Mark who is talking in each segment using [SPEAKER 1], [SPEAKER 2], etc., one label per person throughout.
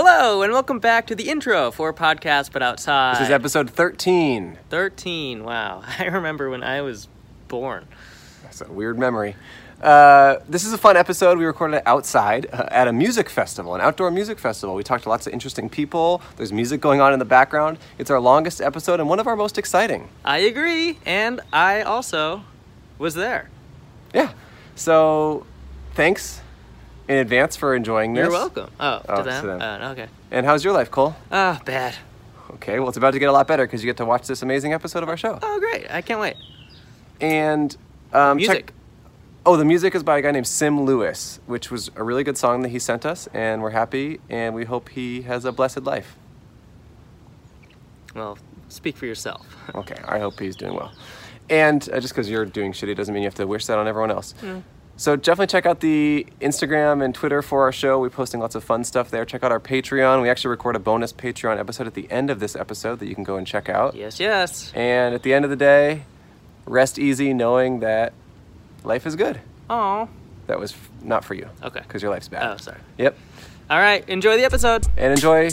[SPEAKER 1] Hello and welcome back to the intro for podcast but outside.
[SPEAKER 2] This is episode 13.
[SPEAKER 1] 13. Wow. I remember when I was born.
[SPEAKER 2] That's a weird memory. Uh, this is a fun episode. We recorded it outside uh, at a music festival, an outdoor music festival. We talked to lots of interesting people. There's music going on in the background. It's our longest episode and one of our most exciting.
[SPEAKER 1] I agree and I also was there.
[SPEAKER 2] Yeah. So, thanks in advance for enjoying this.
[SPEAKER 1] You're welcome. Oh,
[SPEAKER 2] Oh,
[SPEAKER 1] to them?
[SPEAKER 2] to them.
[SPEAKER 1] Uh, okay.
[SPEAKER 2] And how's your life, Cole?
[SPEAKER 1] Ah, bad.
[SPEAKER 2] Okay, well, it's about to get a lot better because you get to watch this amazing episode of our show.
[SPEAKER 1] Oh, great. I can't wait.
[SPEAKER 2] And um, check-
[SPEAKER 1] Music.
[SPEAKER 2] Oh, the music is by a guy named Sim Lewis, which was a really good song that he sent us, and we're happy, and we hope he has a blessed life.
[SPEAKER 1] Well, speak for yourself.
[SPEAKER 2] Okay, I hope he's doing well. And uh, just because you're doing shitty doesn't mean you have to wish that on everyone else. So definitely check out the Instagram and Twitter for our show. We're posting lots of fun stuff there. Check out our Patreon. We actually record a bonus Patreon episode at the end of this episode that you can go and check out.
[SPEAKER 1] yes, yes.
[SPEAKER 2] And at the end of the day, rest easy knowing that life is good.
[SPEAKER 1] Oh.
[SPEAKER 2] That was f- not for you.
[SPEAKER 1] Okay.
[SPEAKER 2] Because your life's bad.
[SPEAKER 1] Oh, sorry.
[SPEAKER 2] Yep.
[SPEAKER 1] All right. Enjoy the episode.
[SPEAKER 2] And enjoy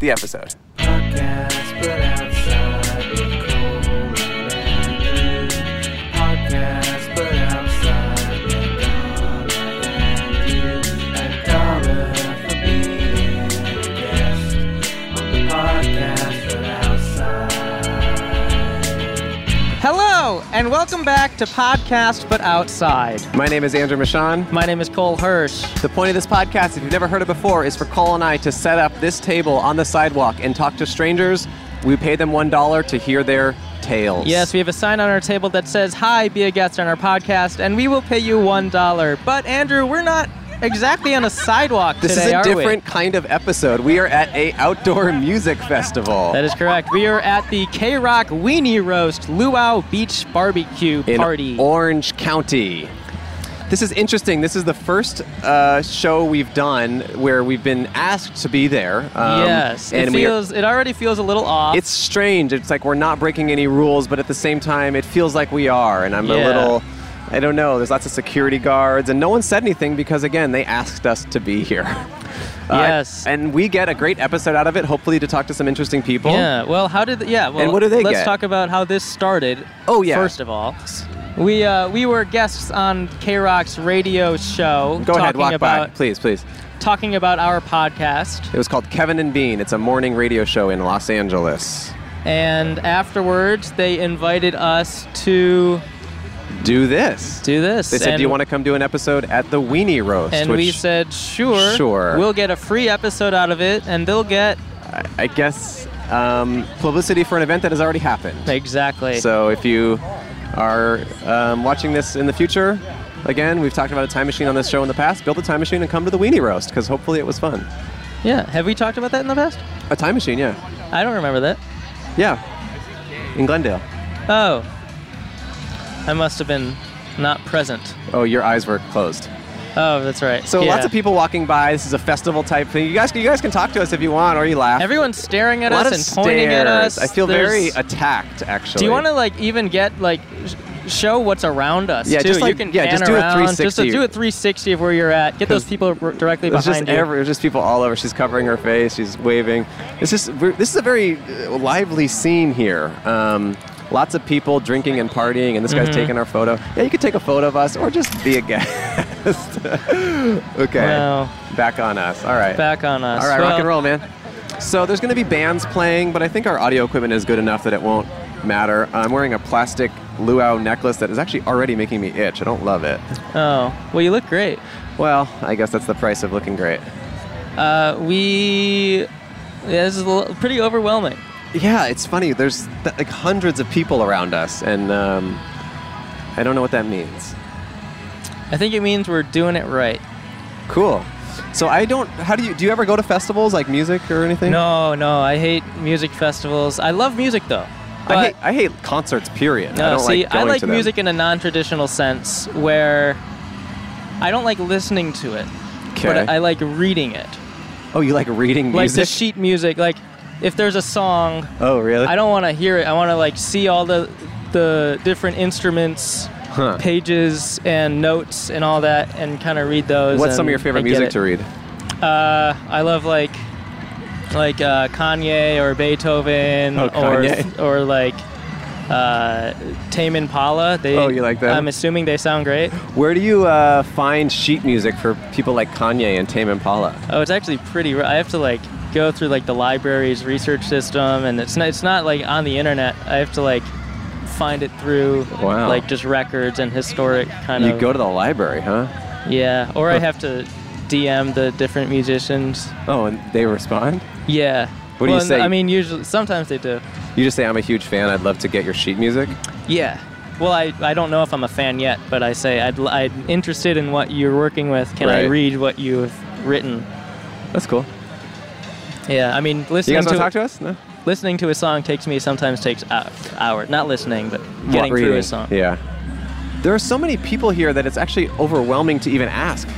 [SPEAKER 2] the episode.
[SPEAKER 3] Podcast, but outside with Cole and Andrew. Podcast, but outside with Donna and you. A dollar for being a guest on the podcast, but outside.
[SPEAKER 1] Hello and welcome back to podcast but outside.
[SPEAKER 2] My name is Andrew Michon.
[SPEAKER 1] My name is Cole Hirsch.
[SPEAKER 2] The point of this podcast, if you've never heard it before, is for Cole and I to set up this table on the sidewalk and talk to strangers. We pay them $1 to hear their tales.
[SPEAKER 1] Yes, we have a sign on our table that says, Hi, be a guest on our podcast, and we will pay you $1. But, Andrew, we're not exactly on a sidewalk
[SPEAKER 2] This
[SPEAKER 1] today,
[SPEAKER 2] is a
[SPEAKER 1] are
[SPEAKER 2] different kind of episode. We are at a outdoor music festival.
[SPEAKER 1] we? That is correct. We are at the K Rock Weenie Roast Luau Beach Barbecue
[SPEAKER 2] in
[SPEAKER 1] Party.
[SPEAKER 2] Orange County. This is interesting. This is the first uh, show we've done where we've been asked to be there. Um,
[SPEAKER 1] yes, it
[SPEAKER 2] and we are-
[SPEAKER 1] feels it already feels a little off.
[SPEAKER 2] it's strange. It's like we're not breaking any rules, but at the same time, it feels like we are. And I'm
[SPEAKER 1] Yeah.
[SPEAKER 2] a little, I don't know. There's lots of security guards, and no one said anything because again, they asked us to be here. Uh,
[SPEAKER 1] Yes.
[SPEAKER 2] and we get a great episode out of it. Hopefully, to talk to some interesting people.
[SPEAKER 1] yeah. Well, how did yeah? Well,
[SPEAKER 2] what do they
[SPEAKER 1] Let's
[SPEAKER 2] get?
[SPEAKER 1] talk about how this started.
[SPEAKER 2] Oh, yeah.
[SPEAKER 1] First of all, we uh, we were guests on K Rock's radio show.
[SPEAKER 2] Go
[SPEAKER 1] talking
[SPEAKER 2] ahead, walk
[SPEAKER 1] about
[SPEAKER 2] by, please, please.
[SPEAKER 1] talking about our podcast.
[SPEAKER 2] It was called Kevin and Bean. It's a morning radio show in Los Angeles.
[SPEAKER 1] And afterwards, they invited us to
[SPEAKER 2] Do this.
[SPEAKER 1] do this.
[SPEAKER 2] They said,
[SPEAKER 1] and,
[SPEAKER 2] "Do you want to come do an episode at the Weenie Roast?"
[SPEAKER 1] And we said, sure.
[SPEAKER 2] Oh, Sure.
[SPEAKER 1] We'll get a free episode out of it, and they'll get
[SPEAKER 2] I, I guess um, publicity for an event that has already happened.
[SPEAKER 1] exactly.
[SPEAKER 2] So if you are um, watching this in the future, again, we've talked about a time machine on this show in the past. Build a time machine and come to the Weenie Roast because hopefully it was fun.
[SPEAKER 1] yeah. Have we talked about that in the past?
[SPEAKER 2] A time machine, yeah,
[SPEAKER 1] I don't remember that.
[SPEAKER 2] yeah, in Glendale.
[SPEAKER 1] Oh, I must have been not present.
[SPEAKER 2] Oh, your eyes were closed.
[SPEAKER 1] Oh, that's right.
[SPEAKER 2] So
[SPEAKER 1] Yeah.
[SPEAKER 2] lots of people walking by. This is a festival type thing. You guys, you guys can talk to us if you want, or you laugh.
[SPEAKER 1] Everyone's staring at
[SPEAKER 2] a lot
[SPEAKER 1] us
[SPEAKER 2] of
[SPEAKER 1] and pointing at us.
[SPEAKER 2] stares. I feel very
[SPEAKER 1] There's-
[SPEAKER 2] attacked, actually.
[SPEAKER 1] do you want to like even get like sh- show what's around us
[SPEAKER 2] Yeah,
[SPEAKER 1] too?
[SPEAKER 2] just, like-
[SPEAKER 1] you can
[SPEAKER 2] yeah,
[SPEAKER 1] pan
[SPEAKER 2] just do a
[SPEAKER 1] around. Just
[SPEAKER 2] 360.
[SPEAKER 1] do a 360 of where you're at. Get those
[SPEAKER 2] 'Cause
[SPEAKER 1] people r- directly
[SPEAKER 2] There's
[SPEAKER 1] behind
[SPEAKER 2] just
[SPEAKER 1] you.
[SPEAKER 2] every, there's just people all over. She's covering her face. She's waving. It's just we're, this is a very uh, lively scene here. Um, lots of people drinking and partying, and this guy's
[SPEAKER 1] Mm-hmm.
[SPEAKER 2] taking our photo. Yeah, you could take a photo of us, or just be a guest. okay.
[SPEAKER 1] Wow.
[SPEAKER 2] Back on us. All right.
[SPEAKER 1] back on us.
[SPEAKER 2] All right.
[SPEAKER 1] Well,
[SPEAKER 2] rock and roll, man. So there's going to be bands playing, but I think our audio equipment is good enough that it won't matter. I'm wearing a plastic luau necklace that is actually already making me itch. I don't love it.
[SPEAKER 1] Oh, well, you look great.
[SPEAKER 2] Well, I guess that's the price of looking great.
[SPEAKER 1] Uh, we. Yeah, this is a little, pretty overwhelming.
[SPEAKER 2] Yeah, it's funny. There's th- like hundreds of people around us, and um, I don't know what that means.
[SPEAKER 1] I think it means we're doing it right.
[SPEAKER 2] Cool. So I don't. How do you? Do you ever go to festivals like music or anything?
[SPEAKER 1] No, no, I hate music festivals. I love music though. But
[SPEAKER 2] I hate, I hate concerts. Period.
[SPEAKER 1] no,
[SPEAKER 2] I don't
[SPEAKER 1] see,
[SPEAKER 2] like
[SPEAKER 1] I
[SPEAKER 2] going
[SPEAKER 1] like
[SPEAKER 2] to them.
[SPEAKER 1] music in a non-traditional sense where I don't like listening to it, but
[SPEAKER 2] Okay.
[SPEAKER 1] I like reading it.
[SPEAKER 2] oh, you like reading
[SPEAKER 1] Like the
[SPEAKER 2] music?
[SPEAKER 1] sheet music. Like if there's a song,
[SPEAKER 2] oh, really?
[SPEAKER 1] I don't want to hear it. I want to like see all the the different instruments,
[SPEAKER 2] Huh.
[SPEAKER 1] pages and notes and all that, and kind of read those.
[SPEAKER 2] What's some of
[SPEAKER 1] and-
[SPEAKER 2] your favorite
[SPEAKER 1] and get
[SPEAKER 2] music
[SPEAKER 1] it.
[SPEAKER 2] to read?
[SPEAKER 1] Uh, I love like like uh, Kanye or Beethoven
[SPEAKER 2] Oh, Kanye.
[SPEAKER 1] or or like uh, Tame Impala. They,
[SPEAKER 2] Oh, you like them?
[SPEAKER 1] I'm assuming they sound great.
[SPEAKER 2] Where do you uh, find sheet music for people like Kanye and Tame Impala?
[SPEAKER 1] Oh, it's actually pretty. r- I have to like go through like the library's research system, and it's not, it's not like on the internet. I have to like find it through
[SPEAKER 2] Wow.
[SPEAKER 1] like just records and historic kind
[SPEAKER 2] You
[SPEAKER 1] of.
[SPEAKER 2] go to the library, huh?
[SPEAKER 1] yeah, or I have to DM the different musicians.
[SPEAKER 2] Oh, and they respond?
[SPEAKER 1] Yeah.
[SPEAKER 2] What do you
[SPEAKER 1] Well,
[SPEAKER 2] say?
[SPEAKER 1] I mean, usually sometimes they do.
[SPEAKER 2] You just say, I'm a huge fan. I'd love to get your sheet music.
[SPEAKER 1] Yeah. Well, I, I don't know if I'm a fan yet, but I say I'd, l- I'm interested in what you're working with. Can I
[SPEAKER 2] Right.
[SPEAKER 1] read what you've written?
[SPEAKER 2] That's cool.
[SPEAKER 1] Yeah, I mean,
[SPEAKER 2] You
[SPEAKER 1] listening
[SPEAKER 2] guys want to
[SPEAKER 1] to
[SPEAKER 2] talk to us? No?
[SPEAKER 1] listening to a song takes me sometimes takes hou- hours. Not listening, but getting
[SPEAKER 2] Reading.
[SPEAKER 1] through a song.
[SPEAKER 2] Yeah. There are so many people here that it's actually overwhelming to even ask.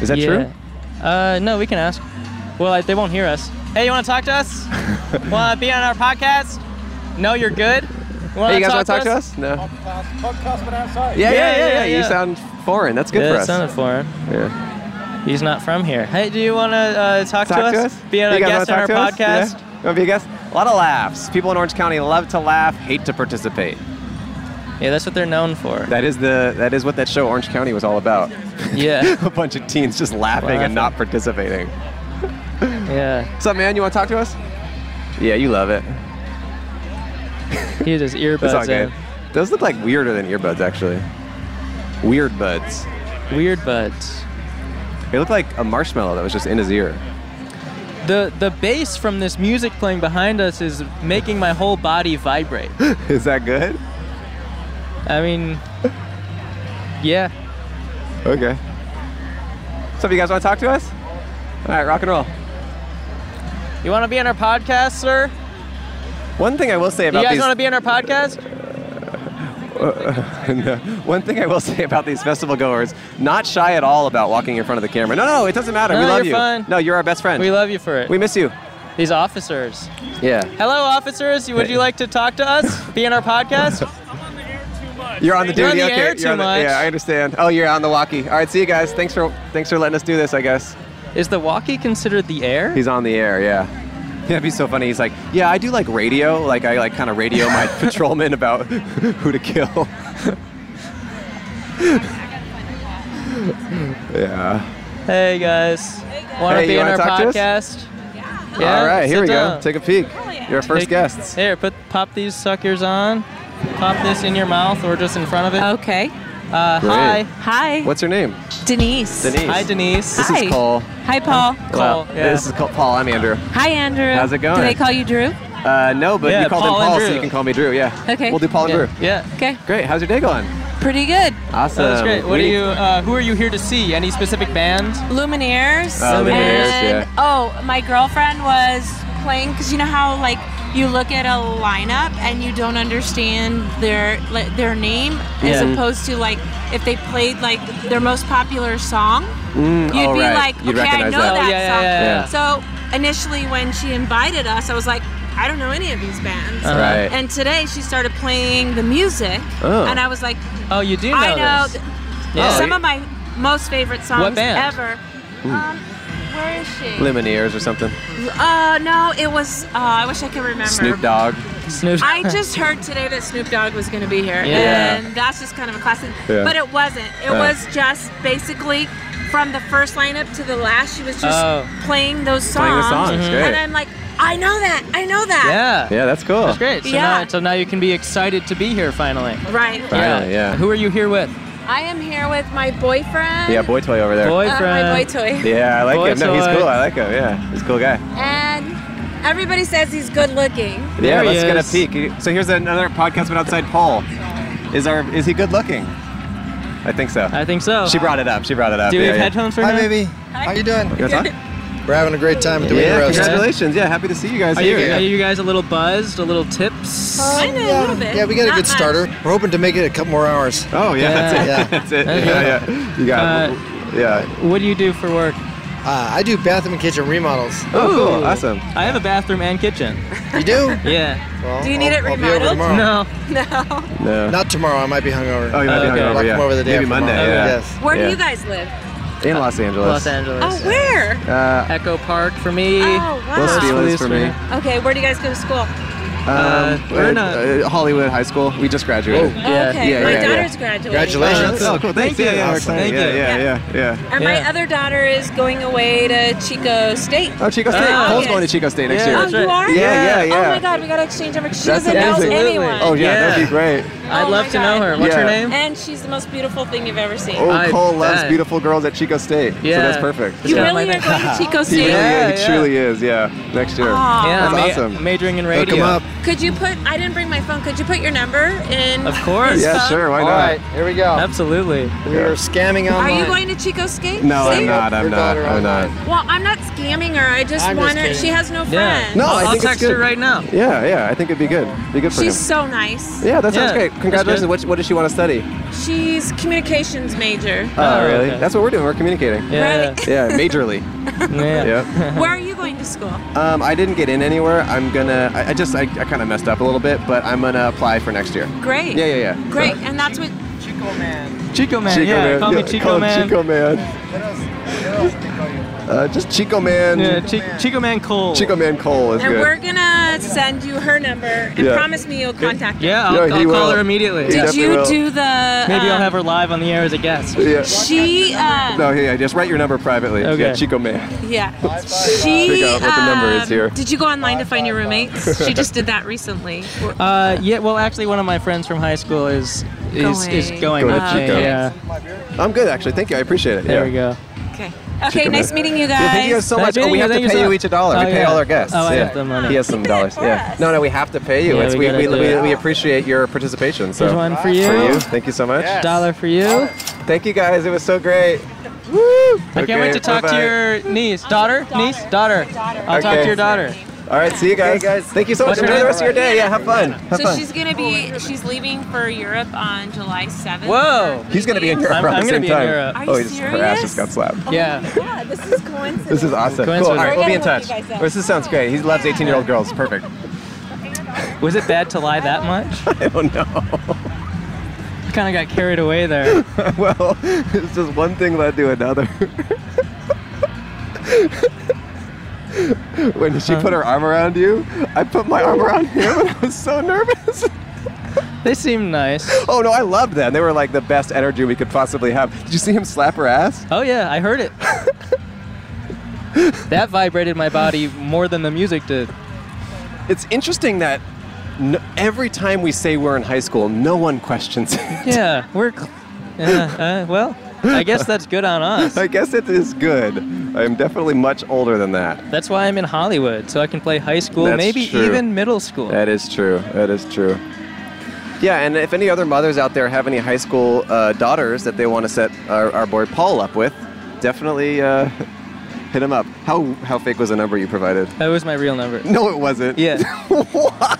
[SPEAKER 2] Is that true?
[SPEAKER 1] true? Uh, no, we can ask. Well, I, they won't hear us. Hey, you want to talk to us? want to be on our podcast? No, you're good.
[SPEAKER 2] Hey, you guys want to talk to us? No. Yeah, yeah, yeah, yeah,
[SPEAKER 1] yeah,
[SPEAKER 2] You
[SPEAKER 1] yeah.
[SPEAKER 2] sound foreign. That's good
[SPEAKER 1] Yeah,
[SPEAKER 2] for
[SPEAKER 1] that
[SPEAKER 2] us.
[SPEAKER 1] sounded foreign.
[SPEAKER 2] yeah.
[SPEAKER 1] He's not from here. Hey, do you want to uh, talk,
[SPEAKER 2] Talk
[SPEAKER 1] to, us? Be on
[SPEAKER 2] you
[SPEAKER 1] a
[SPEAKER 2] guys
[SPEAKER 1] guest on
[SPEAKER 2] wanna
[SPEAKER 1] our
[SPEAKER 2] talk to us?
[SPEAKER 1] podcast?
[SPEAKER 2] Yeah. Wanna be a guest? A lot of laughs. People in Orange County love to laugh, hate to participate.
[SPEAKER 1] Yeah. that's what they're known for.
[SPEAKER 2] That is the that is what that show Orange County was all about.
[SPEAKER 1] yeah,
[SPEAKER 2] a bunch of teens just laughing and
[SPEAKER 1] Laughing.
[SPEAKER 2] not participating.
[SPEAKER 1] yeah.
[SPEAKER 2] What's up, man? You want to talk to us? Yeah, you love it.
[SPEAKER 1] He had his
[SPEAKER 2] That's all
[SPEAKER 1] earbuds
[SPEAKER 2] good.
[SPEAKER 1] in.
[SPEAKER 2] Those look like weirder than earbuds, actually. Weird buds.
[SPEAKER 1] Weird buds.
[SPEAKER 2] They look like a marshmallow that was just in his ear.
[SPEAKER 1] The the bass from this music playing behind us is making my whole body vibrate.
[SPEAKER 2] Is that good?
[SPEAKER 1] I mean, yeah.
[SPEAKER 2] Okay. So, if you guys want to talk to us? All right, rock and roll.
[SPEAKER 1] You want to be on our podcast, sir?
[SPEAKER 2] One thing I will say
[SPEAKER 1] You
[SPEAKER 2] about
[SPEAKER 1] guys
[SPEAKER 2] these.
[SPEAKER 1] want to be on our podcast?
[SPEAKER 2] No. uh, One thing I will say about these festival goers, not shy at all about walking in front of the camera. No, no, it doesn't matter.
[SPEAKER 1] No,
[SPEAKER 2] we love
[SPEAKER 1] you're
[SPEAKER 2] you.
[SPEAKER 1] fine.
[SPEAKER 2] No, you're our best friend.
[SPEAKER 1] We love you for it.
[SPEAKER 2] we miss you.
[SPEAKER 1] These officers.
[SPEAKER 2] Yeah.
[SPEAKER 1] Hello, officers. Would you like to talk to us? Be on our podcast?
[SPEAKER 2] You're on the
[SPEAKER 1] You're on
[SPEAKER 2] duty.
[SPEAKER 1] the
[SPEAKER 2] okay.
[SPEAKER 1] air
[SPEAKER 2] you're
[SPEAKER 1] too
[SPEAKER 2] on the-
[SPEAKER 1] much.
[SPEAKER 2] Yeah, I understand. Oh, you're on the walkie. All right, see you guys. Thanks for thanks for letting us do this. I guess
[SPEAKER 1] Is the walkie considered the air?
[SPEAKER 2] he's on the air. Yeah. That'd be so funny. He's like, yeah, I do like radio. Like I like kind of radio my patrolman about who to kill. yeah.
[SPEAKER 1] Hey guys, want to
[SPEAKER 2] Hey,
[SPEAKER 1] be
[SPEAKER 2] you
[SPEAKER 1] on
[SPEAKER 2] wanna
[SPEAKER 1] our
[SPEAKER 2] talk to us?
[SPEAKER 1] podcast? Yeah,
[SPEAKER 2] All right,
[SPEAKER 1] sit
[SPEAKER 2] here we
[SPEAKER 1] down.
[SPEAKER 2] go. Take a peek. You're our first
[SPEAKER 1] Take-
[SPEAKER 2] guests.
[SPEAKER 1] Here, put pop these suckers on. Pop this in your mouth or just in front of it.
[SPEAKER 4] Okay.
[SPEAKER 1] Uh,
[SPEAKER 2] Great.
[SPEAKER 1] hi,
[SPEAKER 4] Hi.
[SPEAKER 2] What's her name?
[SPEAKER 4] Denise?
[SPEAKER 2] Denise.
[SPEAKER 1] hi Denise.
[SPEAKER 2] This
[SPEAKER 4] Hi.
[SPEAKER 2] is Paul.
[SPEAKER 4] Hi, Paul.
[SPEAKER 1] Paul, yeah.
[SPEAKER 2] This is called Paul. I'm Andrew.
[SPEAKER 4] Hi, Andrew.
[SPEAKER 2] How's it going?
[SPEAKER 4] Do they call you Drew?
[SPEAKER 2] Uh, no, but
[SPEAKER 1] Yeah,
[SPEAKER 2] you called
[SPEAKER 1] Paul
[SPEAKER 2] him
[SPEAKER 1] and
[SPEAKER 2] Paul, so
[SPEAKER 1] Drew.
[SPEAKER 2] you can call me Drew. Yeah.
[SPEAKER 4] Okay.
[SPEAKER 2] We'll do Paul and
[SPEAKER 1] yeah.
[SPEAKER 2] Drew.
[SPEAKER 1] yeah.
[SPEAKER 4] Okay.
[SPEAKER 2] Great. How's your day going?
[SPEAKER 4] Pretty good.
[SPEAKER 2] Awesome.
[SPEAKER 1] Oh, that's great. What
[SPEAKER 2] We
[SPEAKER 1] are
[SPEAKER 2] need-
[SPEAKER 1] you? Uh, who are you here to see? Any specific band?
[SPEAKER 4] Lumineers.
[SPEAKER 2] Oh, Lumineers,
[SPEAKER 4] and,
[SPEAKER 2] yeah.
[SPEAKER 4] Oh, my girlfriend was playing because you know how like you look at a lineup and you don't understand their like, their name
[SPEAKER 1] Yeah.
[SPEAKER 4] as opposed to like if they played like their most popular song.
[SPEAKER 2] Mm,
[SPEAKER 4] You'd
[SPEAKER 2] oh,
[SPEAKER 4] be
[SPEAKER 2] right.
[SPEAKER 4] like,
[SPEAKER 2] You'd
[SPEAKER 4] okay, I
[SPEAKER 2] recognize
[SPEAKER 4] know
[SPEAKER 1] Oh,
[SPEAKER 4] that,
[SPEAKER 1] yeah, yeah, yeah,
[SPEAKER 4] song. So initially, when she invited us, I was like, I don't know any of these bands.
[SPEAKER 1] Uh-huh.
[SPEAKER 2] Right.
[SPEAKER 4] And today she started playing the music,
[SPEAKER 2] Oh.
[SPEAKER 4] and I was like,
[SPEAKER 1] Oh, you do know
[SPEAKER 4] I know
[SPEAKER 1] this.
[SPEAKER 4] th-
[SPEAKER 1] Yeah.
[SPEAKER 4] some of my most favorite songs
[SPEAKER 1] band?
[SPEAKER 4] ever. Um, where is she?
[SPEAKER 2] Lumineers or something.
[SPEAKER 4] Uh, no, it was. Uh, I wish I could remember.
[SPEAKER 2] Snoop Dogg.
[SPEAKER 1] Snoop.
[SPEAKER 4] I just heard today that Snoop Dogg was going to be here,
[SPEAKER 1] Yeah.
[SPEAKER 4] and that's just kind of a classic.
[SPEAKER 2] Yeah.
[SPEAKER 4] But it wasn't. It
[SPEAKER 2] Oh.
[SPEAKER 4] was just basically from the first lineup to the last. She was just
[SPEAKER 1] Oh. Mm-hmm.
[SPEAKER 4] playing those songs,
[SPEAKER 2] Playing the songs. Great.
[SPEAKER 4] and I'm like, I know that. I know that.
[SPEAKER 1] yeah.
[SPEAKER 2] yeah, that's cool.
[SPEAKER 1] That's great. So
[SPEAKER 4] Yeah.
[SPEAKER 1] now, so now you can be excited to be here finally.
[SPEAKER 4] Right.
[SPEAKER 2] Finally, yeah.
[SPEAKER 1] Who are you here with?
[SPEAKER 4] I am here with my boyfriend.
[SPEAKER 2] Yeah, boy toy over there.
[SPEAKER 4] uh,
[SPEAKER 1] Boyfriend.
[SPEAKER 4] my boy toy.
[SPEAKER 2] Yeah, I like
[SPEAKER 1] Boy
[SPEAKER 2] him. No, he's
[SPEAKER 1] toy.
[SPEAKER 2] cool. I like him. Yeah, he's a cool guy.
[SPEAKER 4] And everybody says he's good looking.
[SPEAKER 2] Yeah,
[SPEAKER 1] There he
[SPEAKER 2] let's get
[SPEAKER 1] is.
[SPEAKER 2] a peek. So here's another podcast but outside Paul. Is our is he good looking? I think so.
[SPEAKER 1] I think so.
[SPEAKER 2] she brought it up. She brought it up.
[SPEAKER 1] Do we
[SPEAKER 2] yeah,
[SPEAKER 1] have
[SPEAKER 2] yeah.
[SPEAKER 1] headphones for
[SPEAKER 5] Hi,
[SPEAKER 1] him?
[SPEAKER 5] baby. How you doing?
[SPEAKER 2] You wanna talk?
[SPEAKER 5] We're having a great time at the
[SPEAKER 2] yeah,
[SPEAKER 5] Wiener Roast.
[SPEAKER 2] congratulations. Yeah, happy to see you guys
[SPEAKER 1] Are you,
[SPEAKER 2] here.
[SPEAKER 1] are
[SPEAKER 2] yeah.
[SPEAKER 1] you guys a little buzzed? A little tips?
[SPEAKER 4] Kinda, a
[SPEAKER 5] Um, yeah.
[SPEAKER 4] little bit.
[SPEAKER 5] Yeah, we got a
[SPEAKER 4] Not
[SPEAKER 5] good
[SPEAKER 4] much.
[SPEAKER 5] starter. We're hoping to make it a couple more hours.
[SPEAKER 2] Oh yeah,
[SPEAKER 1] Yeah.
[SPEAKER 2] that's it. That's it. Yeah, yeah. You got
[SPEAKER 1] Uh,
[SPEAKER 2] yeah.
[SPEAKER 1] What do you do for work?
[SPEAKER 5] Uh, I do bathroom and kitchen remodels.
[SPEAKER 2] Oh, cool.
[SPEAKER 1] Ooh.
[SPEAKER 2] Awesome.
[SPEAKER 1] I have a bathroom and kitchen.
[SPEAKER 5] You do?
[SPEAKER 1] Yeah.
[SPEAKER 5] Well,
[SPEAKER 4] Do you need
[SPEAKER 5] I'll-
[SPEAKER 4] it
[SPEAKER 5] I'll be over
[SPEAKER 4] remodeled?
[SPEAKER 5] tomorrow.
[SPEAKER 1] No.
[SPEAKER 4] No.
[SPEAKER 2] No.
[SPEAKER 5] Not tomorrow. I might be hungover. Uh,
[SPEAKER 2] Oh, you might
[SPEAKER 1] Okay.
[SPEAKER 2] be hungover,
[SPEAKER 5] I'll
[SPEAKER 2] yeah.
[SPEAKER 5] come over the day
[SPEAKER 2] Maybe
[SPEAKER 5] after
[SPEAKER 2] Monday.
[SPEAKER 5] tomorrow.
[SPEAKER 2] Yeah.
[SPEAKER 5] Yes.
[SPEAKER 4] Where
[SPEAKER 2] Yeah.
[SPEAKER 4] do you guys live?
[SPEAKER 2] in Los Angeles.
[SPEAKER 1] Los Angeles.
[SPEAKER 4] Oh, where?
[SPEAKER 2] Uh,
[SPEAKER 1] Echo Park for me.
[SPEAKER 4] Oh, wow.
[SPEAKER 2] Los Feliz for me.
[SPEAKER 4] Okay, where do you guys go to school?
[SPEAKER 2] Um,
[SPEAKER 1] Uh, we're
[SPEAKER 2] uh,
[SPEAKER 1] not-
[SPEAKER 2] uh, Hollywood High School. We just graduated.
[SPEAKER 6] Whoa.
[SPEAKER 1] Yeah.
[SPEAKER 4] Oh, okay,
[SPEAKER 2] Yeah,
[SPEAKER 4] my
[SPEAKER 2] yeah, yeah.
[SPEAKER 4] daughter's graduating.
[SPEAKER 6] Congratulations.
[SPEAKER 2] Oh, cool. Thanks.
[SPEAKER 1] Thank you.
[SPEAKER 2] yeah, yeah, we're
[SPEAKER 1] Awesome.
[SPEAKER 2] excited.
[SPEAKER 1] Thank
[SPEAKER 2] yeah,
[SPEAKER 4] you.
[SPEAKER 2] yeah, yeah, yeah.
[SPEAKER 4] And my
[SPEAKER 1] Yeah.
[SPEAKER 4] other daughter is going away to Chico State.
[SPEAKER 2] Oh, Chico State.
[SPEAKER 1] Ah.
[SPEAKER 2] Cole's going to Chico State next
[SPEAKER 1] Yeah.
[SPEAKER 2] year.
[SPEAKER 4] oh,
[SPEAKER 1] that's
[SPEAKER 4] you
[SPEAKER 1] right.
[SPEAKER 4] are?
[SPEAKER 2] Yeah, yeah, yeah.
[SPEAKER 4] Oh my God, we gotta exchange number. She
[SPEAKER 2] That's
[SPEAKER 4] doesn't know
[SPEAKER 2] amazing.
[SPEAKER 4] anyone.
[SPEAKER 2] Oh, yeah,
[SPEAKER 1] Yeah.
[SPEAKER 2] that'd be great.
[SPEAKER 1] I'd
[SPEAKER 4] Oh
[SPEAKER 1] love
[SPEAKER 4] my
[SPEAKER 1] to know
[SPEAKER 4] God.
[SPEAKER 1] her. What's her
[SPEAKER 2] Yeah.
[SPEAKER 1] name?
[SPEAKER 4] And she's the most beautiful thing you've ever seen.
[SPEAKER 2] Oh,
[SPEAKER 1] I
[SPEAKER 2] Cole loves
[SPEAKER 1] bet.
[SPEAKER 2] beautiful girls at Chico State. So
[SPEAKER 1] Yeah.
[SPEAKER 2] that's perfect.
[SPEAKER 4] you
[SPEAKER 1] Yeah.
[SPEAKER 4] really are going to Chico State?
[SPEAKER 1] Yeah.
[SPEAKER 2] he truly is. Yeah, next year.
[SPEAKER 4] Aw.
[SPEAKER 1] Yeah,
[SPEAKER 2] That's
[SPEAKER 1] ma-
[SPEAKER 2] awesome.
[SPEAKER 1] majoring in
[SPEAKER 6] Hook
[SPEAKER 1] radio.
[SPEAKER 6] him up.
[SPEAKER 4] Could you put? I didn't bring my phone. Could you put your number in?
[SPEAKER 1] Of course.
[SPEAKER 4] his
[SPEAKER 2] Yeah,
[SPEAKER 4] phone?
[SPEAKER 2] sure. Why
[SPEAKER 6] All
[SPEAKER 2] not?
[SPEAKER 6] right, here we go.
[SPEAKER 1] Absolutely.
[SPEAKER 6] We are scamming
[SPEAKER 4] Are
[SPEAKER 6] online.
[SPEAKER 4] you going to Chico State?
[SPEAKER 2] No, I'm
[SPEAKER 4] State?
[SPEAKER 2] not. I'm
[SPEAKER 6] Your
[SPEAKER 2] not.
[SPEAKER 6] daughter
[SPEAKER 2] I'm not.
[SPEAKER 6] online.
[SPEAKER 4] Well, I'm not scamming her. I just
[SPEAKER 6] I'm just
[SPEAKER 4] want her.
[SPEAKER 6] kidding.
[SPEAKER 4] She has no
[SPEAKER 1] Yeah.
[SPEAKER 4] friends.
[SPEAKER 6] No, I
[SPEAKER 1] I'll
[SPEAKER 6] think it's
[SPEAKER 1] text
[SPEAKER 6] good.
[SPEAKER 1] her right now.
[SPEAKER 2] Yeah, yeah. I think it'd be good. Be good for
[SPEAKER 4] She's
[SPEAKER 2] him.
[SPEAKER 4] so nice.
[SPEAKER 2] Yeah, that
[SPEAKER 1] Yeah,
[SPEAKER 2] sounds great.
[SPEAKER 1] that's
[SPEAKER 2] Congratulations.
[SPEAKER 1] good.
[SPEAKER 2] What, what does she want to study?
[SPEAKER 4] She's communications major.
[SPEAKER 1] Oh,
[SPEAKER 2] really?
[SPEAKER 1] okay.
[SPEAKER 2] That's what we're doing. We're communicating.
[SPEAKER 1] Yeah.
[SPEAKER 2] Yeah, majorly.
[SPEAKER 1] Yeah.
[SPEAKER 2] yep.
[SPEAKER 4] Where are you going to school?
[SPEAKER 2] Um, I didn't get in anywhere. I'm gonna. I, I just. I, I kind of messed up a little bit, but I'm gonna apply for next year.
[SPEAKER 4] Great.
[SPEAKER 2] Yeah, yeah, yeah.
[SPEAKER 4] Great. And that's what.
[SPEAKER 1] Chico man.
[SPEAKER 2] Chico
[SPEAKER 1] yeah.
[SPEAKER 2] man.
[SPEAKER 1] Call me
[SPEAKER 2] Yeah,
[SPEAKER 1] Chico
[SPEAKER 2] call him
[SPEAKER 1] man.
[SPEAKER 2] Chico man. Uh, just Chico man.
[SPEAKER 1] Yeah, Chi- Chico man Cole.
[SPEAKER 2] Chico man Cole is
[SPEAKER 4] And
[SPEAKER 2] good.
[SPEAKER 4] we're gonna send you her number and
[SPEAKER 2] Yeah.
[SPEAKER 4] promise me you'll contact her.
[SPEAKER 1] Yeah, I'll,
[SPEAKER 2] Yeah,
[SPEAKER 1] I'll
[SPEAKER 2] he
[SPEAKER 1] call
[SPEAKER 2] will.
[SPEAKER 1] her immediately.
[SPEAKER 2] Yeah.
[SPEAKER 4] Did
[SPEAKER 2] definitely
[SPEAKER 4] you
[SPEAKER 2] will.
[SPEAKER 4] do the?
[SPEAKER 1] Maybe I'll
[SPEAKER 4] um,
[SPEAKER 1] have her live on the air as a guest.
[SPEAKER 2] Yeah.
[SPEAKER 4] She. Uh,
[SPEAKER 2] No, yeah, just write your number privately.
[SPEAKER 1] Okay.
[SPEAKER 2] Yeah, Chico man.
[SPEAKER 4] Yeah. She.
[SPEAKER 2] Figure out what the number is
[SPEAKER 4] um,
[SPEAKER 2] here.
[SPEAKER 4] Did you go online to find your roommates? she just did that recently.
[SPEAKER 1] Uh, yeah. Well, actually, one of my friends from high school is is is going
[SPEAKER 4] Going.
[SPEAKER 2] Go
[SPEAKER 1] with
[SPEAKER 2] to
[SPEAKER 1] me.
[SPEAKER 2] Chico.
[SPEAKER 1] Yeah.
[SPEAKER 2] I'm good actually. Thank you. I appreciate it.
[SPEAKER 1] There
[SPEAKER 2] yeah.
[SPEAKER 1] we go.
[SPEAKER 4] Okay. Okay. Nice
[SPEAKER 2] man.
[SPEAKER 4] meeting you guys.
[SPEAKER 2] Yeah, thank you guys so
[SPEAKER 1] Nice
[SPEAKER 2] much. Oh, we
[SPEAKER 1] meeting
[SPEAKER 2] have
[SPEAKER 1] you.
[SPEAKER 2] to
[SPEAKER 1] Thank you
[SPEAKER 2] pay
[SPEAKER 1] so
[SPEAKER 2] you
[SPEAKER 1] much.
[SPEAKER 2] each a dollar.
[SPEAKER 1] Oh,
[SPEAKER 2] we pay
[SPEAKER 1] yeah.
[SPEAKER 2] all our guests.
[SPEAKER 1] Oh, I
[SPEAKER 2] yeah.
[SPEAKER 1] have the money.
[SPEAKER 2] He has some
[SPEAKER 4] Keep it
[SPEAKER 2] dollars.
[SPEAKER 4] for
[SPEAKER 2] Yeah.
[SPEAKER 4] us.
[SPEAKER 2] No, no, we have to pay you.
[SPEAKER 1] Yeah,
[SPEAKER 2] it's,
[SPEAKER 1] we
[SPEAKER 2] we,
[SPEAKER 1] gotta
[SPEAKER 2] we,
[SPEAKER 1] do
[SPEAKER 2] we,
[SPEAKER 1] it.
[SPEAKER 2] we appreciate your participation. So
[SPEAKER 1] Here's one for you.
[SPEAKER 2] for you. Thank you so much.
[SPEAKER 6] Yeah.
[SPEAKER 1] Dollar for you.
[SPEAKER 2] Thank you guys. It was so great. Woo!
[SPEAKER 1] I can't wait to talk to your niece, daughter, niece, daughter. I'll talk
[SPEAKER 2] Okay.
[SPEAKER 1] to your daughter.
[SPEAKER 2] All right. See you guys. Thank you so much.
[SPEAKER 1] What's your
[SPEAKER 2] Enjoy the
[SPEAKER 1] name?
[SPEAKER 2] rest of your day. Yeah. Have fun. Have
[SPEAKER 4] So
[SPEAKER 2] fun.
[SPEAKER 4] she's gonna be. She's leaving for Europe on July 7th.
[SPEAKER 1] Whoa.
[SPEAKER 4] Her
[SPEAKER 2] He's gonna be in
[SPEAKER 4] meeting.
[SPEAKER 2] Europe
[SPEAKER 1] I'm-
[SPEAKER 2] around
[SPEAKER 1] I'm
[SPEAKER 2] the
[SPEAKER 1] gonna
[SPEAKER 2] same
[SPEAKER 1] be in
[SPEAKER 2] time.
[SPEAKER 1] Europe.
[SPEAKER 4] Are
[SPEAKER 2] oh,
[SPEAKER 4] you
[SPEAKER 2] he just, her ass just got
[SPEAKER 4] serious?
[SPEAKER 2] slapped.
[SPEAKER 1] Yeah.
[SPEAKER 4] Yeah, this is coincidence.
[SPEAKER 2] This is awesome. Cool. All
[SPEAKER 1] Coincidence.
[SPEAKER 2] right, we'll be in
[SPEAKER 4] We're gonna
[SPEAKER 2] touch.
[SPEAKER 4] hook you guys up.
[SPEAKER 2] This sounds great. He loves 18-year-old girls. Perfect.
[SPEAKER 1] Was it bad to lie that much?
[SPEAKER 2] I don't know.
[SPEAKER 1] kind of got carried away there.
[SPEAKER 2] well, it's just one thing led to another. when she
[SPEAKER 1] Uh-huh.
[SPEAKER 2] put her arm around you, I put my arm around him and I was so nervous.
[SPEAKER 1] They seem nice.
[SPEAKER 2] oh no, I loved them. They were like the best energy we could possibly have. Did you see him slap her ass?
[SPEAKER 1] Oh yeah, I heard it. that vibrated my body more than the music did.
[SPEAKER 2] It's interesting that no, every time we say we're in high school, no one questions it.
[SPEAKER 1] Yeah, we're. Cl- yeah, uh, well, I guess that's good on us.
[SPEAKER 2] I guess it is good. I'm definitely much older than that.
[SPEAKER 1] That's why I'm in Hollywood, so I can play high school,
[SPEAKER 2] That's
[SPEAKER 1] maybe
[SPEAKER 2] true.
[SPEAKER 1] even middle school.
[SPEAKER 2] That is true. That is true. Yeah, and if any other mothers out there have any high school uh, daughters that they want to set our, our boy Paul up with, definitely uh, hit him up. How how fake was the number you provided?
[SPEAKER 1] That was my real number.
[SPEAKER 2] No, it wasn't.
[SPEAKER 1] Yeah.
[SPEAKER 2] Why?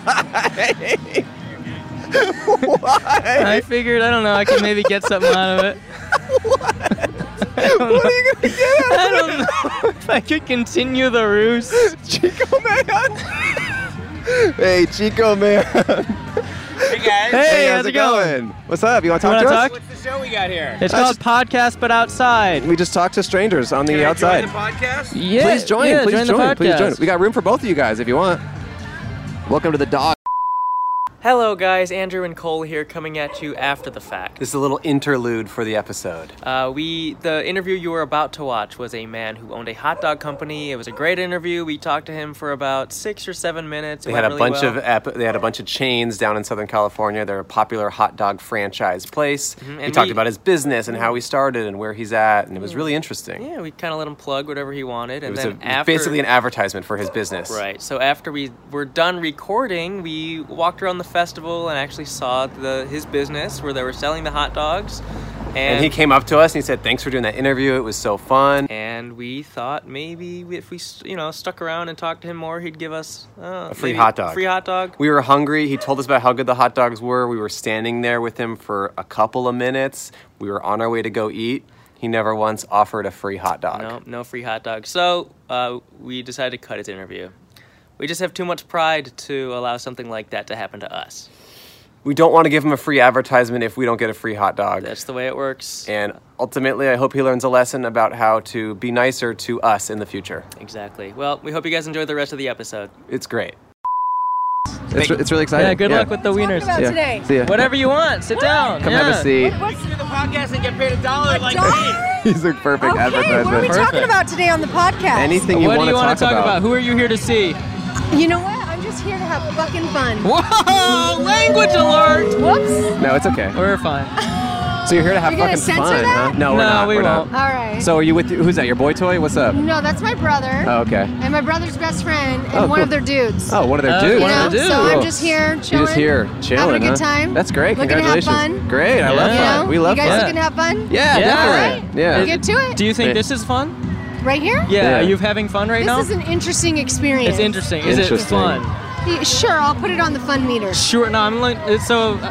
[SPEAKER 1] I
[SPEAKER 2] Why?
[SPEAKER 1] figured, I don't know, I could maybe get something out of it.
[SPEAKER 2] what are you gonna get out
[SPEAKER 1] I don't know if I could continue the ruse.
[SPEAKER 2] of Chico man? hey, Chico man.
[SPEAKER 7] Hey guys,
[SPEAKER 1] Hey,
[SPEAKER 2] how's,
[SPEAKER 1] how's it going?
[SPEAKER 2] What's up? You want to
[SPEAKER 1] You
[SPEAKER 2] talk
[SPEAKER 1] wanna
[SPEAKER 2] to us?
[SPEAKER 1] talk?
[SPEAKER 7] what's the show we got here?
[SPEAKER 1] It's
[SPEAKER 2] I
[SPEAKER 1] called Podcast But Outside.
[SPEAKER 2] We just talked to strangers on
[SPEAKER 7] Can
[SPEAKER 2] the
[SPEAKER 7] I
[SPEAKER 2] outside.
[SPEAKER 7] join the podcast?
[SPEAKER 1] Yeah,
[SPEAKER 2] please join.
[SPEAKER 1] yeah,
[SPEAKER 2] please join.
[SPEAKER 1] the podcast.
[SPEAKER 2] please join. We got room for both of you guys if you want. Welcome to the dog.
[SPEAKER 8] Hello, guys. Andrew and Cole here, coming at you after the fact.
[SPEAKER 7] This is a little interlude for the episode.
[SPEAKER 8] Uh, we the interview you were about to watch was a man who owned a hot dog company. It was a great interview. We talked to him for about six or seven minutes. It
[SPEAKER 7] They had a
[SPEAKER 8] went really
[SPEAKER 7] bunch
[SPEAKER 8] well.
[SPEAKER 7] of ep- they had a bunch of chains down in Southern California. They're a popular hot dog franchise place. We
[SPEAKER 8] Mm-hmm. and
[SPEAKER 7] talked
[SPEAKER 8] we- Mm-hmm.
[SPEAKER 7] about his business and how he started and where he's at, and it was really interesting.
[SPEAKER 8] yeah. We kind of let him plug whatever he wanted,
[SPEAKER 7] It
[SPEAKER 8] and
[SPEAKER 7] was
[SPEAKER 8] then
[SPEAKER 7] a,
[SPEAKER 8] after
[SPEAKER 7] basically an advertisement for his business.
[SPEAKER 8] right. So after we were done recording, we walked around the festival and actually saw the his business where they were selling the hot dogs, and,
[SPEAKER 7] And he came up to us and he said, "Thanks for doing that interview. It was so fun."
[SPEAKER 8] And we thought maybe if we st- you know stuck around and talked to him more, he'd give us uh,
[SPEAKER 7] A free
[SPEAKER 8] maybe
[SPEAKER 7] hot dog.
[SPEAKER 8] Free hot dog.
[SPEAKER 7] We were hungry. He told us about how good the hot dogs were. We were standing there with him for a couple of minutes. We were on our way to go eat. He never once offered a free hot dog.
[SPEAKER 8] No, no free hot dog. So uh, we decided to cut his interview. We just have too much pride to allow something like that to happen to us.
[SPEAKER 9] we don't want to give him a free advertisement if we don't get a free hot dog.
[SPEAKER 10] That's the way it works.
[SPEAKER 9] and ultimately, I hope he learns a lesson about how to be nicer to us in the future.
[SPEAKER 10] Exactly. Well, we hope you guys enjoyed the rest of the episode.
[SPEAKER 9] It's great.
[SPEAKER 2] It's, it's really exciting.
[SPEAKER 1] Yeah, good luck with the wieners.
[SPEAKER 11] about
[SPEAKER 2] yeah.
[SPEAKER 11] today.
[SPEAKER 2] See ya.
[SPEAKER 1] Whatever you want, sit down.
[SPEAKER 2] Come
[SPEAKER 1] yeah.
[SPEAKER 2] have a seat.
[SPEAKER 11] What's
[SPEAKER 12] do the podcast and get paid a dollar like
[SPEAKER 11] Oh, Dollar?
[SPEAKER 2] He's a perfect
[SPEAKER 11] Okay,
[SPEAKER 2] advertisement.
[SPEAKER 11] what are we talking
[SPEAKER 1] Perfect.
[SPEAKER 11] about today on the podcast?
[SPEAKER 2] Anything you
[SPEAKER 1] What do
[SPEAKER 2] want
[SPEAKER 1] you
[SPEAKER 2] to
[SPEAKER 1] want
[SPEAKER 2] talk,
[SPEAKER 1] to talk about? Who are you here to see?
[SPEAKER 11] You know what? I'm just here to have fucking fun.
[SPEAKER 1] Whoa! Language alert!
[SPEAKER 11] Whoops.
[SPEAKER 2] No, it's okay.
[SPEAKER 1] We're fine.
[SPEAKER 2] So you're here to have
[SPEAKER 11] You're gonna
[SPEAKER 2] fucking
[SPEAKER 11] censor
[SPEAKER 2] fun,
[SPEAKER 11] that?
[SPEAKER 2] huh? No, we're
[SPEAKER 1] No,
[SPEAKER 2] not.
[SPEAKER 1] we
[SPEAKER 2] are
[SPEAKER 1] won't.
[SPEAKER 11] All right.
[SPEAKER 2] So are you with who's that? Your boy toy? What's up?
[SPEAKER 11] no, that's my brother
[SPEAKER 2] Oh, okay.
[SPEAKER 11] and my brother's best friend and
[SPEAKER 2] Oh,
[SPEAKER 11] one
[SPEAKER 2] cool.
[SPEAKER 11] of their dudes.
[SPEAKER 2] Oh, one of their
[SPEAKER 1] Uh,
[SPEAKER 2] dudes.
[SPEAKER 11] you
[SPEAKER 1] one
[SPEAKER 11] know?
[SPEAKER 1] of their
[SPEAKER 11] So
[SPEAKER 1] dudes.
[SPEAKER 11] I'm just here chilling.
[SPEAKER 2] You're just here chilling,
[SPEAKER 11] having a good
[SPEAKER 2] huh?
[SPEAKER 11] time.
[SPEAKER 2] That's great.
[SPEAKER 11] Looking to have
[SPEAKER 2] Congratulations.
[SPEAKER 11] fun.
[SPEAKER 2] Great. I
[SPEAKER 1] Yeah.
[SPEAKER 2] love
[SPEAKER 11] You
[SPEAKER 2] fun.
[SPEAKER 11] know?
[SPEAKER 2] We love
[SPEAKER 11] you guys
[SPEAKER 2] fun.
[SPEAKER 11] looking to have fun?
[SPEAKER 2] Yeah,
[SPEAKER 1] Yeah.
[SPEAKER 2] definitely. Yeah.
[SPEAKER 11] Get to it.
[SPEAKER 1] Do you think
[SPEAKER 2] Yeah.
[SPEAKER 1] this is fun?
[SPEAKER 11] Right here?
[SPEAKER 1] Yeah.
[SPEAKER 2] Yeah.
[SPEAKER 1] Are you having fun right
[SPEAKER 11] This
[SPEAKER 1] now?
[SPEAKER 11] is an interesting experience.
[SPEAKER 1] it's interesting. Is it
[SPEAKER 2] Interesting.
[SPEAKER 1] fun?
[SPEAKER 11] Y- Sure, I'll put it on the fun meter.
[SPEAKER 1] Sure. No, I'm like it's so uh,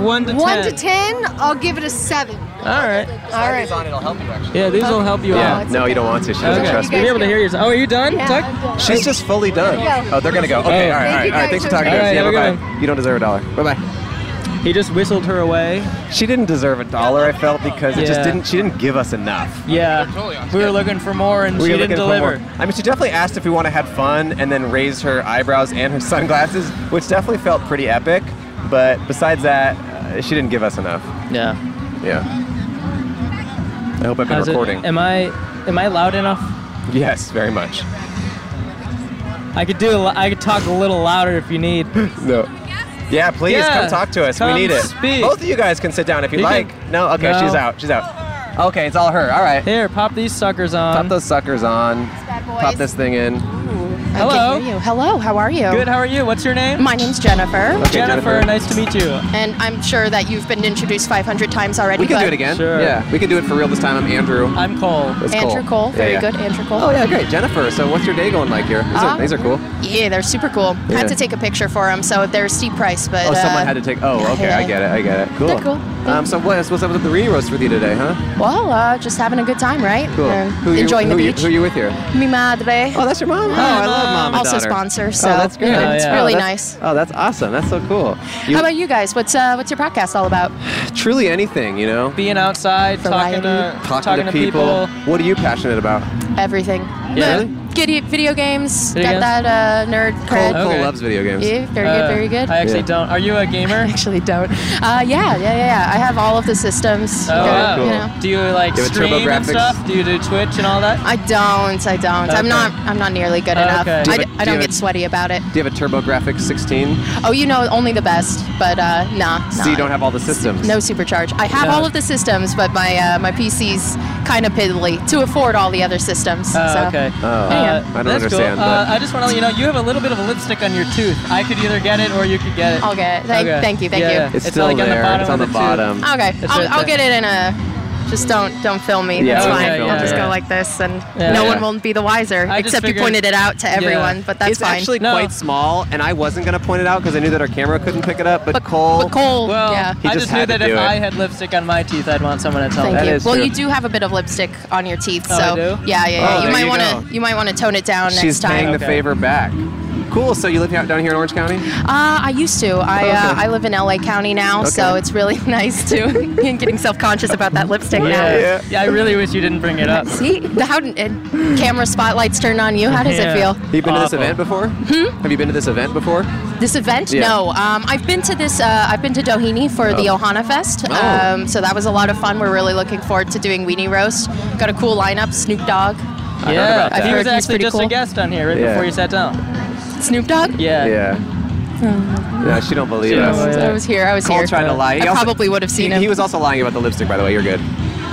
[SPEAKER 1] one to
[SPEAKER 11] One
[SPEAKER 1] ten.
[SPEAKER 11] to ten, I'll give it a seven.
[SPEAKER 1] All right.
[SPEAKER 11] All right.
[SPEAKER 10] It'll help you actually.
[SPEAKER 1] Yeah, these will help you
[SPEAKER 2] Yeah.
[SPEAKER 11] Oh,
[SPEAKER 1] out.
[SPEAKER 11] it's
[SPEAKER 2] no,
[SPEAKER 11] okay.
[SPEAKER 2] you don't want to. She doesn't
[SPEAKER 1] Okay.
[SPEAKER 2] trust
[SPEAKER 11] You
[SPEAKER 2] me.
[SPEAKER 1] Be able to
[SPEAKER 11] guys
[SPEAKER 1] hear yours. Oh, are you done,
[SPEAKER 11] Yeah,
[SPEAKER 1] Tuck?
[SPEAKER 11] I'm done.
[SPEAKER 2] She's just fully done.
[SPEAKER 11] Yeah.
[SPEAKER 2] Oh, they're gonna go. Okay,
[SPEAKER 1] Oh.
[SPEAKER 2] all right, all
[SPEAKER 11] Thank
[SPEAKER 2] right,
[SPEAKER 11] you
[SPEAKER 2] all right.
[SPEAKER 11] guys
[SPEAKER 2] Thanks for
[SPEAKER 11] so
[SPEAKER 2] talking to
[SPEAKER 1] much.
[SPEAKER 2] us. Yeah,
[SPEAKER 1] All right, have a good
[SPEAKER 2] bye. You don't deserve a dollar. Bye bye.
[SPEAKER 1] He just whistled her away.
[SPEAKER 2] She didn't deserve a dollar. I felt because it just
[SPEAKER 1] Yeah.
[SPEAKER 2] didn't. She didn't give us enough.
[SPEAKER 1] Yeah. We were looking for more and
[SPEAKER 2] We
[SPEAKER 1] she
[SPEAKER 2] were
[SPEAKER 1] didn't
[SPEAKER 2] looking for
[SPEAKER 1] deliver.
[SPEAKER 2] more. I mean, she definitely asked if we want to have fun and then raised her eyebrows and her sunglasses, which definitely felt pretty epic. But besides that, uh, she didn't give us enough.
[SPEAKER 1] Yeah.
[SPEAKER 2] Yeah. I hope I've been
[SPEAKER 1] How's it-
[SPEAKER 2] recording.
[SPEAKER 1] Am I am I loud enough?
[SPEAKER 2] yes, very much.
[SPEAKER 1] I could do a li- I could talk a little louder if you need.
[SPEAKER 2] No. Yeah, please
[SPEAKER 1] Yeah,
[SPEAKER 2] come talk to us.
[SPEAKER 1] come
[SPEAKER 2] we need it.
[SPEAKER 1] speak.
[SPEAKER 2] Both of you guys can sit down if you,
[SPEAKER 1] You can-
[SPEAKER 2] like. No, okay,
[SPEAKER 1] No.
[SPEAKER 2] she's out. She's out. Okay, it's all her. All right.
[SPEAKER 1] Here, pop these suckers on.
[SPEAKER 2] Pop those suckers on.
[SPEAKER 11] Bad boys.
[SPEAKER 2] Pop this thing in.
[SPEAKER 1] Hello.
[SPEAKER 13] you. Hello, how are you?
[SPEAKER 1] Good. How are you? What's your name?
[SPEAKER 13] My name's Jennifer,
[SPEAKER 2] Okay,
[SPEAKER 1] Jennifer, Nice to meet you.
[SPEAKER 13] and I'm sure that you've been introduced 500 times already.
[SPEAKER 2] We can
[SPEAKER 13] but
[SPEAKER 2] do it again.
[SPEAKER 1] Sure.
[SPEAKER 2] Yeah, we can do it for real this time. I'm Andrew.
[SPEAKER 1] I'm Cole.
[SPEAKER 2] That's
[SPEAKER 13] Andrew Cole,
[SPEAKER 2] Yeah,
[SPEAKER 13] very
[SPEAKER 2] yeah.
[SPEAKER 13] good, Andrew Cole.
[SPEAKER 2] Oh yeah, great, Jennifer. So what's your day going like here? These, are,
[SPEAKER 13] Um,
[SPEAKER 2] these are cool.
[SPEAKER 13] Yeah, they're super cool.
[SPEAKER 2] Yeah.
[SPEAKER 13] Had to take a picture for them, so they're steep price, but
[SPEAKER 2] Oh,
[SPEAKER 13] uh,
[SPEAKER 2] someone had to take. Oh, okay, I
[SPEAKER 13] yeah.
[SPEAKER 2] get it. I get it. Cool.
[SPEAKER 13] They're cool.
[SPEAKER 2] Um, so what, what's up with the re roast with you today, huh?
[SPEAKER 13] Well, uh, just having a good time, right?
[SPEAKER 2] Cool.
[SPEAKER 13] They're
[SPEAKER 2] who you,
[SPEAKER 13] enjoying
[SPEAKER 2] who
[SPEAKER 13] the
[SPEAKER 2] you-
[SPEAKER 13] beach.
[SPEAKER 2] who you with here?
[SPEAKER 13] Mi madre.
[SPEAKER 2] Oh, that's your mom. Oh, I love mom.
[SPEAKER 1] um,
[SPEAKER 2] and
[SPEAKER 13] also
[SPEAKER 2] daughter.
[SPEAKER 13] sponsor, so
[SPEAKER 2] Oh, that's
[SPEAKER 13] you
[SPEAKER 2] great.
[SPEAKER 13] know,
[SPEAKER 1] Oh,
[SPEAKER 13] it's
[SPEAKER 1] yeah.
[SPEAKER 13] really
[SPEAKER 2] Oh, that's-
[SPEAKER 13] nice.
[SPEAKER 2] Oh, that's awesome. That's so cool. You,
[SPEAKER 13] How about you guys? What's uh, what's your podcast all about?
[SPEAKER 2] truly anything, you know?
[SPEAKER 1] Being outside, talking to
[SPEAKER 13] Variety.
[SPEAKER 2] Talking, to, people. What are you passionate about?
[SPEAKER 13] Everything.
[SPEAKER 1] Yeah.
[SPEAKER 2] Really?
[SPEAKER 13] Giddy video games.
[SPEAKER 1] Video
[SPEAKER 13] got
[SPEAKER 1] games?
[SPEAKER 13] that uh, nerd
[SPEAKER 2] Cole,
[SPEAKER 13] cred.
[SPEAKER 1] Okay.
[SPEAKER 2] Cole loves video games.
[SPEAKER 13] Yeah, very
[SPEAKER 1] Uh,
[SPEAKER 13] good, very good.
[SPEAKER 1] I actually
[SPEAKER 2] Yeah.
[SPEAKER 1] don't. Are you a gamer?
[SPEAKER 13] actually don't. Uh, yeah, yeah, yeah, yeah. I have all of the systems.
[SPEAKER 1] Oh,
[SPEAKER 13] Got it,
[SPEAKER 1] wow.
[SPEAKER 13] you know.
[SPEAKER 1] Do you like
[SPEAKER 2] You have a
[SPEAKER 1] stream and
[SPEAKER 2] TurboGrafx?
[SPEAKER 1] stuff? Do you do Twitch and all that?
[SPEAKER 13] I don't. I don't.
[SPEAKER 1] Okay.
[SPEAKER 13] I'm not. I'm not nearly good enough.
[SPEAKER 1] Okay. Do
[SPEAKER 13] I,
[SPEAKER 1] you
[SPEAKER 13] d-
[SPEAKER 2] have a-
[SPEAKER 13] I
[SPEAKER 2] do you
[SPEAKER 13] don't
[SPEAKER 2] have a-
[SPEAKER 13] get sweaty about it.
[SPEAKER 2] Do you have a TurboGrafx 16?
[SPEAKER 13] Oh, you know, only the best. But uh, nah, nah.
[SPEAKER 2] So you don't have all the systems.
[SPEAKER 13] no supercharge. I have
[SPEAKER 1] No.
[SPEAKER 13] all of the systems, but my uh, my PC's kind of piddly to afford all the other systems.
[SPEAKER 1] Oh,
[SPEAKER 13] so.
[SPEAKER 1] okay.
[SPEAKER 2] Oh,
[SPEAKER 13] Yeah.
[SPEAKER 2] I don't
[SPEAKER 1] that's
[SPEAKER 2] understand.
[SPEAKER 1] Cool.
[SPEAKER 2] but-
[SPEAKER 1] Uh, I just want to let you know you have a little bit of a lipstick on your tooth. I could either get it or you could get it.
[SPEAKER 13] I'll get it. Thank,
[SPEAKER 1] Okay.
[SPEAKER 13] thank you. Thank
[SPEAKER 1] Yeah,
[SPEAKER 13] you.
[SPEAKER 1] yeah.
[SPEAKER 2] It's,
[SPEAKER 1] It's
[SPEAKER 2] still
[SPEAKER 1] like on the
[SPEAKER 2] there.
[SPEAKER 1] bottom
[SPEAKER 2] it's on
[SPEAKER 1] of
[SPEAKER 2] the
[SPEAKER 1] the tube.
[SPEAKER 2] bottom.
[SPEAKER 13] Okay.
[SPEAKER 1] It's
[SPEAKER 13] I'll,
[SPEAKER 1] right
[SPEAKER 13] I'll
[SPEAKER 1] there.
[SPEAKER 13] get it in a. Just don't don't film me.
[SPEAKER 2] Yeah,
[SPEAKER 13] That's
[SPEAKER 2] don't
[SPEAKER 13] fine.
[SPEAKER 2] film
[SPEAKER 13] I'll
[SPEAKER 2] me.
[SPEAKER 13] just
[SPEAKER 2] Yeah.
[SPEAKER 13] go like this, and
[SPEAKER 1] Yeah.
[SPEAKER 13] no
[SPEAKER 1] Yeah.
[SPEAKER 13] one will be the wiser.
[SPEAKER 1] I just
[SPEAKER 13] except
[SPEAKER 1] figured-
[SPEAKER 13] you pointed it out to everyone,
[SPEAKER 1] Yeah.
[SPEAKER 13] but that's
[SPEAKER 2] it's
[SPEAKER 13] fine.
[SPEAKER 2] actually
[SPEAKER 1] No.
[SPEAKER 2] quite small, and I wasn't going to point it out because I knew that our camera couldn't pick it up. But,
[SPEAKER 13] but
[SPEAKER 2] Cole,
[SPEAKER 13] But Cole.
[SPEAKER 1] Well,
[SPEAKER 13] yeah.
[SPEAKER 2] He
[SPEAKER 1] I
[SPEAKER 2] just
[SPEAKER 1] just, knew
[SPEAKER 2] had to
[SPEAKER 1] that if
[SPEAKER 2] do it.
[SPEAKER 1] I had lipstick on my teeth, I'd want someone to tell
[SPEAKER 13] Thank
[SPEAKER 1] me.
[SPEAKER 13] you.
[SPEAKER 2] is
[SPEAKER 13] well,
[SPEAKER 2] true.
[SPEAKER 13] you do have a bit of lipstick on your teeth,
[SPEAKER 1] Oh, I
[SPEAKER 13] so
[SPEAKER 1] do?
[SPEAKER 13] yeah, yeah, yeah.
[SPEAKER 2] Oh, there
[SPEAKER 13] you might
[SPEAKER 2] you
[SPEAKER 13] want
[SPEAKER 2] go.
[SPEAKER 13] to you might want to tone it down
[SPEAKER 2] she's
[SPEAKER 13] next
[SPEAKER 2] paying
[SPEAKER 13] time.
[SPEAKER 2] the
[SPEAKER 1] Okay.
[SPEAKER 2] favor back. Cool. So you live out down here in Orange County?
[SPEAKER 13] uh, I used to. I uh,
[SPEAKER 2] Okay.
[SPEAKER 13] I live in LA County now, so
[SPEAKER 2] Okay.
[SPEAKER 13] it's really nice to getting self conscious about that lipstick now.
[SPEAKER 1] Yeah. yeah, I really wish you didn't bring it up.
[SPEAKER 13] See the how and camera spotlights turned on you. How does
[SPEAKER 1] Yeah.
[SPEAKER 13] it feel? Hmm?
[SPEAKER 2] Have you been to this
[SPEAKER 1] Awful.
[SPEAKER 2] event before? Have you been to this event before?
[SPEAKER 13] This event?
[SPEAKER 2] Yeah.
[SPEAKER 13] No. Um, I've been to this. Uh, I've been to Doheny for the Ohana Fest.
[SPEAKER 2] Oh.
[SPEAKER 13] Um, so that was a lot of fun. We're really looking forward to doing weenie roast. Got a cool lineup. Snoop Dogg.
[SPEAKER 2] heard
[SPEAKER 1] yeah,
[SPEAKER 2] about that.
[SPEAKER 1] he
[SPEAKER 13] I've
[SPEAKER 1] was
[SPEAKER 13] heard he's
[SPEAKER 1] actually
[SPEAKER 13] pretty
[SPEAKER 1] just a
[SPEAKER 13] cool.
[SPEAKER 1] guest on here right
[SPEAKER 2] Yeah.
[SPEAKER 1] before you sat down.
[SPEAKER 13] Snoop Dogg.
[SPEAKER 1] Yeah.
[SPEAKER 2] Yeah. Yeah, she don't believe
[SPEAKER 1] She don't
[SPEAKER 2] us.
[SPEAKER 1] believe
[SPEAKER 13] I was here. I was
[SPEAKER 2] Cole
[SPEAKER 13] here.
[SPEAKER 2] tried to lie. He
[SPEAKER 13] I
[SPEAKER 2] also-
[SPEAKER 13] probably would have
[SPEAKER 2] He,
[SPEAKER 13] seen him.
[SPEAKER 2] he was also lying about the lipstick, by the way. You're good.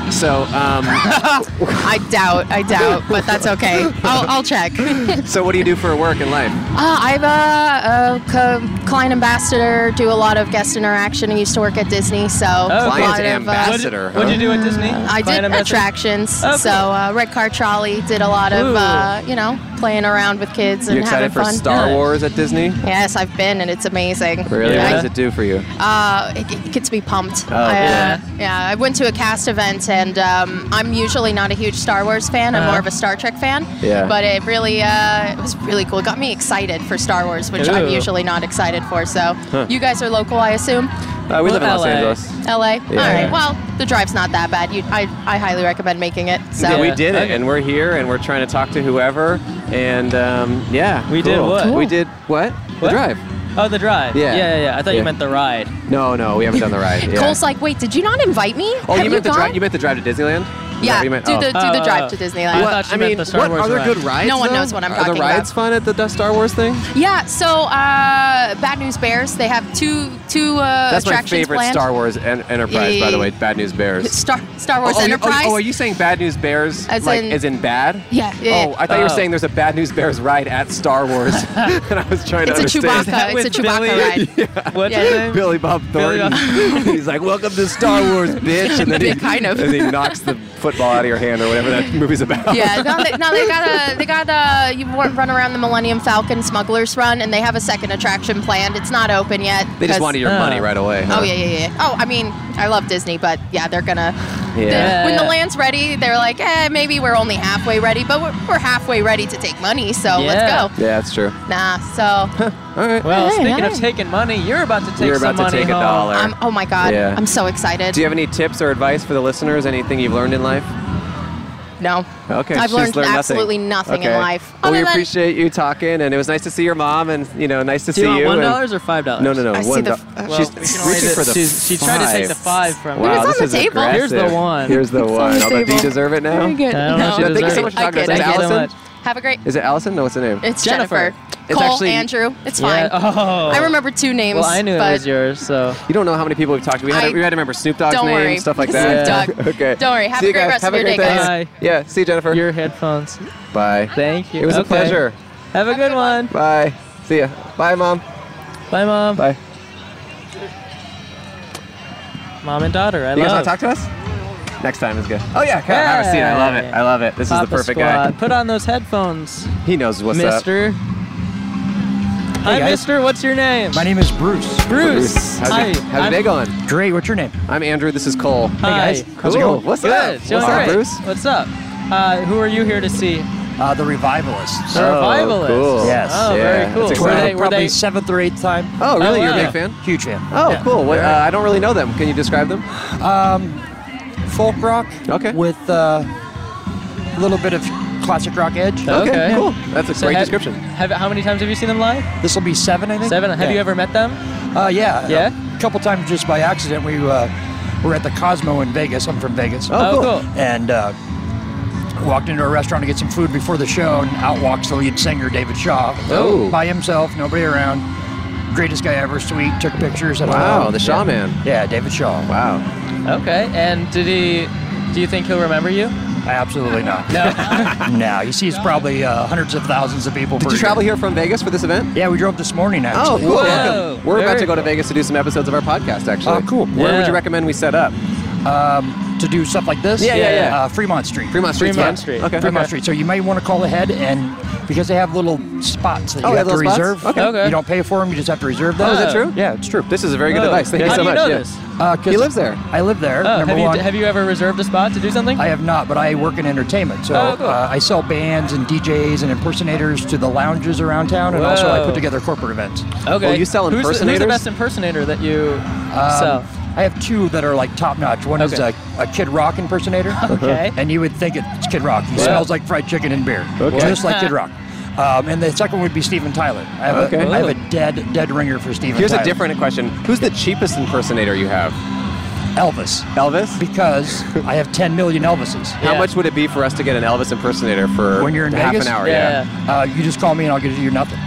[SPEAKER 2] So, um,
[SPEAKER 13] I doubt, I doubt, but that's okay. I'll, I'll check. Uh,
[SPEAKER 2] so what do you do for work and life?
[SPEAKER 13] I'm a, a co- client ambassador, do a lot of guest interaction. I used to work at Disney, so a
[SPEAKER 1] Client
[SPEAKER 13] lot of.
[SPEAKER 2] ambassador.
[SPEAKER 13] Uh,
[SPEAKER 1] What'd,
[SPEAKER 2] Ambassador,
[SPEAKER 1] what'd you do at Disney?
[SPEAKER 13] I
[SPEAKER 1] Oh, Client
[SPEAKER 13] did
[SPEAKER 1] ambassador?
[SPEAKER 13] attractions,
[SPEAKER 1] Oh,
[SPEAKER 13] so
[SPEAKER 1] cool.
[SPEAKER 13] uh, red car trolley. Did a lot of,
[SPEAKER 1] Ooh.
[SPEAKER 13] uh, you know, playing around with kids and
[SPEAKER 2] You excited
[SPEAKER 13] having
[SPEAKER 2] for
[SPEAKER 13] fun.
[SPEAKER 2] Star Wars at Disney?
[SPEAKER 13] Yes, I've been and it's amazing.
[SPEAKER 2] Really?
[SPEAKER 13] I-
[SPEAKER 2] What does it do for you?
[SPEAKER 13] Uh, it, it gets me pumped.
[SPEAKER 2] Oh,
[SPEAKER 13] I, uh,
[SPEAKER 2] yeah.
[SPEAKER 13] yeah. I went to a cast event, and um, I'm usually not a huge Star Wars fan. I'm more of a Star Trek fan.
[SPEAKER 2] Uh-huh. Yeah.
[SPEAKER 13] But it really, uh, it was really cool. It got me excited for Star Wars, which I'm
[SPEAKER 1] Ooh.
[SPEAKER 13] usually not excited for. So, you guys are local, I assume.
[SPEAKER 2] Uh, we
[SPEAKER 1] Well,
[SPEAKER 2] live in Los
[SPEAKER 1] LA.
[SPEAKER 2] Angeles.
[SPEAKER 13] LA. All
[SPEAKER 2] Yeah.
[SPEAKER 13] right. Well, the drive's not that bad. You, I, I highly recommend making it. So.
[SPEAKER 2] Yeah, we
[SPEAKER 1] Yeah.
[SPEAKER 2] did it,
[SPEAKER 1] Okay.
[SPEAKER 2] and we're here, and we're trying to talk to whoever, and um, yeah,
[SPEAKER 1] We did
[SPEAKER 2] cool.
[SPEAKER 1] what?
[SPEAKER 2] We
[SPEAKER 1] Cool.
[SPEAKER 2] did what? The
[SPEAKER 1] What?
[SPEAKER 2] drive.
[SPEAKER 1] Oh, the drive.
[SPEAKER 2] Yeah.
[SPEAKER 1] yeah, yeah. I thought
[SPEAKER 2] Yeah.
[SPEAKER 1] you meant the ride.
[SPEAKER 2] No, no, we haven't done the ride. Yeah.
[SPEAKER 13] Cole's like, wait, did you not invite me?
[SPEAKER 2] oh,
[SPEAKER 13] Have
[SPEAKER 2] you meant the
[SPEAKER 13] gone?
[SPEAKER 2] drive? You meant the drive to Disneyland? Is that
[SPEAKER 13] yeah,
[SPEAKER 2] what you meant?
[SPEAKER 13] do
[SPEAKER 2] Oh.
[SPEAKER 13] the do the
[SPEAKER 1] Oh,
[SPEAKER 13] drive
[SPEAKER 1] oh,
[SPEAKER 13] to
[SPEAKER 1] oh.
[SPEAKER 13] Disneyland.
[SPEAKER 1] What? I thought you
[SPEAKER 2] I
[SPEAKER 1] meant
[SPEAKER 2] mean,
[SPEAKER 1] the Star
[SPEAKER 2] what
[SPEAKER 1] Wars
[SPEAKER 2] are there
[SPEAKER 1] ride.
[SPEAKER 2] good rides?
[SPEAKER 13] No one
[SPEAKER 2] though?
[SPEAKER 13] knows what I'm
[SPEAKER 2] are
[SPEAKER 13] talking
[SPEAKER 2] the rides fun at the, the Star Wars thing?
[SPEAKER 13] Yeah, so uh, Bad News Bears, they have two two uh,
[SPEAKER 2] That's my
[SPEAKER 13] attractions
[SPEAKER 2] favorite
[SPEAKER 13] planned.
[SPEAKER 2] Star Wars en- Enterprise, by the
[SPEAKER 13] Yeah.
[SPEAKER 2] way. Bad News Bears.
[SPEAKER 13] Star, Star Wars
[SPEAKER 2] oh, you-
[SPEAKER 13] Enterprise.
[SPEAKER 2] Oh, oh, are you saying Bad News Bears?
[SPEAKER 13] As
[SPEAKER 2] like,
[SPEAKER 13] in-
[SPEAKER 2] as in bad?
[SPEAKER 13] Yeah, yeah,
[SPEAKER 2] Oh,
[SPEAKER 13] yeah.
[SPEAKER 2] I thought you were
[SPEAKER 1] Oh.
[SPEAKER 2] saying there's a Bad News Bears ride at Star Wars, and I was trying
[SPEAKER 13] it's
[SPEAKER 2] to
[SPEAKER 13] a
[SPEAKER 2] understand.
[SPEAKER 13] Chewbacca.
[SPEAKER 1] with
[SPEAKER 13] It's a Chewbacca
[SPEAKER 1] Billy?
[SPEAKER 13] ride.
[SPEAKER 1] What's
[SPEAKER 13] Yeah.
[SPEAKER 1] his name?
[SPEAKER 2] Billy Bob
[SPEAKER 1] Billy
[SPEAKER 2] Thornton. He's like, "Welcome to Star Wars, bitch," and then he
[SPEAKER 13] Yeah, kind of.
[SPEAKER 2] and he knocks the football out of your hand or whatever that movie's about.
[SPEAKER 13] Yeah, now they, now they got a they got a you run run around the Millennium Falcon Smuggler's Run, and they have a second attraction planned. It's not open yet.
[SPEAKER 2] They just
[SPEAKER 13] 'cause-
[SPEAKER 2] wanted your
[SPEAKER 1] Oh.
[SPEAKER 2] money right away. huh?
[SPEAKER 13] Oh yeah, yeah, yeah. Oh, I mean, I love Disney, but yeah, they're gonna.
[SPEAKER 2] Yeah.
[SPEAKER 13] they- when the
[SPEAKER 1] Yeah.
[SPEAKER 13] land's ready, they're like, eh, maybe we're only halfway ready, but we're, we're halfway ready to take money, so
[SPEAKER 1] Yeah.
[SPEAKER 13] let's go.
[SPEAKER 2] Yeah, that's true.
[SPEAKER 13] Nah, so
[SPEAKER 2] All right.
[SPEAKER 1] Well,
[SPEAKER 13] Hey,
[SPEAKER 1] speaking of
[SPEAKER 13] hey.
[SPEAKER 1] taking money, you're about to take
[SPEAKER 2] You're
[SPEAKER 1] some
[SPEAKER 2] about to
[SPEAKER 1] money
[SPEAKER 2] take a
[SPEAKER 1] home.
[SPEAKER 2] dollar.
[SPEAKER 13] I'm, oh my god,
[SPEAKER 2] Yeah.
[SPEAKER 13] I'm so excited.
[SPEAKER 2] Do you have any tips or advice for the listeners? Anything you've learned in life?
[SPEAKER 13] no,
[SPEAKER 2] Okay,
[SPEAKER 13] I've
[SPEAKER 2] she's
[SPEAKER 13] learned,
[SPEAKER 2] learned nothing.
[SPEAKER 13] absolutely nothing
[SPEAKER 2] Okay.
[SPEAKER 13] in life.
[SPEAKER 2] Well, we
[SPEAKER 13] Other than-
[SPEAKER 2] appreciate you talking, and it was nice to see your mom, and you know, nice to
[SPEAKER 1] Do
[SPEAKER 2] see
[SPEAKER 1] you want
[SPEAKER 2] you.
[SPEAKER 1] one
[SPEAKER 2] and-
[SPEAKER 1] dollars or five dollars?
[SPEAKER 2] No, no, no.
[SPEAKER 13] I see
[SPEAKER 2] one
[SPEAKER 13] the
[SPEAKER 2] do-
[SPEAKER 13] f- uh,
[SPEAKER 1] Well,
[SPEAKER 2] she's
[SPEAKER 1] we can
[SPEAKER 2] she's
[SPEAKER 1] only
[SPEAKER 2] reaching
[SPEAKER 1] do-
[SPEAKER 2] for the
[SPEAKER 1] she's- she tried to take the five from
[SPEAKER 2] Wow,
[SPEAKER 1] me.
[SPEAKER 13] It's on
[SPEAKER 2] this
[SPEAKER 13] the
[SPEAKER 2] is
[SPEAKER 13] table.
[SPEAKER 1] Here's the
[SPEAKER 2] aggressive.
[SPEAKER 1] one.
[SPEAKER 2] Here's the one.
[SPEAKER 13] the
[SPEAKER 2] Oh, but do you
[SPEAKER 13] table.
[SPEAKER 2] deserve it now?
[SPEAKER 13] Very good.
[SPEAKER 1] I don't know if
[SPEAKER 13] No.
[SPEAKER 1] she
[SPEAKER 2] Yeah, thank you
[SPEAKER 1] deserves
[SPEAKER 2] so
[SPEAKER 1] it.
[SPEAKER 2] much for
[SPEAKER 13] I
[SPEAKER 2] talking to
[SPEAKER 13] kid,
[SPEAKER 2] us.
[SPEAKER 13] I kid.
[SPEAKER 2] Allison?
[SPEAKER 13] Have a great.
[SPEAKER 2] Is it Allison? No, what's the name?
[SPEAKER 13] It's
[SPEAKER 1] Jennifer.
[SPEAKER 13] Jennifer.
[SPEAKER 2] It's
[SPEAKER 13] Cole,
[SPEAKER 2] actually-
[SPEAKER 13] Andrew. It's
[SPEAKER 1] Yeah.
[SPEAKER 13] fine.
[SPEAKER 1] Oh.
[SPEAKER 13] I remember two names.
[SPEAKER 1] Well, I knew it
[SPEAKER 13] but
[SPEAKER 1] was yours, so.
[SPEAKER 2] You don't know how many people we've talked to. We had,
[SPEAKER 13] I-
[SPEAKER 2] to, we had to remember Snoop Dogg's
[SPEAKER 13] Don't
[SPEAKER 2] name,
[SPEAKER 13] worry.
[SPEAKER 2] stuff like
[SPEAKER 13] Snoop
[SPEAKER 2] that.
[SPEAKER 13] Dogg.
[SPEAKER 2] okay.
[SPEAKER 13] Don't worry. Have a
[SPEAKER 2] see you
[SPEAKER 13] great
[SPEAKER 2] guys.
[SPEAKER 13] rest
[SPEAKER 2] Have
[SPEAKER 13] of
[SPEAKER 2] a
[SPEAKER 13] your
[SPEAKER 2] great
[SPEAKER 13] day,
[SPEAKER 2] day.
[SPEAKER 13] guys.
[SPEAKER 1] Bye.
[SPEAKER 2] Yeah. See you, Jennifer.
[SPEAKER 1] Your headphones.
[SPEAKER 2] Bye.
[SPEAKER 1] Thank you.
[SPEAKER 2] It was a
[SPEAKER 1] Okay.
[SPEAKER 2] pleasure.
[SPEAKER 1] Have a good one.
[SPEAKER 2] Bye. See ya. Bye, mom.
[SPEAKER 1] Bye, mom.
[SPEAKER 2] Bye.
[SPEAKER 1] Mom and daughter. I
[SPEAKER 2] You guys
[SPEAKER 1] love.
[SPEAKER 2] want to talk to us? Next time is good. Oh yeah, come on, have a seat. I love it.
[SPEAKER 1] Hey.
[SPEAKER 2] I love it. This
[SPEAKER 1] Papa
[SPEAKER 2] is the perfect
[SPEAKER 1] Squad.
[SPEAKER 2] guy.
[SPEAKER 1] Put on those headphones,
[SPEAKER 2] He knows what's up.
[SPEAKER 1] Mister. Hi,
[SPEAKER 14] guys.
[SPEAKER 1] Mister. What's your name?
[SPEAKER 14] My name is Bruce.
[SPEAKER 1] Bruce.
[SPEAKER 2] How's, your,
[SPEAKER 1] Hi.
[SPEAKER 2] how's your
[SPEAKER 1] I'm-
[SPEAKER 2] day going?
[SPEAKER 14] Great. What's your name?
[SPEAKER 2] I'm Andrew. This is Cole.
[SPEAKER 1] Hi.
[SPEAKER 14] How's it
[SPEAKER 2] Cool.
[SPEAKER 14] going?
[SPEAKER 2] What's
[SPEAKER 1] Good.
[SPEAKER 2] up? What's
[SPEAKER 1] Doing
[SPEAKER 2] up,
[SPEAKER 1] great.
[SPEAKER 2] Bruce?
[SPEAKER 1] What's up? Uh, who are you here to see?
[SPEAKER 14] Uh, the Revivalists.
[SPEAKER 1] The
[SPEAKER 2] Oh,
[SPEAKER 1] Revivalists.
[SPEAKER 2] cool.
[SPEAKER 14] Yes.
[SPEAKER 1] Oh,
[SPEAKER 2] Yeah,
[SPEAKER 1] very cool.
[SPEAKER 2] that's
[SPEAKER 1] Were they,
[SPEAKER 14] Probably-
[SPEAKER 1] were
[SPEAKER 14] probably
[SPEAKER 1] they,
[SPEAKER 14] seventh or eighth time.
[SPEAKER 2] Oh, really?
[SPEAKER 1] Oh,
[SPEAKER 2] You're a
[SPEAKER 1] wow.
[SPEAKER 2] big fan?
[SPEAKER 14] Huge fan.
[SPEAKER 2] Oh,
[SPEAKER 14] Yeah. Um,
[SPEAKER 2] cool. What, uh, I don't really know them. Can you describe them?
[SPEAKER 14] Folk rock.
[SPEAKER 2] Okay.
[SPEAKER 14] With uh, a little bit of classic rock edge.
[SPEAKER 1] Okay.
[SPEAKER 2] cool. That's a
[SPEAKER 1] so
[SPEAKER 2] great
[SPEAKER 1] have-
[SPEAKER 2] description.
[SPEAKER 1] Have, how many times have you seen them live?
[SPEAKER 14] This will be seven, I think.
[SPEAKER 1] Seven. Have
[SPEAKER 14] Yeah.
[SPEAKER 1] you ever met them?
[SPEAKER 14] Uh, yeah.
[SPEAKER 1] Yeah?
[SPEAKER 14] A couple times just by accident. We uh, were at the Cosmo in Vegas. I'm from Vegas.
[SPEAKER 1] Oh, cool.
[SPEAKER 14] And uh, walked into a restaurant to get some food before the show, and out walks the lead singer, David Shaw.
[SPEAKER 2] Oh.
[SPEAKER 14] By himself, nobody around. Greatest guy ever, sweet. Took pictures. and
[SPEAKER 2] Wow,
[SPEAKER 14] all.
[SPEAKER 2] the Shaw
[SPEAKER 14] Yeah.
[SPEAKER 2] man.
[SPEAKER 14] Yeah, David Shaw.
[SPEAKER 2] Wow.
[SPEAKER 1] Okay. And did he? Do you think he'll remember you?
[SPEAKER 14] Absolutely not. No. no, he sees probably uh, hundreds of thousanants of people.
[SPEAKER 2] Did you travel here from Vegas for this event?
[SPEAKER 14] Yeah, we drove this morning
[SPEAKER 2] Oh,
[SPEAKER 14] actually.
[SPEAKER 2] cool.
[SPEAKER 1] Whoa.
[SPEAKER 2] Welcome. We're about
[SPEAKER 1] Very
[SPEAKER 2] to go to
[SPEAKER 1] cool.
[SPEAKER 2] Vegas to do some episodes of our podcast, actually.
[SPEAKER 14] Oh, cool.
[SPEAKER 2] Where would
[SPEAKER 1] Yeah.
[SPEAKER 2] you recommend we set up?
[SPEAKER 14] Um, To do stuff like this?
[SPEAKER 2] Yeah, yeah, yeah.
[SPEAKER 14] Uh, Fremont Street.
[SPEAKER 2] Fremont Street.
[SPEAKER 1] Fremont Street.
[SPEAKER 2] Okay.
[SPEAKER 14] Fremont Street. So you may want to call ahead and because they have little spots that
[SPEAKER 2] Oh,
[SPEAKER 14] you
[SPEAKER 2] they have
[SPEAKER 14] have to
[SPEAKER 2] little spots?
[SPEAKER 14] reserve.
[SPEAKER 2] Okay.
[SPEAKER 1] Okay.
[SPEAKER 14] You don't pay for them, you just have to reserve them.
[SPEAKER 2] Oh, is that true?
[SPEAKER 14] uh, Yeah, it's true.
[SPEAKER 2] This is a very good
[SPEAKER 1] Oh.
[SPEAKER 2] advice. Thank
[SPEAKER 1] How
[SPEAKER 2] you
[SPEAKER 1] do
[SPEAKER 2] so
[SPEAKER 1] you
[SPEAKER 2] much.
[SPEAKER 1] know
[SPEAKER 2] Yeah.
[SPEAKER 1] this?
[SPEAKER 14] Uh, 'cause
[SPEAKER 2] He lives there.
[SPEAKER 14] I live there.
[SPEAKER 1] Oh,
[SPEAKER 14] number
[SPEAKER 1] have you
[SPEAKER 14] one.
[SPEAKER 1] have you ever reserved a spot to do something?
[SPEAKER 14] I have not, but I work in entertainment. So
[SPEAKER 1] Oh, cool.
[SPEAKER 14] uh, I sell bands and DJs and impersonators to the lounges around town, and also I
[SPEAKER 1] Whoa.
[SPEAKER 14] put together corporate events.
[SPEAKER 1] okay.
[SPEAKER 2] Well, you sell
[SPEAKER 1] who's the- Who's
[SPEAKER 2] impersonators?
[SPEAKER 1] the best impersonator that you
[SPEAKER 14] Um,
[SPEAKER 1] sell?
[SPEAKER 14] I have two that are like top notch. One is
[SPEAKER 1] Okay.
[SPEAKER 14] a, a Kid Rock impersonator.
[SPEAKER 1] Okay.
[SPEAKER 14] And you would think it's Kid Rock. He smells like fried chicken and beer.
[SPEAKER 2] Okay.
[SPEAKER 14] Just like Kid Rock. Um, and the second would be Steven Tyler. I have,
[SPEAKER 2] Okay.
[SPEAKER 14] a, I have a dead dead ringer for Steven
[SPEAKER 2] Here's
[SPEAKER 14] Tyler.
[SPEAKER 2] a different question. Who's the cheapest impersonator you have?
[SPEAKER 14] Elvis.
[SPEAKER 2] Elvis?
[SPEAKER 14] Because I have 10 million Elvises.
[SPEAKER 2] How
[SPEAKER 1] Yeah.
[SPEAKER 2] much would it be for us to get an Elvis impersonator for
[SPEAKER 14] When you're in
[SPEAKER 2] half
[SPEAKER 14] Vegas?
[SPEAKER 2] an hour?
[SPEAKER 1] Yeah,
[SPEAKER 2] Yeah.
[SPEAKER 14] Uh, you just call me and I'll give you nothing.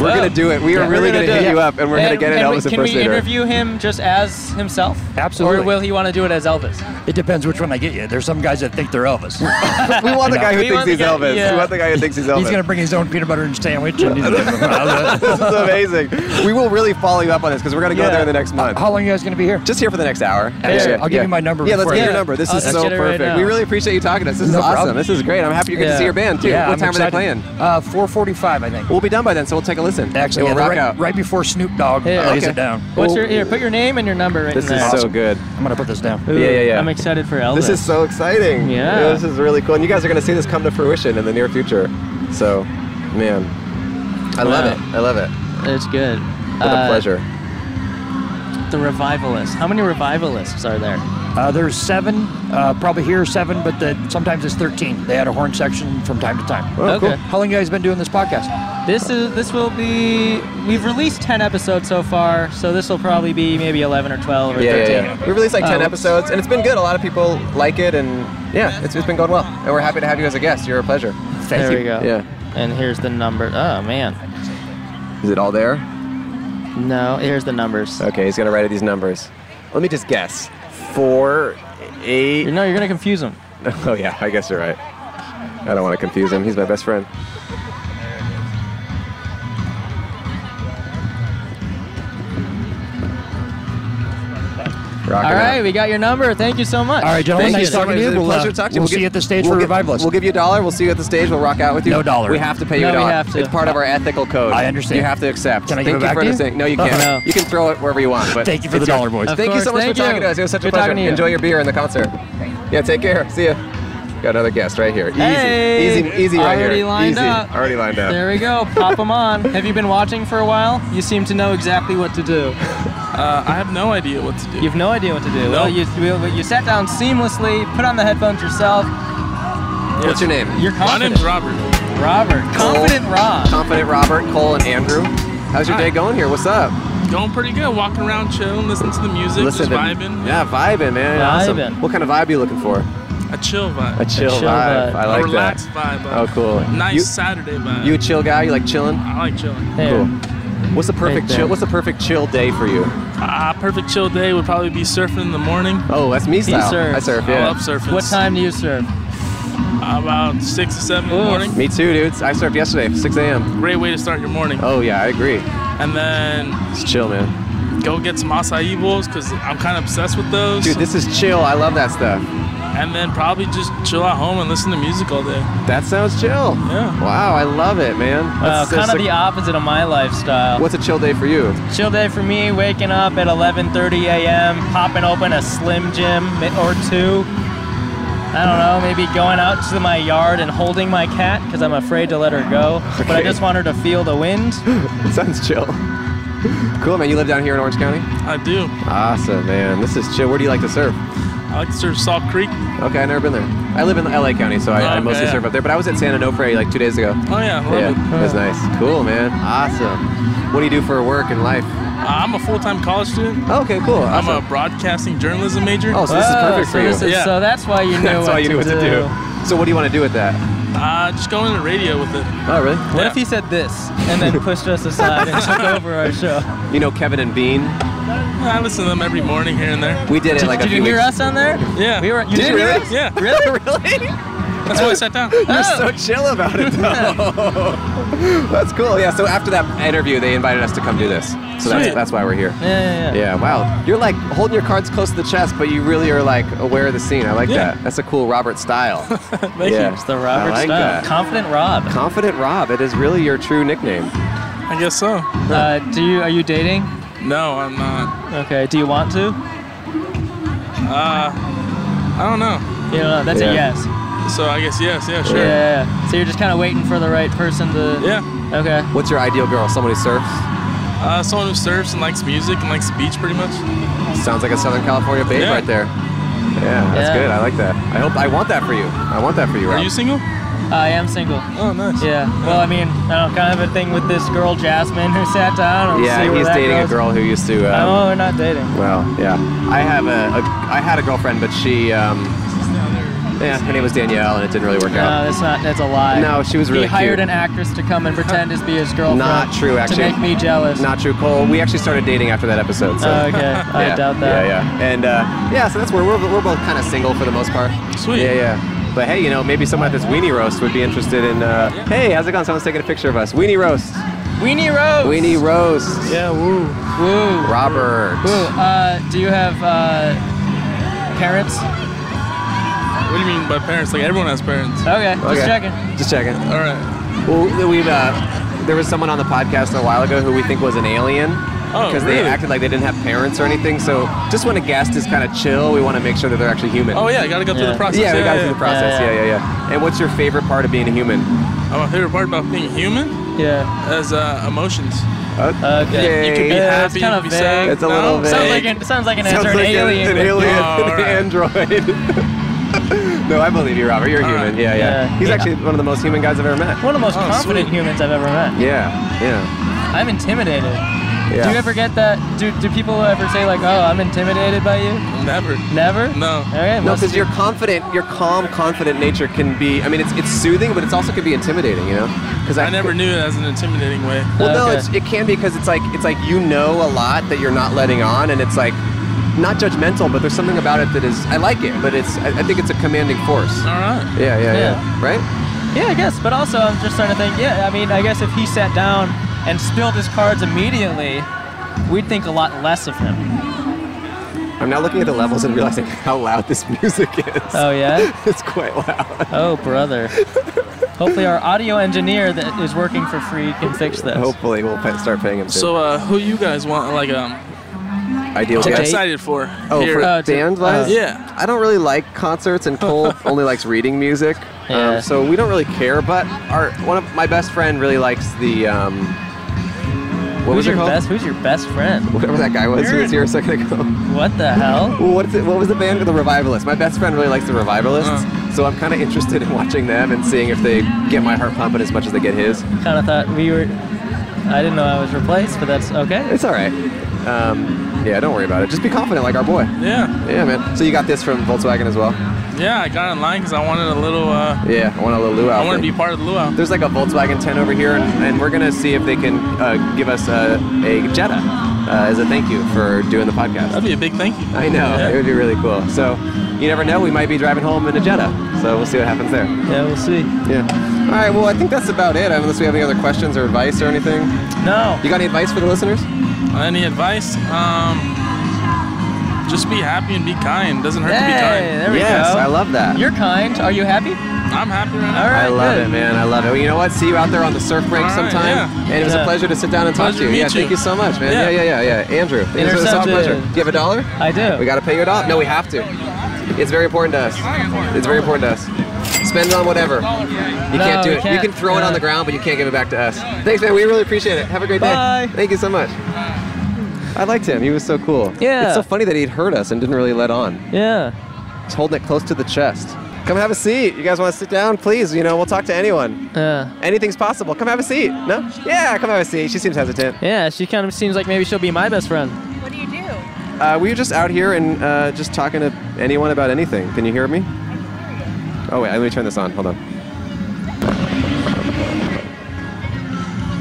[SPEAKER 2] We're
[SPEAKER 1] Whoa.
[SPEAKER 2] gonna do it. We are
[SPEAKER 1] We're
[SPEAKER 2] really
[SPEAKER 1] gonna
[SPEAKER 2] gonna,
[SPEAKER 1] do
[SPEAKER 2] hit
[SPEAKER 1] it.
[SPEAKER 2] you up, and we're gonna get an
[SPEAKER 1] and we-
[SPEAKER 2] Elvis
[SPEAKER 1] Can we
[SPEAKER 2] impersonator.
[SPEAKER 1] interview him just as himself? Or
[SPEAKER 14] Absolutely.
[SPEAKER 1] will he want to do it as Elvis?
[SPEAKER 14] It depends which one I get you. There's some guys that think they're Elvis.
[SPEAKER 2] we want the guy who
[SPEAKER 1] We
[SPEAKER 2] thinks
[SPEAKER 1] want the
[SPEAKER 2] he's
[SPEAKER 1] guy-
[SPEAKER 2] Elvis.
[SPEAKER 1] yeah.
[SPEAKER 2] We want the guy who thinks he's Elvis.
[SPEAKER 14] He's gonna bring his own peanut butter and sandwich. And he's gonna-
[SPEAKER 2] this is amazing. We will really follow you up on this because we're gonna go
[SPEAKER 1] Yeah.
[SPEAKER 2] there in the next month.
[SPEAKER 14] How long are you guys gonna be here?
[SPEAKER 2] Just here for the next hour.
[SPEAKER 14] Excellent. I'll give you my number
[SPEAKER 2] Yeah, let's
[SPEAKER 14] before
[SPEAKER 2] get
[SPEAKER 14] I-
[SPEAKER 2] your number. This
[SPEAKER 1] I'll
[SPEAKER 2] is
[SPEAKER 1] just
[SPEAKER 2] so
[SPEAKER 1] get it right
[SPEAKER 2] perfect.
[SPEAKER 1] now.
[SPEAKER 2] we really appreciate you talking to us. This is
[SPEAKER 14] No
[SPEAKER 2] awesome.
[SPEAKER 14] problem.
[SPEAKER 2] This is great. I'm happy you get to
[SPEAKER 1] Yeah.
[SPEAKER 2] see your band too.
[SPEAKER 14] Yeah,
[SPEAKER 2] what
[SPEAKER 14] I'm
[SPEAKER 2] time are they
[SPEAKER 14] excited.
[SPEAKER 2] playing?
[SPEAKER 14] Uh, 4:45, I think.
[SPEAKER 2] We'll be done by then, so we'll take a listen.
[SPEAKER 14] Excellent.
[SPEAKER 2] And
[SPEAKER 14] Yeah,
[SPEAKER 2] we'll rock
[SPEAKER 14] right,
[SPEAKER 2] out.
[SPEAKER 14] right before Snoop Dogg
[SPEAKER 1] Yeah.
[SPEAKER 14] lays
[SPEAKER 2] Okay.
[SPEAKER 14] it down.
[SPEAKER 1] What's your here? Put your name and your number right
[SPEAKER 2] This
[SPEAKER 1] in
[SPEAKER 2] is
[SPEAKER 1] there.
[SPEAKER 2] so good.
[SPEAKER 14] I'm gonna put this down.
[SPEAKER 1] Ooh,
[SPEAKER 2] Yeah, yeah, yeah.
[SPEAKER 1] I'm excited for Elvis.
[SPEAKER 2] This is so exciting.
[SPEAKER 1] Yeah.
[SPEAKER 2] This is really cool. And you guys are going to see this come to fruition in the near future. So, man, I love
[SPEAKER 1] Wow.
[SPEAKER 2] it. I love it.
[SPEAKER 1] it's good.
[SPEAKER 2] What
[SPEAKER 1] uh,
[SPEAKER 2] a pleasure.
[SPEAKER 1] The revivalists. How many revivalists are there?
[SPEAKER 14] Uh, there's seven, uh, probably here seven, but the, sometimes it's 13. They had a horn section from time to time.
[SPEAKER 2] Oh,
[SPEAKER 1] okay.
[SPEAKER 2] cool.
[SPEAKER 14] How long you guys been doing this podcast?
[SPEAKER 1] This is this will be we've released 10 episodes so far, so this will probably be maybe 11 or 12 or
[SPEAKER 2] Yeah,
[SPEAKER 1] 13.
[SPEAKER 2] yeah, yeah. We released like 10
[SPEAKER 1] Oh.
[SPEAKER 2] episodes, and it's been good. A lot of people like it, and yeah, it's, it's been going well. And we're happy to have you as a guest. You're a pleasure.
[SPEAKER 1] There we go.
[SPEAKER 2] Yeah.
[SPEAKER 1] And here's the number. Oh man.
[SPEAKER 2] Is it all there?
[SPEAKER 1] No, here's the numbers.
[SPEAKER 2] Okay, he's going to write these numbers. Let me just guess. Four, eight.
[SPEAKER 1] No, you're gonna confuse them.
[SPEAKER 2] Oh, yeah, I guess you're right. I don't want to confuse him. He's my best friend. Rocking
[SPEAKER 1] All right,
[SPEAKER 2] out.
[SPEAKER 1] we got your number. Thank you so much.
[SPEAKER 14] All right, gentlemen,
[SPEAKER 2] Thank you
[SPEAKER 14] nice
[SPEAKER 2] so
[SPEAKER 14] talking
[SPEAKER 2] much.
[SPEAKER 14] to you.
[SPEAKER 2] It's a
[SPEAKER 14] We'll, uh,
[SPEAKER 2] pleasure to talk to you.
[SPEAKER 14] we'll see you at the stage
[SPEAKER 2] we'll
[SPEAKER 14] for
[SPEAKER 2] gi-
[SPEAKER 14] Revivalist.
[SPEAKER 2] We'll give you a dollar. We'll see you at the stage. We'll rock out with you.
[SPEAKER 14] No dollar.
[SPEAKER 2] We have to pay you
[SPEAKER 1] No,
[SPEAKER 2] a
[SPEAKER 1] we
[SPEAKER 2] dollar.
[SPEAKER 1] have to.
[SPEAKER 2] It's part of our ethical code.
[SPEAKER 14] I understand.
[SPEAKER 2] You have to accept.
[SPEAKER 14] Can I give
[SPEAKER 2] Thank
[SPEAKER 14] it
[SPEAKER 2] you
[SPEAKER 14] back
[SPEAKER 2] for
[SPEAKER 14] to you? Uh-huh.
[SPEAKER 2] understanding. No, you can't.
[SPEAKER 1] No.
[SPEAKER 2] You can throw it wherever you want. But
[SPEAKER 14] Thank you for
[SPEAKER 2] it's
[SPEAKER 14] the
[SPEAKER 2] your-
[SPEAKER 14] dollar, boys.
[SPEAKER 1] Of
[SPEAKER 2] Thank you so
[SPEAKER 1] course,
[SPEAKER 2] much for
[SPEAKER 1] thank
[SPEAKER 2] talking
[SPEAKER 1] you.
[SPEAKER 2] to us. It was such a
[SPEAKER 1] Good
[SPEAKER 2] pleasure.
[SPEAKER 1] talking to you.
[SPEAKER 2] Enjoy your beer in the concert. Yeah, take care. See ya. Got another guest right here. Easy,
[SPEAKER 1] Hey.
[SPEAKER 2] easy, easy right
[SPEAKER 1] Already
[SPEAKER 2] here.
[SPEAKER 1] lined
[SPEAKER 2] easy.
[SPEAKER 1] up.
[SPEAKER 2] Already lined up.
[SPEAKER 1] There we go. Pop them on. Have you been watching for a while? You seem to know exactly what to do.
[SPEAKER 15] Uh, I have no idea what to do.
[SPEAKER 1] You've no idea what to do. Well, you, well, you sat down seamlessly, put on the headphones yourself.
[SPEAKER 2] What's your name?
[SPEAKER 1] You're
[SPEAKER 15] My
[SPEAKER 1] confident.
[SPEAKER 15] name's Robert.
[SPEAKER 1] Robert. Confident Rob.
[SPEAKER 2] Confident Robert, Cole, and Andrew. How's your
[SPEAKER 15] Hi.
[SPEAKER 2] day going here? What's up?
[SPEAKER 15] Going pretty good. Walking around, chilling, listening to the music, just vibing.
[SPEAKER 2] Yeah, vibing, man. Awesome.
[SPEAKER 1] Vibing.
[SPEAKER 2] What kind of vibe are you looking for?
[SPEAKER 15] A chill vibe.
[SPEAKER 2] A chill,
[SPEAKER 1] chill
[SPEAKER 2] vibe.
[SPEAKER 1] vibe.
[SPEAKER 2] I like
[SPEAKER 15] a relaxed
[SPEAKER 2] that.
[SPEAKER 15] vibe. uh,
[SPEAKER 2] Oh, cool.
[SPEAKER 15] Nice
[SPEAKER 2] You-
[SPEAKER 15] Saturday vibe.
[SPEAKER 2] You a chill guy? You like chilling?
[SPEAKER 15] I like chilling.
[SPEAKER 1] There.
[SPEAKER 2] Cool. What's the perfect
[SPEAKER 1] Right there.
[SPEAKER 2] chill? What's the perfect chill day for you?
[SPEAKER 15] Uh, perfect chill day would probably be surfing in the morning.
[SPEAKER 2] Oh, that's me style.
[SPEAKER 1] surfs.
[SPEAKER 2] I surf.
[SPEAKER 15] I
[SPEAKER 2] Yeah.
[SPEAKER 15] love surfing.
[SPEAKER 1] What time do you serve?
[SPEAKER 15] About six or seven in
[SPEAKER 1] Ooh.
[SPEAKER 15] the morning.
[SPEAKER 2] Me too, dudes. I surfed yesterday, 6 a.m.
[SPEAKER 15] Great way to start your morning.
[SPEAKER 2] Oh yeah, I agree.
[SPEAKER 15] And then
[SPEAKER 2] It's chill, man.
[SPEAKER 15] go get some acai bowls because I'm kind of obsessed with those.
[SPEAKER 2] Dude, this is chill. I love that stuff.
[SPEAKER 15] and then probably just chill at home and listen to music all day. Uh,
[SPEAKER 2] That sounds chill.
[SPEAKER 15] Yeah.
[SPEAKER 2] Wow, I love it, man.
[SPEAKER 1] Wow,
[SPEAKER 2] That's- that's
[SPEAKER 1] kind of
[SPEAKER 2] a-
[SPEAKER 1] Uh, the opposite of my lifestyle.
[SPEAKER 2] What's a chill day for you?
[SPEAKER 1] Chill day for me, waking up at 11:30 a.m., popping open a Slim Jim or two. I don't know, maybe going out to my yard and holding my cat because I'm afraid to let her go, but I
[SPEAKER 2] Okay.
[SPEAKER 1] just want her to feel the wind.
[SPEAKER 2] sounds chill. Cool, man. You live down here in Orange County?
[SPEAKER 15] I do.
[SPEAKER 2] Awesome, man. This is chill. Where do you like to surf?
[SPEAKER 15] I like to surf Salt Creek. Oh,
[SPEAKER 2] Okay, I've never been there. I live in LA County, so I, I
[SPEAKER 15] Okay,
[SPEAKER 2] mostly
[SPEAKER 15] yeah.
[SPEAKER 2] surf up there. But I was at San Onofre like two days ago.
[SPEAKER 15] Oh yeah, I love
[SPEAKER 2] yeah,
[SPEAKER 15] it.
[SPEAKER 2] it was nice. Cool, man. Awesome. What do you do for work and life?
[SPEAKER 15] I'm a full-time college student.
[SPEAKER 2] Okay, cool.
[SPEAKER 15] I'm
[SPEAKER 2] Awesome.
[SPEAKER 15] a broadcasting journalism major.
[SPEAKER 2] oh, so this is
[SPEAKER 1] Oh,
[SPEAKER 2] perfect
[SPEAKER 1] so
[SPEAKER 2] for you.
[SPEAKER 1] this is-
[SPEAKER 15] Yeah.
[SPEAKER 1] So that's why you knew
[SPEAKER 2] That's
[SPEAKER 1] what
[SPEAKER 2] why you
[SPEAKER 1] to
[SPEAKER 2] knew what to do. So what do you want to do with that?
[SPEAKER 15] Uh, just go into radio with it.
[SPEAKER 2] Oh, really?
[SPEAKER 1] What if he said this and then pushed us aside and took over our show?
[SPEAKER 2] You know Kevin and Bean?
[SPEAKER 15] I listen to them every morning here and there.
[SPEAKER 2] We did it
[SPEAKER 1] Did,
[SPEAKER 2] like a
[SPEAKER 1] did
[SPEAKER 2] few
[SPEAKER 1] you hear
[SPEAKER 2] weeks.
[SPEAKER 1] us on there?
[SPEAKER 15] Yeah.
[SPEAKER 1] We were. You
[SPEAKER 2] Did
[SPEAKER 1] did
[SPEAKER 2] you
[SPEAKER 1] hear
[SPEAKER 2] really?
[SPEAKER 1] us?
[SPEAKER 15] Yeah.
[SPEAKER 2] Really? really?
[SPEAKER 15] That's why I sat down.
[SPEAKER 2] You're
[SPEAKER 1] Oh.
[SPEAKER 2] so chill about it, though. that's cool. Yeah. So after that interview, they invited us to come do this. So that's,
[SPEAKER 15] Sweet.
[SPEAKER 2] that's why we're here.
[SPEAKER 1] Yeah, yeah, yeah.
[SPEAKER 2] Yeah, wow. You're like holding your cards close to the chest, but you really are like aware of the scene. I like
[SPEAKER 15] Yeah.
[SPEAKER 2] that. That's a cool Robert style.
[SPEAKER 15] Thank
[SPEAKER 2] Yeah.
[SPEAKER 15] you.
[SPEAKER 1] It's the Robert
[SPEAKER 2] I like
[SPEAKER 1] style.
[SPEAKER 2] that.
[SPEAKER 1] Confident Rob.
[SPEAKER 2] Confident Rob, it is really your true nickname.
[SPEAKER 15] I guess so.
[SPEAKER 1] Uh, do you? Are you dating?
[SPEAKER 15] No, I'm not.
[SPEAKER 1] Okay. Do you want to?
[SPEAKER 15] I don't know.
[SPEAKER 1] You know, Uh, that's
[SPEAKER 2] Yeah.
[SPEAKER 1] a yes.
[SPEAKER 15] So I guess yes. Yeah, sure. Yeah.
[SPEAKER 1] Yeah, Yeah. So you're just kind of waiting for the right person to. Okay.
[SPEAKER 2] What's your ideal girl? Someone who surfs?
[SPEAKER 15] Uh, someone who surfs and likes music and likes the beach pretty much.
[SPEAKER 2] Sounds like a Southern California babe
[SPEAKER 15] Yeah.
[SPEAKER 2] right there. Yeah, that's
[SPEAKER 1] Yeah.
[SPEAKER 2] good. I like that. I hope I want that for you. I want that for you, Rob.
[SPEAKER 15] Are you single?
[SPEAKER 1] I am single.
[SPEAKER 15] Oh, nice.
[SPEAKER 1] Yeah. Well, I mean, I don't kind of have a thing with this girl Jasmine who sat down. and see
[SPEAKER 2] yeah,
[SPEAKER 1] where
[SPEAKER 2] he's
[SPEAKER 1] that
[SPEAKER 2] dating
[SPEAKER 1] goes.
[SPEAKER 2] a girl who used to. Um,
[SPEAKER 1] Oh, we're not dating.
[SPEAKER 2] Well, yeah. I have a, a I had a girlfriend, but she um, Yeah, her name was Danielle, and it didn't really work
[SPEAKER 1] No,
[SPEAKER 2] out.
[SPEAKER 1] that's not. That's a lie.
[SPEAKER 2] No, she was really
[SPEAKER 1] He hired
[SPEAKER 2] cute.
[SPEAKER 1] an actress to come and pretend to be his girlfriend.
[SPEAKER 2] Not true, actually.
[SPEAKER 1] To make me jealous.
[SPEAKER 2] Not true, Cole. We actually started dating after that episode. So.
[SPEAKER 1] Oh, okay, I
[SPEAKER 2] yeah.
[SPEAKER 1] doubt that.
[SPEAKER 2] Yeah, yeah. And uh, yeah, so that's where we're, we're both kind of single for the most part.
[SPEAKER 15] Sweet.
[SPEAKER 2] Yeah, yeah. But hey, you know, maybe someone at this weenie roast would be interested in. Uh, Hey, how's it going? Someone's taking a picture of us. Weenie roast.
[SPEAKER 1] Weenie Rose.
[SPEAKER 2] Weenie roast.
[SPEAKER 1] Yeah. Woo. Woo.
[SPEAKER 2] Robert.
[SPEAKER 1] Woo. Uh, do you have uh, parents?
[SPEAKER 15] What do you mean by parents? Like everyone has parents.
[SPEAKER 1] Okay. Just
[SPEAKER 2] Okay.
[SPEAKER 1] checking.
[SPEAKER 2] Just checking.
[SPEAKER 15] All right.
[SPEAKER 2] Well, we've uh, there was someone on the podcast a while ago who we think was an alien
[SPEAKER 15] Oh,
[SPEAKER 2] because they
[SPEAKER 15] really?
[SPEAKER 2] acted like they didn't have parents or anything. So just when a guest is kind of chill, we want to make sure that they're actually human.
[SPEAKER 15] Oh yeah, I gotta go through
[SPEAKER 1] Yeah.
[SPEAKER 15] the process.
[SPEAKER 2] Yeah, we got through the process.
[SPEAKER 1] Yeah,
[SPEAKER 2] Yeah,
[SPEAKER 1] yeah.
[SPEAKER 2] yeah, yeah. And what's your favorite part of being a human?
[SPEAKER 15] yeah. Uh, my favorite part about being human
[SPEAKER 1] Yeah.
[SPEAKER 15] is uh, emotions.
[SPEAKER 1] Okay.
[SPEAKER 15] You can be
[SPEAKER 1] Yeah,
[SPEAKER 15] happy,
[SPEAKER 1] it's
[SPEAKER 15] you
[SPEAKER 1] kinda
[SPEAKER 15] can be sad.
[SPEAKER 1] vague.
[SPEAKER 2] It's a
[SPEAKER 15] no?
[SPEAKER 2] little
[SPEAKER 1] Sounds like
[SPEAKER 2] vague.
[SPEAKER 1] an sounds like an answer an alien.
[SPEAKER 2] an
[SPEAKER 1] would-
[SPEAKER 2] alien,
[SPEAKER 15] Oh, all right.
[SPEAKER 2] android. no, I believe you, Robert. You're a
[SPEAKER 15] All
[SPEAKER 2] human.
[SPEAKER 15] right.
[SPEAKER 2] Yeah, yeah,
[SPEAKER 1] Yeah.
[SPEAKER 2] He's
[SPEAKER 1] Yeah.
[SPEAKER 2] actually one of the most human guys I've ever met.
[SPEAKER 1] One of the most
[SPEAKER 15] Oh,
[SPEAKER 1] confident
[SPEAKER 15] sweet.
[SPEAKER 1] humans I've ever met.
[SPEAKER 2] Yeah, yeah.
[SPEAKER 1] I'm intimidated.
[SPEAKER 2] Yeah.
[SPEAKER 1] Do you ever get that? Do, do people ever say like, "Oh, I'm intimidated by you"?
[SPEAKER 15] Never.
[SPEAKER 1] Never.
[SPEAKER 15] No.
[SPEAKER 1] Okay.
[SPEAKER 2] No,
[SPEAKER 1] well,
[SPEAKER 2] because your confident, your calm, confident nature can be. I mean, it's it's soothing, but it's also can be intimidating. You know, because
[SPEAKER 15] I never knew it as an intimidating way.
[SPEAKER 2] Well, no,
[SPEAKER 1] Okay.
[SPEAKER 2] it's, it can be because it's like it's like you know a lot that you're not letting on, and it's like not judgmental, but there's something about it that is. I like it, but it's. I, I think it's a commanding force.
[SPEAKER 15] All right.
[SPEAKER 2] Yeah, yeah, yeah.
[SPEAKER 1] Yeah.
[SPEAKER 2] Right.
[SPEAKER 1] Yeah, I guess. But also, I'm just starting to think. Yeah, I mean, I guess if he sat down and spilled his cards immediately, we'd think a lot less of him.
[SPEAKER 2] I'm now looking at the levels and realizing how loud this music is.
[SPEAKER 1] Oh yeah.
[SPEAKER 2] it's quite loud.
[SPEAKER 1] Oh brother. Hopefully, our audio engineer that is working for free can fix this.
[SPEAKER 2] Hopefully, we'll pa- start paying him. soon.
[SPEAKER 15] So uh, who you guys want like um
[SPEAKER 2] ideal
[SPEAKER 15] to get
[SPEAKER 2] guest.
[SPEAKER 15] excited for?
[SPEAKER 2] Oh,
[SPEAKER 15] here?
[SPEAKER 2] for
[SPEAKER 1] Uh, to-
[SPEAKER 2] band wise?
[SPEAKER 1] uh,
[SPEAKER 15] Yeah.
[SPEAKER 2] I don't really like concerts, and Cole only likes reading music.
[SPEAKER 1] Yeah.
[SPEAKER 2] Um, so we don't really care. But our one of my best friend really likes the. Um, what
[SPEAKER 1] Who's
[SPEAKER 2] was it
[SPEAKER 1] your
[SPEAKER 2] called?
[SPEAKER 1] best? Who's your best friend?
[SPEAKER 2] Whatever that guy was who was here a second ago.
[SPEAKER 1] What the hell?
[SPEAKER 2] Well, What's it, what was the band? The Revivalists. My best friend really likes the Revivalists,
[SPEAKER 15] Uh.
[SPEAKER 2] so I'm kind of interested in watching them and seeing if they get my heart pumping as much as they get his.
[SPEAKER 1] Kind of thought we were. I didn't know I was replaced, but that's okay.
[SPEAKER 2] It's all right. Um, yeah, don't worry about it. Just be confident, like our boy.
[SPEAKER 15] Yeah.
[SPEAKER 2] Yeah, man. So you got this from Volkswagen as well?
[SPEAKER 15] Yeah. I got online because I wanted a little. Uh,
[SPEAKER 2] Yeah, I want a little luau.
[SPEAKER 15] I want to
[SPEAKER 2] thing.
[SPEAKER 15] be part of the luau.
[SPEAKER 2] There's like a Volkswagen 10 over here, and, and we're gonna see if they can uh, give us a, a Jetta uh, as a thank you for doing the
[SPEAKER 15] That'd
[SPEAKER 2] podcast.
[SPEAKER 15] be a big thank you.
[SPEAKER 2] I know it would be really cool. So you never know, we might be driving home in a Jetta. So we'll see what happens there.
[SPEAKER 1] Yeah, we'll see.
[SPEAKER 2] Yeah. All right. Well, I think that's about it. Unless we have any other questions or advice or anything.
[SPEAKER 1] No.
[SPEAKER 2] You got any advice for the listeners?
[SPEAKER 15] Any advice? Um, just be happy and be kind. Doesn't hurt
[SPEAKER 1] Hey,
[SPEAKER 15] to be kind.
[SPEAKER 1] there we
[SPEAKER 2] yes,
[SPEAKER 1] go.
[SPEAKER 2] I love that.
[SPEAKER 1] You're kind. Are you happy?
[SPEAKER 15] I'm happy right now.
[SPEAKER 1] All right.
[SPEAKER 2] I love
[SPEAKER 1] good.
[SPEAKER 2] it, man. I love it. Well, you know what? See you out there on the surf break
[SPEAKER 15] All right,
[SPEAKER 2] sometime.
[SPEAKER 15] yeah.
[SPEAKER 2] And it was
[SPEAKER 1] Yeah.
[SPEAKER 2] a pleasure to sit down and talk
[SPEAKER 15] Pleasure
[SPEAKER 2] to you.
[SPEAKER 15] to meet
[SPEAKER 2] yeah, thank
[SPEAKER 15] you.
[SPEAKER 2] you so much, man.
[SPEAKER 15] Yeah.
[SPEAKER 2] Yeah, yeah, yeah, yeah. Andrew, it was a soft
[SPEAKER 1] Intercepted.
[SPEAKER 2] pleasure. Do you have a dollar?
[SPEAKER 1] I do.
[SPEAKER 2] We got to pay you it off. No, we have to. It's very important to us. It's very important to us. Spend it on whatever. You can't do
[SPEAKER 1] we
[SPEAKER 2] it.
[SPEAKER 1] can't.
[SPEAKER 2] You can throw it
[SPEAKER 1] Yeah.
[SPEAKER 2] on the ground, but you can't give it back to us. Thanks, man. We really appreciate it. Have a great
[SPEAKER 1] Bye.
[SPEAKER 2] day. Thank you so much. I liked him. He was so cool.
[SPEAKER 1] Yeah.
[SPEAKER 2] It's so funny that he'd heard us and didn't really let on.
[SPEAKER 1] Yeah.
[SPEAKER 2] He's holding it close to the chest. Come have a seat. You guys want to sit down? Please, you know, we'll talk to anyone.
[SPEAKER 1] Yeah.
[SPEAKER 2] Anything's possible. Come have a seat. No? Yeah, come have a seat. She seems hesitant.
[SPEAKER 1] Yeah, she kind of seems like maybe she'll be my best friend.
[SPEAKER 4] What do you do?
[SPEAKER 2] Uh, we were just out here and uh, just talking to anyone about anything. Can you hear me? Oh wait, let me turn this on. Hold on.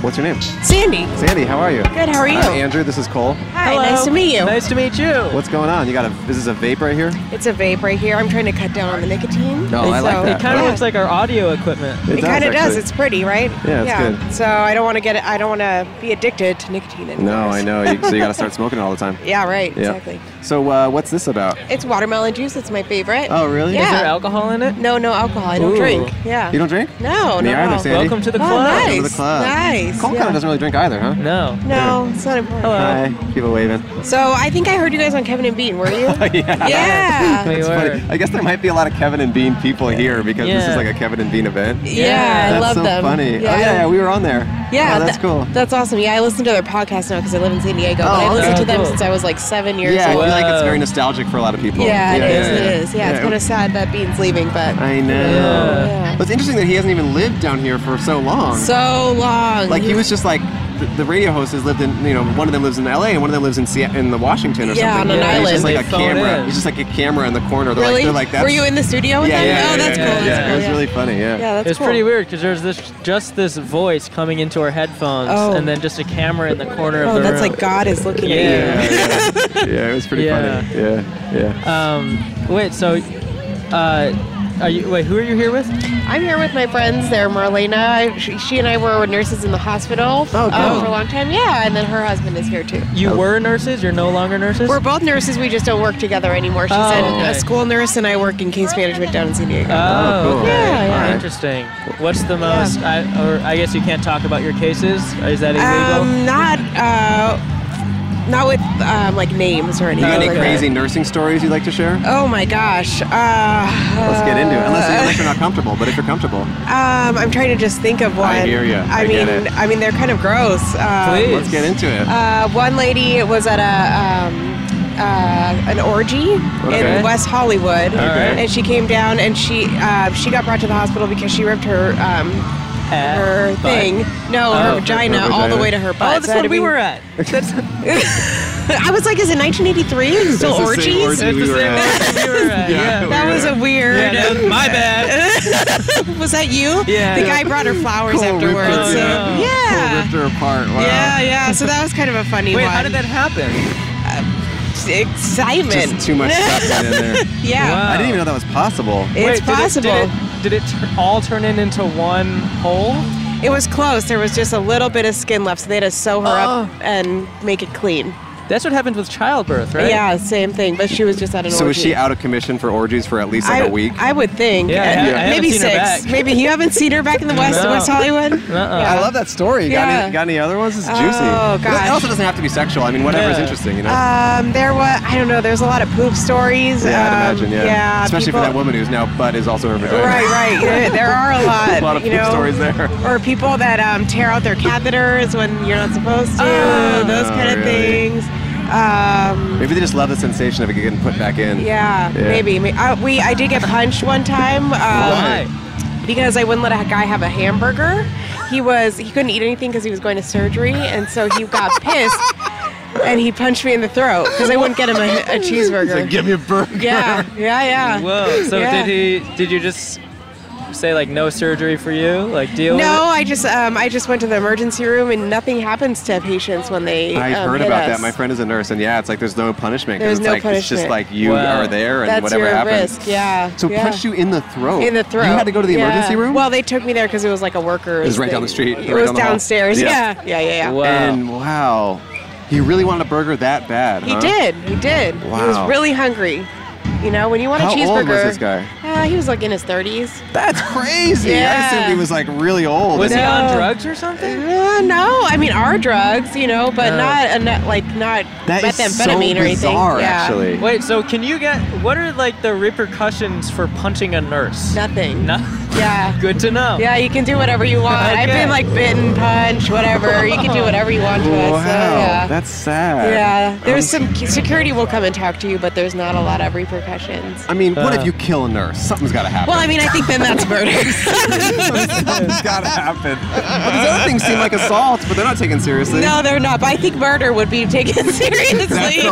[SPEAKER 2] What's your name?
[SPEAKER 4] Sandy.
[SPEAKER 2] Sandy. How are you?
[SPEAKER 4] Good. How are you?
[SPEAKER 2] I'm Andrew. This is Cole.
[SPEAKER 4] Hi. Nice to meet you.
[SPEAKER 1] Nice to meet you.
[SPEAKER 2] What's going on? You got a? This is a vape right here.
[SPEAKER 5] It's a vape right here. I'm trying to cut down on the nicotine.
[SPEAKER 2] No, I like
[SPEAKER 5] So-
[SPEAKER 1] It
[SPEAKER 2] that.
[SPEAKER 1] kind of
[SPEAKER 5] Yeah.
[SPEAKER 1] looks like our audio equipment.
[SPEAKER 5] It, kind of does.
[SPEAKER 2] actually.
[SPEAKER 5] It's pretty, right?
[SPEAKER 2] Yeah, it's good.
[SPEAKER 5] So I don't want to get it. I don't want to be addicted to nicotine anymore.
[SPEAKER 2] no, I know. You, so you got to start smoking it all the time.
[SPEAKER 5] Yeah, right.
[SPEAKER 2] Yeah.
[SPEAKER 5] Exactly.
[SPEAKER 2] So uh, what's this about?
[SPEAKER 5] It's watermelon juice. It's my favorite.
[SPEAKER 2] Oh really?
[SPEAKER 5] Yeah.
[SPEAKER 1] Is there alcohol in it?
[SPEAKER 5] No, no alcohol. I don't
[SPEAKER 1] Ooh.
[SPEAKER 5] drink. Yeah.
[SPEAKER 2] You don't drink?
[SPEAKER 5] No,
[SPEAKER 2] Me
[SPEAKER 5] no.
[SPEAKER 2] either,
[SPEAKER 5] no.
[SPEAKER 2] Sandy.
[SPEAKER 1] Welcome to the
[SPEAKER 5] Oh,
[SPEAKER 1] club.
[SPEAKER 5] nice.
[SPEAKER 2] Come to the club.
[SPEAKER 5] Nice,
[SPEAKER 2] Cole kind
[SPEAKER 5] yeah.
[SPEAKER 2] of doesn't really drink either, huh?
[SPEAKER 1] No.
[SPEAKER 5] No, it's not important.
[SPEAKER 1] Hello.
[SPEAKER 2] Hi. People waving.
[SPEAKER 5] So I think I heard you guys on Kevin and Bean. Were you?
[SPEAKER 2] yeah.
[SPEAKER 5] yeah.
[SPEAKER 1] We
[SPEAKER 5] yeah.
[SPEAKER 2] It's
[SPEAKER 1] were.
[SPEAKER 2] funny. I guess there might be a lot of Kevin and Bean people here because this
[SPEAKER 1] Yeah.
[SPEAKER 2] is like a Kevin and Bean event.
[SPEAKER 5] I
[SPEAKER 2] that's
[SPEAKER 5] love
[SPEAKER 2] so
[SPEAKER 5] them.
[SPEAKER 2] funny. Oh yeah, yeah, we were on there.
[SPEAKER 5] Yeah,
[SPEAKER 2] Oh, that's
[SPEAKER 5] tha-
[SPEAKER 2] cool. Oh,
[SPEAKER 5] That's awesome. Yeah, I listen to their podcast now because I live in San Diego. but I
[SPEAKER 2] okay.
[SPEAKER 5] listened to them
[SPEAKER 1] Cool.
[SPEAKER 5] since I was like seven years
[SPEAKER 2] yeah, I
[SPEAKER 5] old.
[SPEAKER 2] feel like it's
[SPEAKER 1] Whoa.
[SPEAKER 2] very nostalgic for a lot of people.
[SPEAKER 5] Yeah, it is. It is. Yeah, it's
[SPEAKER 2] Yeah.
[SPEAKER 5] kind of sad that Bean's leaving, but
[SPEAKER 2] I know.
[SPEAKER 1] Yeah.
[SPEAKER 5] Yeah.
[SPEAKER 2] But It's interesting that he hasn't even lived down here for so long.
[SPEAKER 5] so long.
[SPEAKER 2] like he was just like the, the radio host has lived in, you know, one of them lives in L.A. and one of them lives in Seattle, in the Washington or
[SPEAKER 16] Yeah,
[SPEAKER 2] something.
[SPEAKER 16] on an
[SPEAKER 2] And He's just
[SPEAKER 16] island.
[SPEAKER 2] like a
[SPEAKER 16] They phone
[SPEAKER 2] camera.
[SPEAKER 16] in.
[SPEAKER 2] He's just like a camera in the corner. They're
[SPEAKER 16] really?
[SPEAKER 2] like, they're like, that's,
[SPEAKER 16] Were you in the studio with
[SPEAKER 2] yeah,
[SPEAKER 16] them?
[SPEAKER 2] yeah,
[SPEAKER 16] oh,
[SPEAKER 2] yeah,
[SPEAKER 16] that's
[SPEAKER 2] yeah,
[SPEAKER 16] cool.
[SPEAKER 2] Yeah,
[SPEAKER 16] that's
[SPEAKER 2] it
[SPEAKER 16] cool.
[SPEAKER 2] was really funny. Yeah.
[SPEAKER 16] Yeah, that's
[SPEAKER 1] it's
[SPEAKER 16] cool.
[SPEAKER 1] pretty weird because there's this just this voice coming into her headphones,
[SPEAKER 16] Oh.
[SPEAKER 1] and then just a camera in the corner of
[SPEAKER 16] Oh,
[SPEAKER 1] the
[SPEAKER 16] that's
[SPEAKER 1] room.
[SPEAKER 16] like God is looking
[SPEAKER 1] yeah.
[SPEAKER 16] at you.
[SPEAKER 2] yeah, it was pretty
[SPEAKER 1] Yeah.
[SPEAKER 2] funny. Yeah, yeah.
[SPEAKER 1] Um, wait, so, uh, are you? Wait, who are you here with?
[SPEAKER 17] I'm here with my friends. They're Marlena. I, she, she and I were nurses in the hospital uh, for a long time. Yeah, and then her husband is here too.
[SPEAKER 2] Oh.
[SPEAKER 1] You were nurses. You're no longer nurses.
[SPEAKER 17] We're both nurses. We just don't work together anymore. She's
[SPEAKER 1] Oh,
[SPEAKER 17] said
[SPEAKER 1] okay.
[SPEAKER 17] a school nurse, and I work in case management down in San Diego.
[SPEAKER 1] Oh, okay.
[SPEAKER 17] yeah, yeah.
[SPEAKER 1] Interesting. What's the most? I, or I guess you can't talk about your cases. Is that illegal?
[SPEAKER 5] Um, not uh, not with um, like names or
[SPEAKER 2] You
[SPEAKER 5] anything.
[SPEAKER 2] got any
[SPEAKER 5] like
[SPEAKER 2] crazy
[SPEAKER 5] that.
[SPEAKER 2] nursing stories you'd like to share?
[SPEAKER 5] Oh my gosh. Uh,
[SPEAKER 2] Let's get into it. Unless, unless you're not comfortable, but if you're comfortable,
[SPEAKER 5] um, I'm trying to just think of one.
[SPEAKER 2] I hear ya. I
[SPEAKER 5] mean,
[SPEAKER 2] get it.
[SPEAKER 5] I mean, they're kind of gross. Um,
[SPEAKER 2] let's get into it.
[SPEAKER 5] Uh, one lady was at a um, uh, an orgy
[SPEAKER 2] Okay.
[SPEAKER 5] in West Hollywood,
[SPEAKER 2] All right.
[SPEAKER 5] and she came down and she uh, she got brought to the hospital because she ripped her um, her
[SPEAKER 16] butt?
[SPEAKER 5] thing, no,
[SPEAKER 16] Oh,
[SPEAKER 5] her
[SPEAKER 16] her-
[SPEAKER 5] vagina,
[SPEAKER 16] her
[SPEAKER 5] all the
[SPEAKER 16] vagina.
[SPEAKER 5] way to her
[SPEAKER 16] Oh,
[SPEAKER 5] butt.
[SPEAKER 16] that's where we were at.
[SPEAKER 5] That's, I was like, is it 1983? Still
[SPEAKER 16] That's the
[SPEAKER 5] orgies?
[SPEAKER 16] same orgy we That's the were same at. orgy we were at, yeah.
[SPEAKER 5] That was a weird.
[SPEAKER 16] Yeah, that was my
[SPEAKER 5] bad. was that you?
[SPEAKER 16] Yeah.
[SPEAKER 5] The guy brought her flowers
[SPEAKER 16] Cole ripped
[SPEAKER 5] afterwards.
[SPEAKER 18] Oh,
[SPEAKER 16] her,
[SPEAKER 5] so-
[SPEAKER 16] yeah.
[SPEAKER 5] yeah.
[SPEAKER 2] ripped her apart. Wow.
[SPEAKER 5] Yeah, yeah. So that was kind of a funny
[SPEAKER 16] Wait,
[SPEAKER 5] one. Uh,
[SPEAKER 16] how did that
[SPEAKER 1] happen?
[SPEAKER 5] Excitement.
[SPEAKER 2] Just too much stuff got in there.
[SPEAKER 5] yeah.
[SPEAKER 2] I didn't even know that was possible.
[SPEAKER 5] It's
[SPEAKER 1] Wait,
[SPEAKER 5] possible.
[SPEAKER 1] Did it, did it, did it tur- all turn in into one hole?
[SPEAKER 5] It was close. There was just a little bit of skin left, so they had to sew her up and make it clean.
[SPEAKER 1] That's what happens with childbirth,
[SPEAKER 2] right?
[SPEAKER 5] Yeah, same thing. But she was just at an
[SPEAKER 2] So
[SPEAKER 5] orgy.
[SPEAKER 2] was she out of commission for orgies for at least like
[SPEAKER 5] I,
[SPEAKER 2] a week?
[SPEAKER 5] I would think.
[SPEAKER 2] Yeah, I
[SPEAKER 5] Uh,
[SPEAKER 2] ha- I haven't
[SPEAKER 5] maybe
[SPEAKER 2] seen her
[SPEAKER 5] six.
[SPEAKER 2] back.
[SPEAKER 5] Maybe you haven't seen her back in the West,
[SPEAKER 2] No.
[SPEAKER 5] West Hollywood.
[SPEAKER 2] I love that story. Got, any, got any other ones? This is juicy.
[SPEAKER 5] Oh,
[SPEAKER 2] But
[SPEAKER 5] gosh.
[SPEAKER 2] It also doesn't have to be sexual. I mean, whatever's
[SPEAKER 5] Yeah.
[SPEAKER 2] interesting, you know?
[SPEAKER 5] Um, there was I don't know. There's a lot of poop stories.
[SPEAKER 2] yeah, I'd
[SPEAKER 5] um,
[SPEAKER 2] imagine, yeah.
[SPEAKER 5] yeah
[SPEAKER 2] Especially
[SPEAKER 5] people-
[SPEAKER 2] for that woman who's now butt is also her vagina.
[SPEAKER 5] Right, right. There, there are a lot.
[SPEAKER 2] a lot of
[SPEAKER 5] you
[SPEAKER 2] poop
[SPEAKER 5] know,
[SPEAKER 2] stories there.
[SPEAKER 5] Or people that um, tear out their catheters when you're not supposed to. those
[SPEAKER 2] Oh,
[SPEAKER 5] kind of
[SPEAKER 2] really?
[SPEAKER 5] things. Um,
[SPEAKER 2] Maybe they just love the sensation of it getting put back in.
[SPEAKER 5] yeah, maybe. May- I, we I did get punched one time. Um,
[SPEAKER 2] Why?
[SPEAKER 5] Because I wouldn't let a guy have a hamburger. He was he couldn't eat anything because he was going to surgery, and so he got pissed. And he punched me in the throat because I wouldn't get him a, a cheeseburger.
[SPEAKER 1] He's like, "Give
[SPEAKER 2] me a burger.
[SPEAKER 5] Yeah, yeah, yeah.
[SPEAKER 1] Whoa. So
[SPEAKER 5] Yeah.
[SPEAKER 1] did he? Did you just say like no surgery for you? Like deal with it?
[SPEAKER 5] No, I just um, I just went to the emergency room and nothing happens to patients when they.
[SPEAKER 2] I've
[SPEAKER 5] um,
[SPEAKER 2] heard
[SPEAKER 5] hit
[SPEAKER 2] about
[SPEAKER 5] us.
[SPEAKER 2] that. My friend is a nurse, and yeah, it's like there's no punishment. 'cause
[SPEAKER 5] There's
[SPEAKER 2] it's
[SPEAKER 5] no
[SPEAKER 2] like, It's just
[SPEAKER 5] punishment.
[SPEAKER 2] like you
[SPEAKER 5] Wow.
[SPEAKER 2] are there and
[SPEAKER 5] That's
[SPEAKER 2] whatever
[SPEAKER 5] your
[SPEAKER 2] happens.
[SPEAKER 5] risk. Yeah.
[SPEAKER 2] So
[SPEAKER 5] yeah.
[SPEAKER 2] punched you in the throat.
[SPEAKER 5] In the throat.
[SPEAKER 2] You had to go to the
[SPEAKER 5] Yeah.
[SPEAKER 2] emergency room.
[SPEAKER 5] Well, they took me there because it was like a worker.
[SPEAKER 2] It was right down the street.
[SPEAKER 5] It
[SPEAKER 2] right
[SPEAKER 5] was
[SPEAKER 2] down the hall.
[SPEAKER 5] downstairs. Yeah. Yeah. Yeah. Yeah.
[SPEAKER 2] And wow, he really wanted a burger that bad.
[SPEAKER 5] He
[SPEAKER 2] huh?
[SPEAKER 5] did. He did. He
[SPEAKER 2] Wow.
[SPEAKER 5] was really hungry. You know, when you want a
[SPEAKER 2] How
[SPEAKER 5] cheeseburger.
[SPEAKER 2] old was this guy?
[SPEAKER 5] Uh, he was like in his 30s.
[SPEAKER 2] That's crazy.
[SPEAKER 5] yeah.
[SPEAKER 2] I assumed he was like really old.
[SPEAKER 5] Was he on No. drugs
[SPEAKER 1] or something?
[SPEAKER 5] Uh, no, I mean our drugs, you know, but
[SPEAKER 1] No.
[SPEAKER 5] not a, not like not
[SPEAKER 2] That is so
[SPEAKER 5] methamphetamine or anything.
[SPEAKER 2] bizarre,
[SPEAKER 5] yeah.
[SPEAKER 2] actually.
[SPEAKER 1] Wait, so can you get what are like the repercussions for punching a nurse?
[SPEAKER 5] Nothing.
[SPEAKER 1] No.
[SPEAKER 5] Yeah.
[SPEAKER 1] Good to know.
[SPEAKER 5] Yeah, you can do whatever you want. I've
[SPEAKER 1] Okay.
[SPEAKER 5] been like bitten, punch, whatever. You can do whatever you want to us.
[SPEAKER 2] Wow,
[SPEAKER 5] So, yeah.
[SPEAKER 2] that's sad.
[SPEAKER 5] yeah, there's
[SPEAKER 2] Um,
[SPEAKER 5] some security will come and talk to you, but there's not a lot of repercussions.
[SPEAKER 2] I mean,
[SPEAKER 5] Uh.
[SPEAKER 2] what if you kill a nurse? Something's got to happen.
[SPEAKER 5] Well, I mean, I think then that's murder.
[SPEAKER 2] Something's got to happen. But these other things seem like assaults, but they're not taken seriously.
[SPEAKER 5] no, they're not. But I think murder would be taken seriously.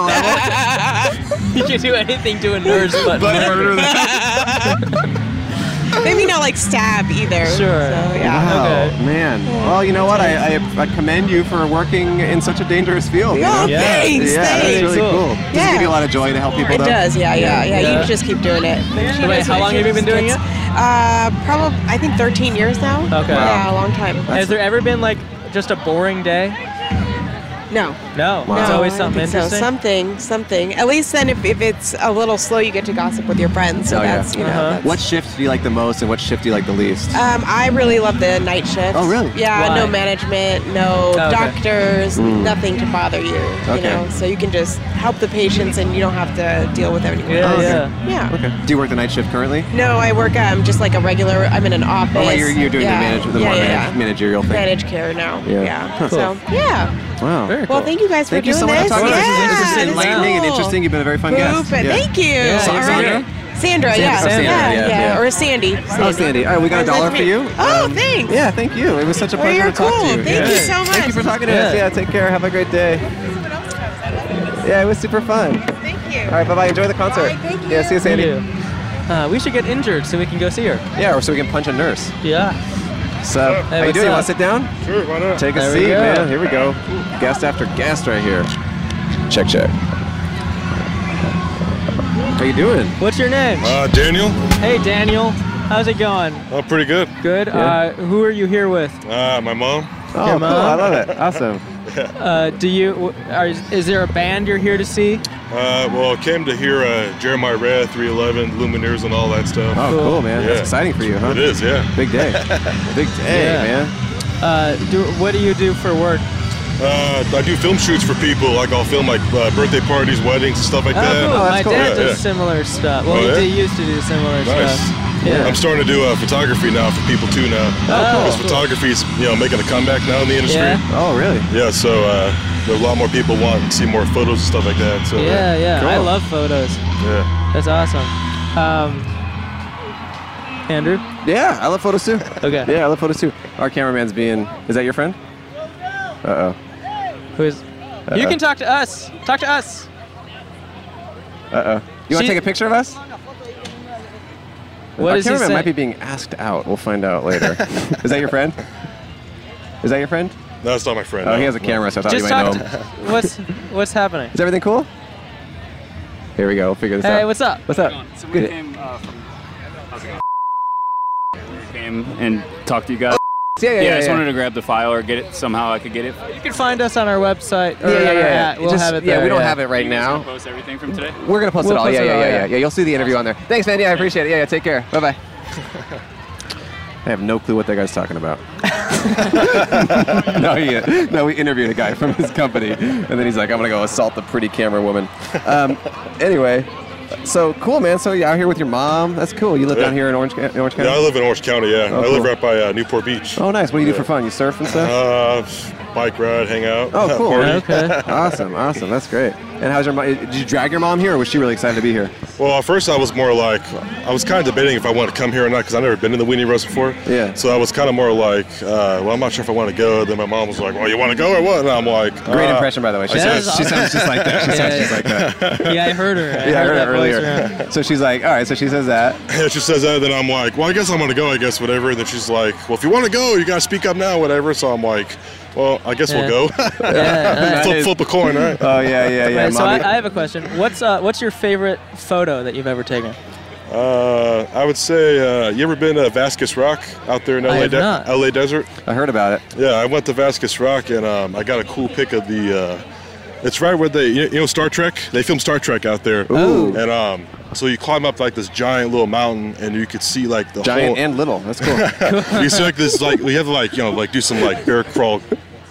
[SPEAKER 1] you can do anything to a nurse but, murder.
[SPEAKER 5] Maybe not like stab either. Sure. So, yeah.
[SPEAKER 2] Wow, man. Well, you know what? I, I, I commend you for working in such a dangerous field. you
[SPEAKER 5] Oh,
[SPEAKER 2] know?
[SPEAKER 5] thanks,
[SPEAKER 2] Yeah, that's
[SPEAKER 5] thanks.
[SPEAKER 2] really cool.
[SPEAKER 5] Cool.
[SPEAKER 2] Does it give
[SPEAKER 5] Yeah.
[SPEAKER 2] you a lot of joy to help people,
[SPEAKER 5] It
[SPEAKER 2] though?
[SPEAKER 5] does, yeah, yeah, yeah.
[SPEAKER 2] Yeah.
[SPEAKER 5] You just keep doing it.
[SPEAKER 1] So wait, how long have you been doing it?
[SPEAKER 5] Uh, probably I think 13 years now.
[SPEAKER 1] Okay.
[SPEAKER 5] Yeah, a long time.
[SPEAKER 1] Has there ever been like just a boring day?
[SPEAKER 5] No.
[SPEAKER 1] No.
[SPEAKER 5] No,
[SPEAKER 1] It's always
[SPEAKER 5] I
[SPEAKER 1] something
[SPEAKER 5] think so.
[SPEAKER 1] interesting.
[SPEAKER 5] Something, something. At least then, if, if it's a little slow, you get to gossip with your friends. So
[SPEAKER 2] oh,
[SPEAKER 5] that's,
[SPEAKER 2] yeah.
[SPEAKER 5] you know.
[SPEAKER 1] Uh-huh.
[SPEAKER 5] that's-
[SPEAKER 2] What shift do you like the most, and what shift do you like the least?
[SPEAKER 5] Um, I really love the night shift.
[SPEAKER 2] Oh, really?
[SPEAKER 5] Yeah,
[SPEAKER 2] Why? Oh,
[SPEAKER 5] no management, no
[SPEAKER 2] okay.
[SPEAKER 5] doctors,
[SPEAKER 2] Mm.
[SPEAKER 5] nothing to bother you.
[SPEAKER 2] Okay.
[SPEAKER 5] You know, so you can just help the patients and you don't have to deal with anyone.
[SPEAKER 2] Oh,
[SPEAKER 5] else.
[SPEAKER 2] okay.
[SPEAKER 5] Yeah.
[SPEAKER 2] Okay. Do you work the night shift currently?
[SPEAKER 5] No, I work um, just like a regular. I'm in an office.
[SPEAKER 2] Oh, wait, you're, you're doing
[SPEAKER 5] Yeah.
[SPEAKER 2] the, manage- the
[SPEAKER 5] yeah,
[SPEAKER 2] more
[SPEAKER 5] yeah,
[SPEAKER 2] manage-
[SPEAKER 5] yeah.
[SPEAKER 2] managerial thing.
[SPEAKER 5] Managed care now.
[SPEAKER 2] Yeah.
[SPEAKER 5] Yeah.
[SPEAKER 2] Cool.
[SPEAKER 5] So yeah.
[SPEAKER 2] Wow. Very
[SPEAKER 5] Well, thank you guys for
[SPEAKER 2] Thank you
[SPEAKER 5] doing
[SPEAKER 2] so much
[SPEAKER 5] this.
[SPEAKER 2] for talking to us. This is
[SPEAKER 5] Yeah,
[SPEAKER 2] interesting,
[SPEAKER 5] this is
[SPEAKER 2] enlightening, and
[SPEAKER 5] cool.
[SPEAKER 2] interesting. You've been a very fun
[SPEAKER 5] Boop
[SPEAKER 2] guest.
[SPEAKER 5] it.
[SPEAKER 2] Yeah.
[SPEAKER 5] Thank you.
[SPEAKER 2] Yeah,
[SPEAKER 5] All right.
[SPEAKER 2] Sandra?
[SPEAKER 5] Sandra,
[SPEAKER 2] Sandra,
[SPEAKER 5] yeah.
[SPEAKER 2] Sandra,
[SPEAKER 5] yeah,
[SPEAKER 2] yeah, yeah.
[SPEAKER 5] Or Sandy.
[SPEAKER 2] Oh, Sandy. All right, we got a
[SPEAKER 5] Nice
[SPEAKER 2] dollar
[SPEAKER 5] to
[SPEAKER 2] for
[SPEAKER 5] meet-
[SPEAKER 2] you. Um,
[SPEAKER 5] Oh, thanks.
[SPEAKER 2] Yeah, thank you. It was such a
[SPEAKER 5] Well,
[SPEAKER 2] pleasure
[SPEAKER 5] you're
[SPEAKER 2] to talk
[SPEAKER 5] cool.
[SPEAKER 2] to you.
[SPEAKER 5] Thank you
[SPEAKER 2] Yeah.
[SPEAKER 5] so much.
[SPEAKER 2] you for talking to us. Yeah, take care. Have a great day. Yeah, it was super fun.
[SPEAKER 5] Thank you.
[SPEAKER 2] All right, bye bye. Enjoy the concert. Yeah, see you, Sandy.
[SPEAKER 1] Uh, we should get injured so we can go see her.
[SPEAKER 2] Yeah, or so we can punch a nurse.
[SPEAKER 1] Yeah.
[SPEAKER 2] So, how you
[SPEAKER 1] what's
[SPEAKER 2] doing? You
[SPEAKER 1] up?
[SPEAKER 2] want to sit down?
[SPEAKER 19] Sure, why not?
[SPEAKER 2] Take a
[SPEAKER 1] There we
[SPEAKER 2] seat,
[SPEAKER 1] go.
[SPEAKER 2] man. Here we go. Guest after guest right here. Check, check. How you doing?
[SPEAKER 1] What's your name?
[SPEAKER 19] Uh, Daniel.
[SPEAKER 1] Hey, Daniel. How's it going?
[SPEAKER 19] Oh, pretty good.
[SPEAKER 1] Good. Uh, who are you here with?
[SPEAKER 19] Uh, my mom.
[SPEAKER 1] Oh, Your cool. mom? I love it.
[SPEAKER 2] Awesome.
[SPEAKER 1] Uh, do you? w- Are, is there a band you're here to see?
[SPEAKER 19] Uh, well, came to hear uh, Jeremiah Red, 311, Lumineers, and all that stuff.
[SPEAKER 2] Oh, cool, man. That's exciting for you, huh?
[SPEAKER 19] It is, yeah.
[SPEAKER 2] Big day. Big day,
[SPEAKER 19] Yeah.
[SPEAKER 2] man.
[SPEAKER 1] Uh, do, what do you do for work?
[SPEAKER 19] Uh, I do film shoots for people. Like I'll film like uh, birthday parties, weddings, and stuff like
[SPEAKER 1] oh,
[SPEAKER 19] that.
[SPEAKER 1] cool. My dad
[SPEAKER 19] Yeah,
[SPEAKER 1] does
[SPEAKER 19] yeah.
[SPEAKER 1] similar stuff. Well,
[SPEAKER 19] Oh,
[SPEAKER 1] he
[SPEAKER 19] yeah?
[SPEAKER 1] did, used to do similar
[SPEAKER 2] uh,
[SPEAKER 19] Nice.
[SPEAKER 1] stuff.
[SPEAKER 19] I'm starting to do uh, photography now for people too now.
[SPEAKER 1] Oh,
[SPEAKER 19] Because
[SPEAKER 1] cool.
[SPEAKER 19] photography's you know making a comeback now in the industry.
[SPEAKER 1] Yeah.
[SPEAKER 2] Oh, really?
[SPEAKER 19] Yeah. So uh, there are a lot more people want to see more photos and stuff like that. So
[SPEAKER 1] Yeah, yeah. I love photos.
[SPEAKER 19] Yeah.
[SPEAKER 1] That's awesome. Um, Andrew?
[SPEAKER 2] Yeah, I love photos too.
[SPEAKER 1] Okay.
[SPEAKER 2] Yeah, I love photos too. Our cameraman's being. Is that your friend? Uh oh.
[SPEAKER 1] Who is? You can talk to us. Talk to us.
[SPEAKER 2] Uh oh. You want
[SPEAKER 1] She-
[SPEAKER 2] to take a picture of us?
[SPEAKER 1] What
[SPEAKER 2] Our
[SPEAKER 1] does he
[SPEAKER 2] cameraman
[SPEAKER 1] say?
[SPEAKER 2] might be being asked out. We'll find out later. is that your friend? Is that your friend?
[SPEAKER 19] No, it's not my friend.
[SPEAKER 2] Oh,
[SPEAKER 19] no.
[SPEAKER 2] he has a camera, so I thought
[SPEAKER 1] Just
[SPEAKER 2] you might know
[SPEAKER 1] talk.
[SPEAKER 2] him.
[SPEAKER 1] To, what's What's happening?
[SPEAKER 2] Is everything cool? Here we go. We'll figure this out.
[SPEAKER 1] Hey, what's up?
[SPEAKER 2] What's up?
[SPEAKER 20] So we came uh, from. How's it going? We came and talked to you guys.
[SPEAKER 2] Yeah, yeah,
[SPEAKER 20] yeah.
[SPEAKER 2] yeah,
[SPEAKER 20] I just
[SPEAKER 2] yeah.
[SPEAKER 20] wanted to grab the file or get it somehow. I could get it.
[SPEAKER 1] You can find us on our website. Or
[SPEAKER 2] Yeah, yeah,
[SPEAKER 1] on our
[SPEAKER 2] yeah.
[SPEAKER 1] At. We'll
[SPEAKER 2] Just-
[SPEAKER 1] have it
[SPEAKER 2] yeah,
[SPEAKER 1] there.
[SPEAKER 2] we don't have it right
[SPEAKER 20] You guys
[SPEAKER 2] now.
[SPEAKER 20] gonna Post everything from today.
[SPEAKER 2] We're gonna post
[SPEAKER 1] We'll
[SPEAKER 2] it all.
[SPEAKER 1] post
[SPEAKER 2] yeah,
[SPEAKER 1] it
[SPEAKER 2] yeah,
[SPEAKER 1] all,
[SPEAKER 2] yeah,
[SPEAKER 1] yeah.
[SPEAKER 2] yeah, yeah. You'll see the interview on there. Thanks, man. Yeah, I appreciate it. Yeah, yeah. Take care. Bye, bye. I have no clue what that guy's talking about. no, he, no, we interviewed a guy from his company, and then he's like, "I'm gonna go assault the pretty camera woman." Um, anyway, so cool, man. So you're out here with your mom. That's cool. You live down here in Orange, Ca- Orange County.
[SPEAKER 19] Yeah, I live in Orange County. Yeah,
[SPEAKER 2] Oh,
[SPEAKER 19] I live
[SPEAKER 2] cool.
[SPEAKER 19] right by uh, Newport Beach.
[SPEAKER 2] Oh, nice. What do you do for fun? You surf and stuff?
[SPEAKER 19] Uh, bike ride, hang out.
[SPEAKER 2] Oh, cool.
[SPEAKER 19] party.
[SPEAKER 2] awesome, awesome. That's great. And how's your mom? Did you drag your mom here, or was she really excited to be here?
[SPEAKER 19] Well, at first I was more like, I was kind of debating if I wanted to come here or not because I've never been to the Weenie Roast before.
[SPEAKER 2] Yeah.
[SPEAKER 19] So I was kind of more like, uh, well, I'm not sure if I want to go. Then my mom was like, well, you want to go or what? And I'm like,
[SPEAKER 2] Great
[SPEAKER 19] uh,
[SPEAKER 2] impression, by the way. She,
[SPEAKER 19] I
[SPEAKER 2] sounds,
[SPEAKER 19] guess.
[SPEAKER 2] she sounds just like that. She sounds
[SPEAKER 19] Yeah,
[SPEAKER 2] just like that.
[SPEAKER 1] Yeah, I heard her. I
[SPEAKER 2] yeah, I
[SPEAKER 1] heard
[SPEAKER 2] heard
[SPEAKER 1] that
[SPEAKER 2] it
[SPEAKER 1] voice
[SPEAKER 2] earlier. So she's like, all right, so she says that.
[SPEAKER 19] Yeah, she says that, then I'm like, well, I guess I'm gonna go, I guess, whatever. And then she's like, well, if you want to go, you gotta speak up now, whatever. So I'm like, well, I guess we'll go.
[SPEAKER 1] Yeah,
[SPEAKER 19] flip,
[SPEAKER 1] nice.
[SPEAKER 19] flip a coin, right?
[SPEAKER 2] Oh yeah, yeah,
[SPEAKER 1] Right, so I, I have a question. What's uh, What's your favorite photo that you've ever taken?
[SPEAKER 19] uh, I would say, uh, you ever been to Vasquez Rock out there in LA,
[SPEAKER 1] I have
[SPEAKER 19] de-
[SPEAKER 1] not.
[SPEAKER 19] LA desert?
[SPEAKER 2] I heard about it.
[SPEAKER 19] Yeah, I went to Vasquez Rock and um, I got a cool pic of the. Uh, it's right where they, you you know, Star Trek. They filmed Star Trek out there.
[SPEAKER 2] Ooh.
[SPEAKER 19] And um, so you climb up like this giant little mountain, and you could see like the
[SPEAKER 2] Giant
[SPEAKER 19] whole,
[SPEAKER 2] and little. That's cool.
[SPEAKER 19] you see like this like we have to like you know like do some like bear crawl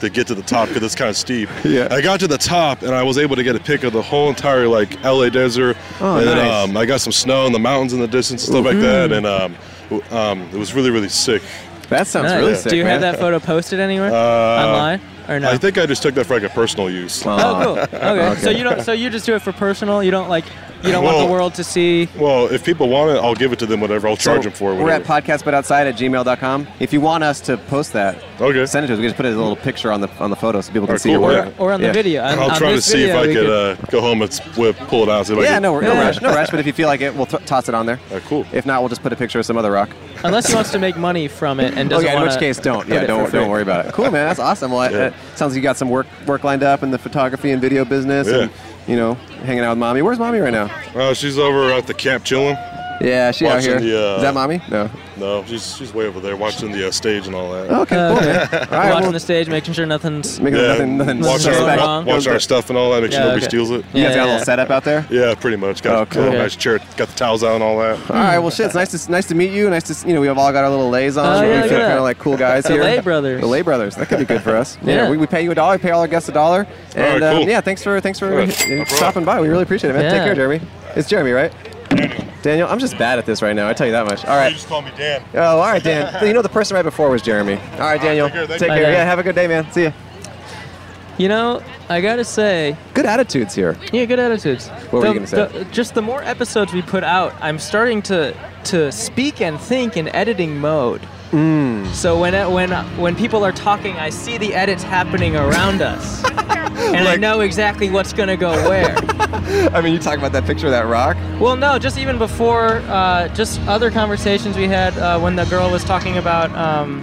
[SPEAKER 19] to get to the top because it's kind of steep. Yeah. I got to the top and I was able to get a pic of the whole entire like LA desert.
[SPEAKER 2] Oh,
[SPEAKER 19] and then,
[SPEAKER 21] uh,
[SPEAKER 2] nice. Mm-hmm.
[SPEAKER 19] um, I got some snow and the mountains in the distance and stuff like that. And um, w- um, it was really really sick. Uh,
[SPEAKER 2] That
[SPEAKER 1] Nice. Do you have that photo posted anywhere? Online or no?
[SPEAKER 19] I think I just took that for like a personal use.
[SPEAKER 1] Oh, cool. Okay. So you don't. So you just do it for personal. You don't like. You don't want the world to see.
[SPEAKER 19] Well, if people want it, I'll give it to them. Whatever, I'll charge them for it.
[SPEAKER 2] We're at
[SPEAKER 19] Whatever.
[SPEAKER 2] podcastbutoutside at gmail.com. If you want us to post that,
[SPEAKER 19] okay.
[SPEAKER 2] send it to us. We can just put a little picture on the on the photo so people can
[SPEAKER 19] All right,
[SPEAKER 2] see
[SPEAKER 19] cool,
[SPEAKER 2] your
[SPEAKER 19] yeah.
[SPEAKER 2] work.
[SPEAKER 1] Or on the
[SPEAKER 2] Yeah.
[SPEAKER 1] video. On-
[SPEAKER 19] I'll
[SPEAKER 1] on
[SPEAKER 19] try to
[SPEAKER 1] this
[SPEAKER 19] see if
[SPEAKER 1] video
[SPEAKER 19] I
[SPEAKER 1] we
[SPEAKER 19] could,
[SPEAKER 1] could-
[SPEAKER 19] uh, go home and s- whip- pull it out. See if I
[SPEAKER 2] Yeah,
[SPEAKER 19] could-
[SPEAKER 2] no, no rush, no rush. But if you feel like it, we'll t- toss it on there.
[SPEAKER 19] cool.
[SPEAKER 2] If not, we'll just put a picture of some other rock.
[SPEAKER 1] Unless he wants to make money from it and
[SPEAKER 2] Oh
[SPEAKER 1] doesn't
[SPEAKER 2] yeah, in
[SPEAKER 1] want
[SPEAKER 2] which case, don't. Yeah, don't don't worry about it. Cool, man. That's awesome. Well, it, it sounds like you got some work work lined up in the photography and video business, and you know, hanging out with mommy. Where's mommy right now?
[SPEAKER 19] Uh, she's over at the camp chilling.
[SPEAKER 2] Yeah, she out here.
[SPEAKER 19] Watching the, uh,
[SPEAKER 2] Is that mommy? No.
[SPEAKER 19] No, she's she's way over there watching the uh, stage and all that.
[SPEAKER 2] Okay,
[SPEAKER 22] Uh,
[SPEAKER 2] cool, man. All right,
[SPEAKER 1] watching
[SPEAKER 2] well-
[SPEAKER 1] the stage, making sure nothing's
[SPEAKER 2] Making
[SPEAKER 19] Yeah,
[SPEAKER 2] nothing, nothing
[SPEAKER 19] watch
[SPEAKER 2] suspect.
[SPEAKER 19] our, wa- watch our stuff and all that. Make sure
[SPEAKER 2] Yeah,
[SPEAKER 19] nobody
[SPEAKER 2] okay.
[SPEAKER 19] steals it.
[SPEAKER 2] You guys got a little setup out there.
[SPEAKER 19] Yeah, pretty much. Got a little nice chair. Got the towels out and all that.
[SPEAKER 2] All right, well, shit. It's nice to nice to meet you. Nice to s- you know we've all got our little lays on.
[SPEAKER 19] Oh, yeah,
[SPEAKER 2] we
[SPEAKER 19] look at
[SPEAKER 2] feel
[SPEAKER 19] that.
[SPEAKER 2] kind of like cool guys
[SPEAKER 19] The
[SPEAKER 2] here.
[SPEAKER 19] Lay
[SPEAKER 1] brothers.
[SPEAKER 2] The lay brothers. That could be good for us. Yeah,
[SPEAKER 1] Yeah.
[SPEAKER 2] We, we pay you a dollar. We pay all our guests a dollar.
[SPEAKER 1] All right,
[SPEAKER 2] And um,
[SPEAKER 1] cool.
[SPEAKER 2] yeah, thanks for thanks for
[SPEAKER 1] All right,
[SPEAKER 2] uh,
[SPEAKER 1] no problem.
[SPEAKER 2] stopping by. We really appreciate it, man. Take
[SPEAKER 1] Yeah.
[SPEAKER 2] care, Jeremy. It's Jeremy, right? Daniel. Daniel, I'm just bad at this right now. I tell you that much. All right.
[SPEAKER 19] You just call me Dan.
[SPEAKER 2] Oh, all right, Dan. you know the person right before was Jeremy. All right, Daniel.
[SPEAKER 1] take care, thank
[SPEAKER 2] Take
[SPEAKER 1] you.
[SPEAKER 2] care.
[SPEAKER 1] Bye, Dan.
[SPEAKER 2] Yeah, have a good day, man. See ya.
[SPEAKER 1] You know, I gotta say,
[SPEAKER 2] good attitudes here.
[SPEAKER 1] Yeah, good attitudes.
[SPEAKER 2] What were you
[SPEAKER 1] The-
[SPEAKER 2] gonna say?
[SPEAKER 1] the- just the more episodes we put out, I'm starting to to speak and think in editing mode.
[SPEAKER 2] Hmm.
[SPEAKER 22] So when it, when when people are talking, I see the edits happening around us, and I know exactly what's gonna go where.
[SPEAKER 2] I mean, you talk about that picture of that rock.
[SPEAKER 22] Well, no, just even before, uh, just other conversations we had uh, when the girl was talking about. Um,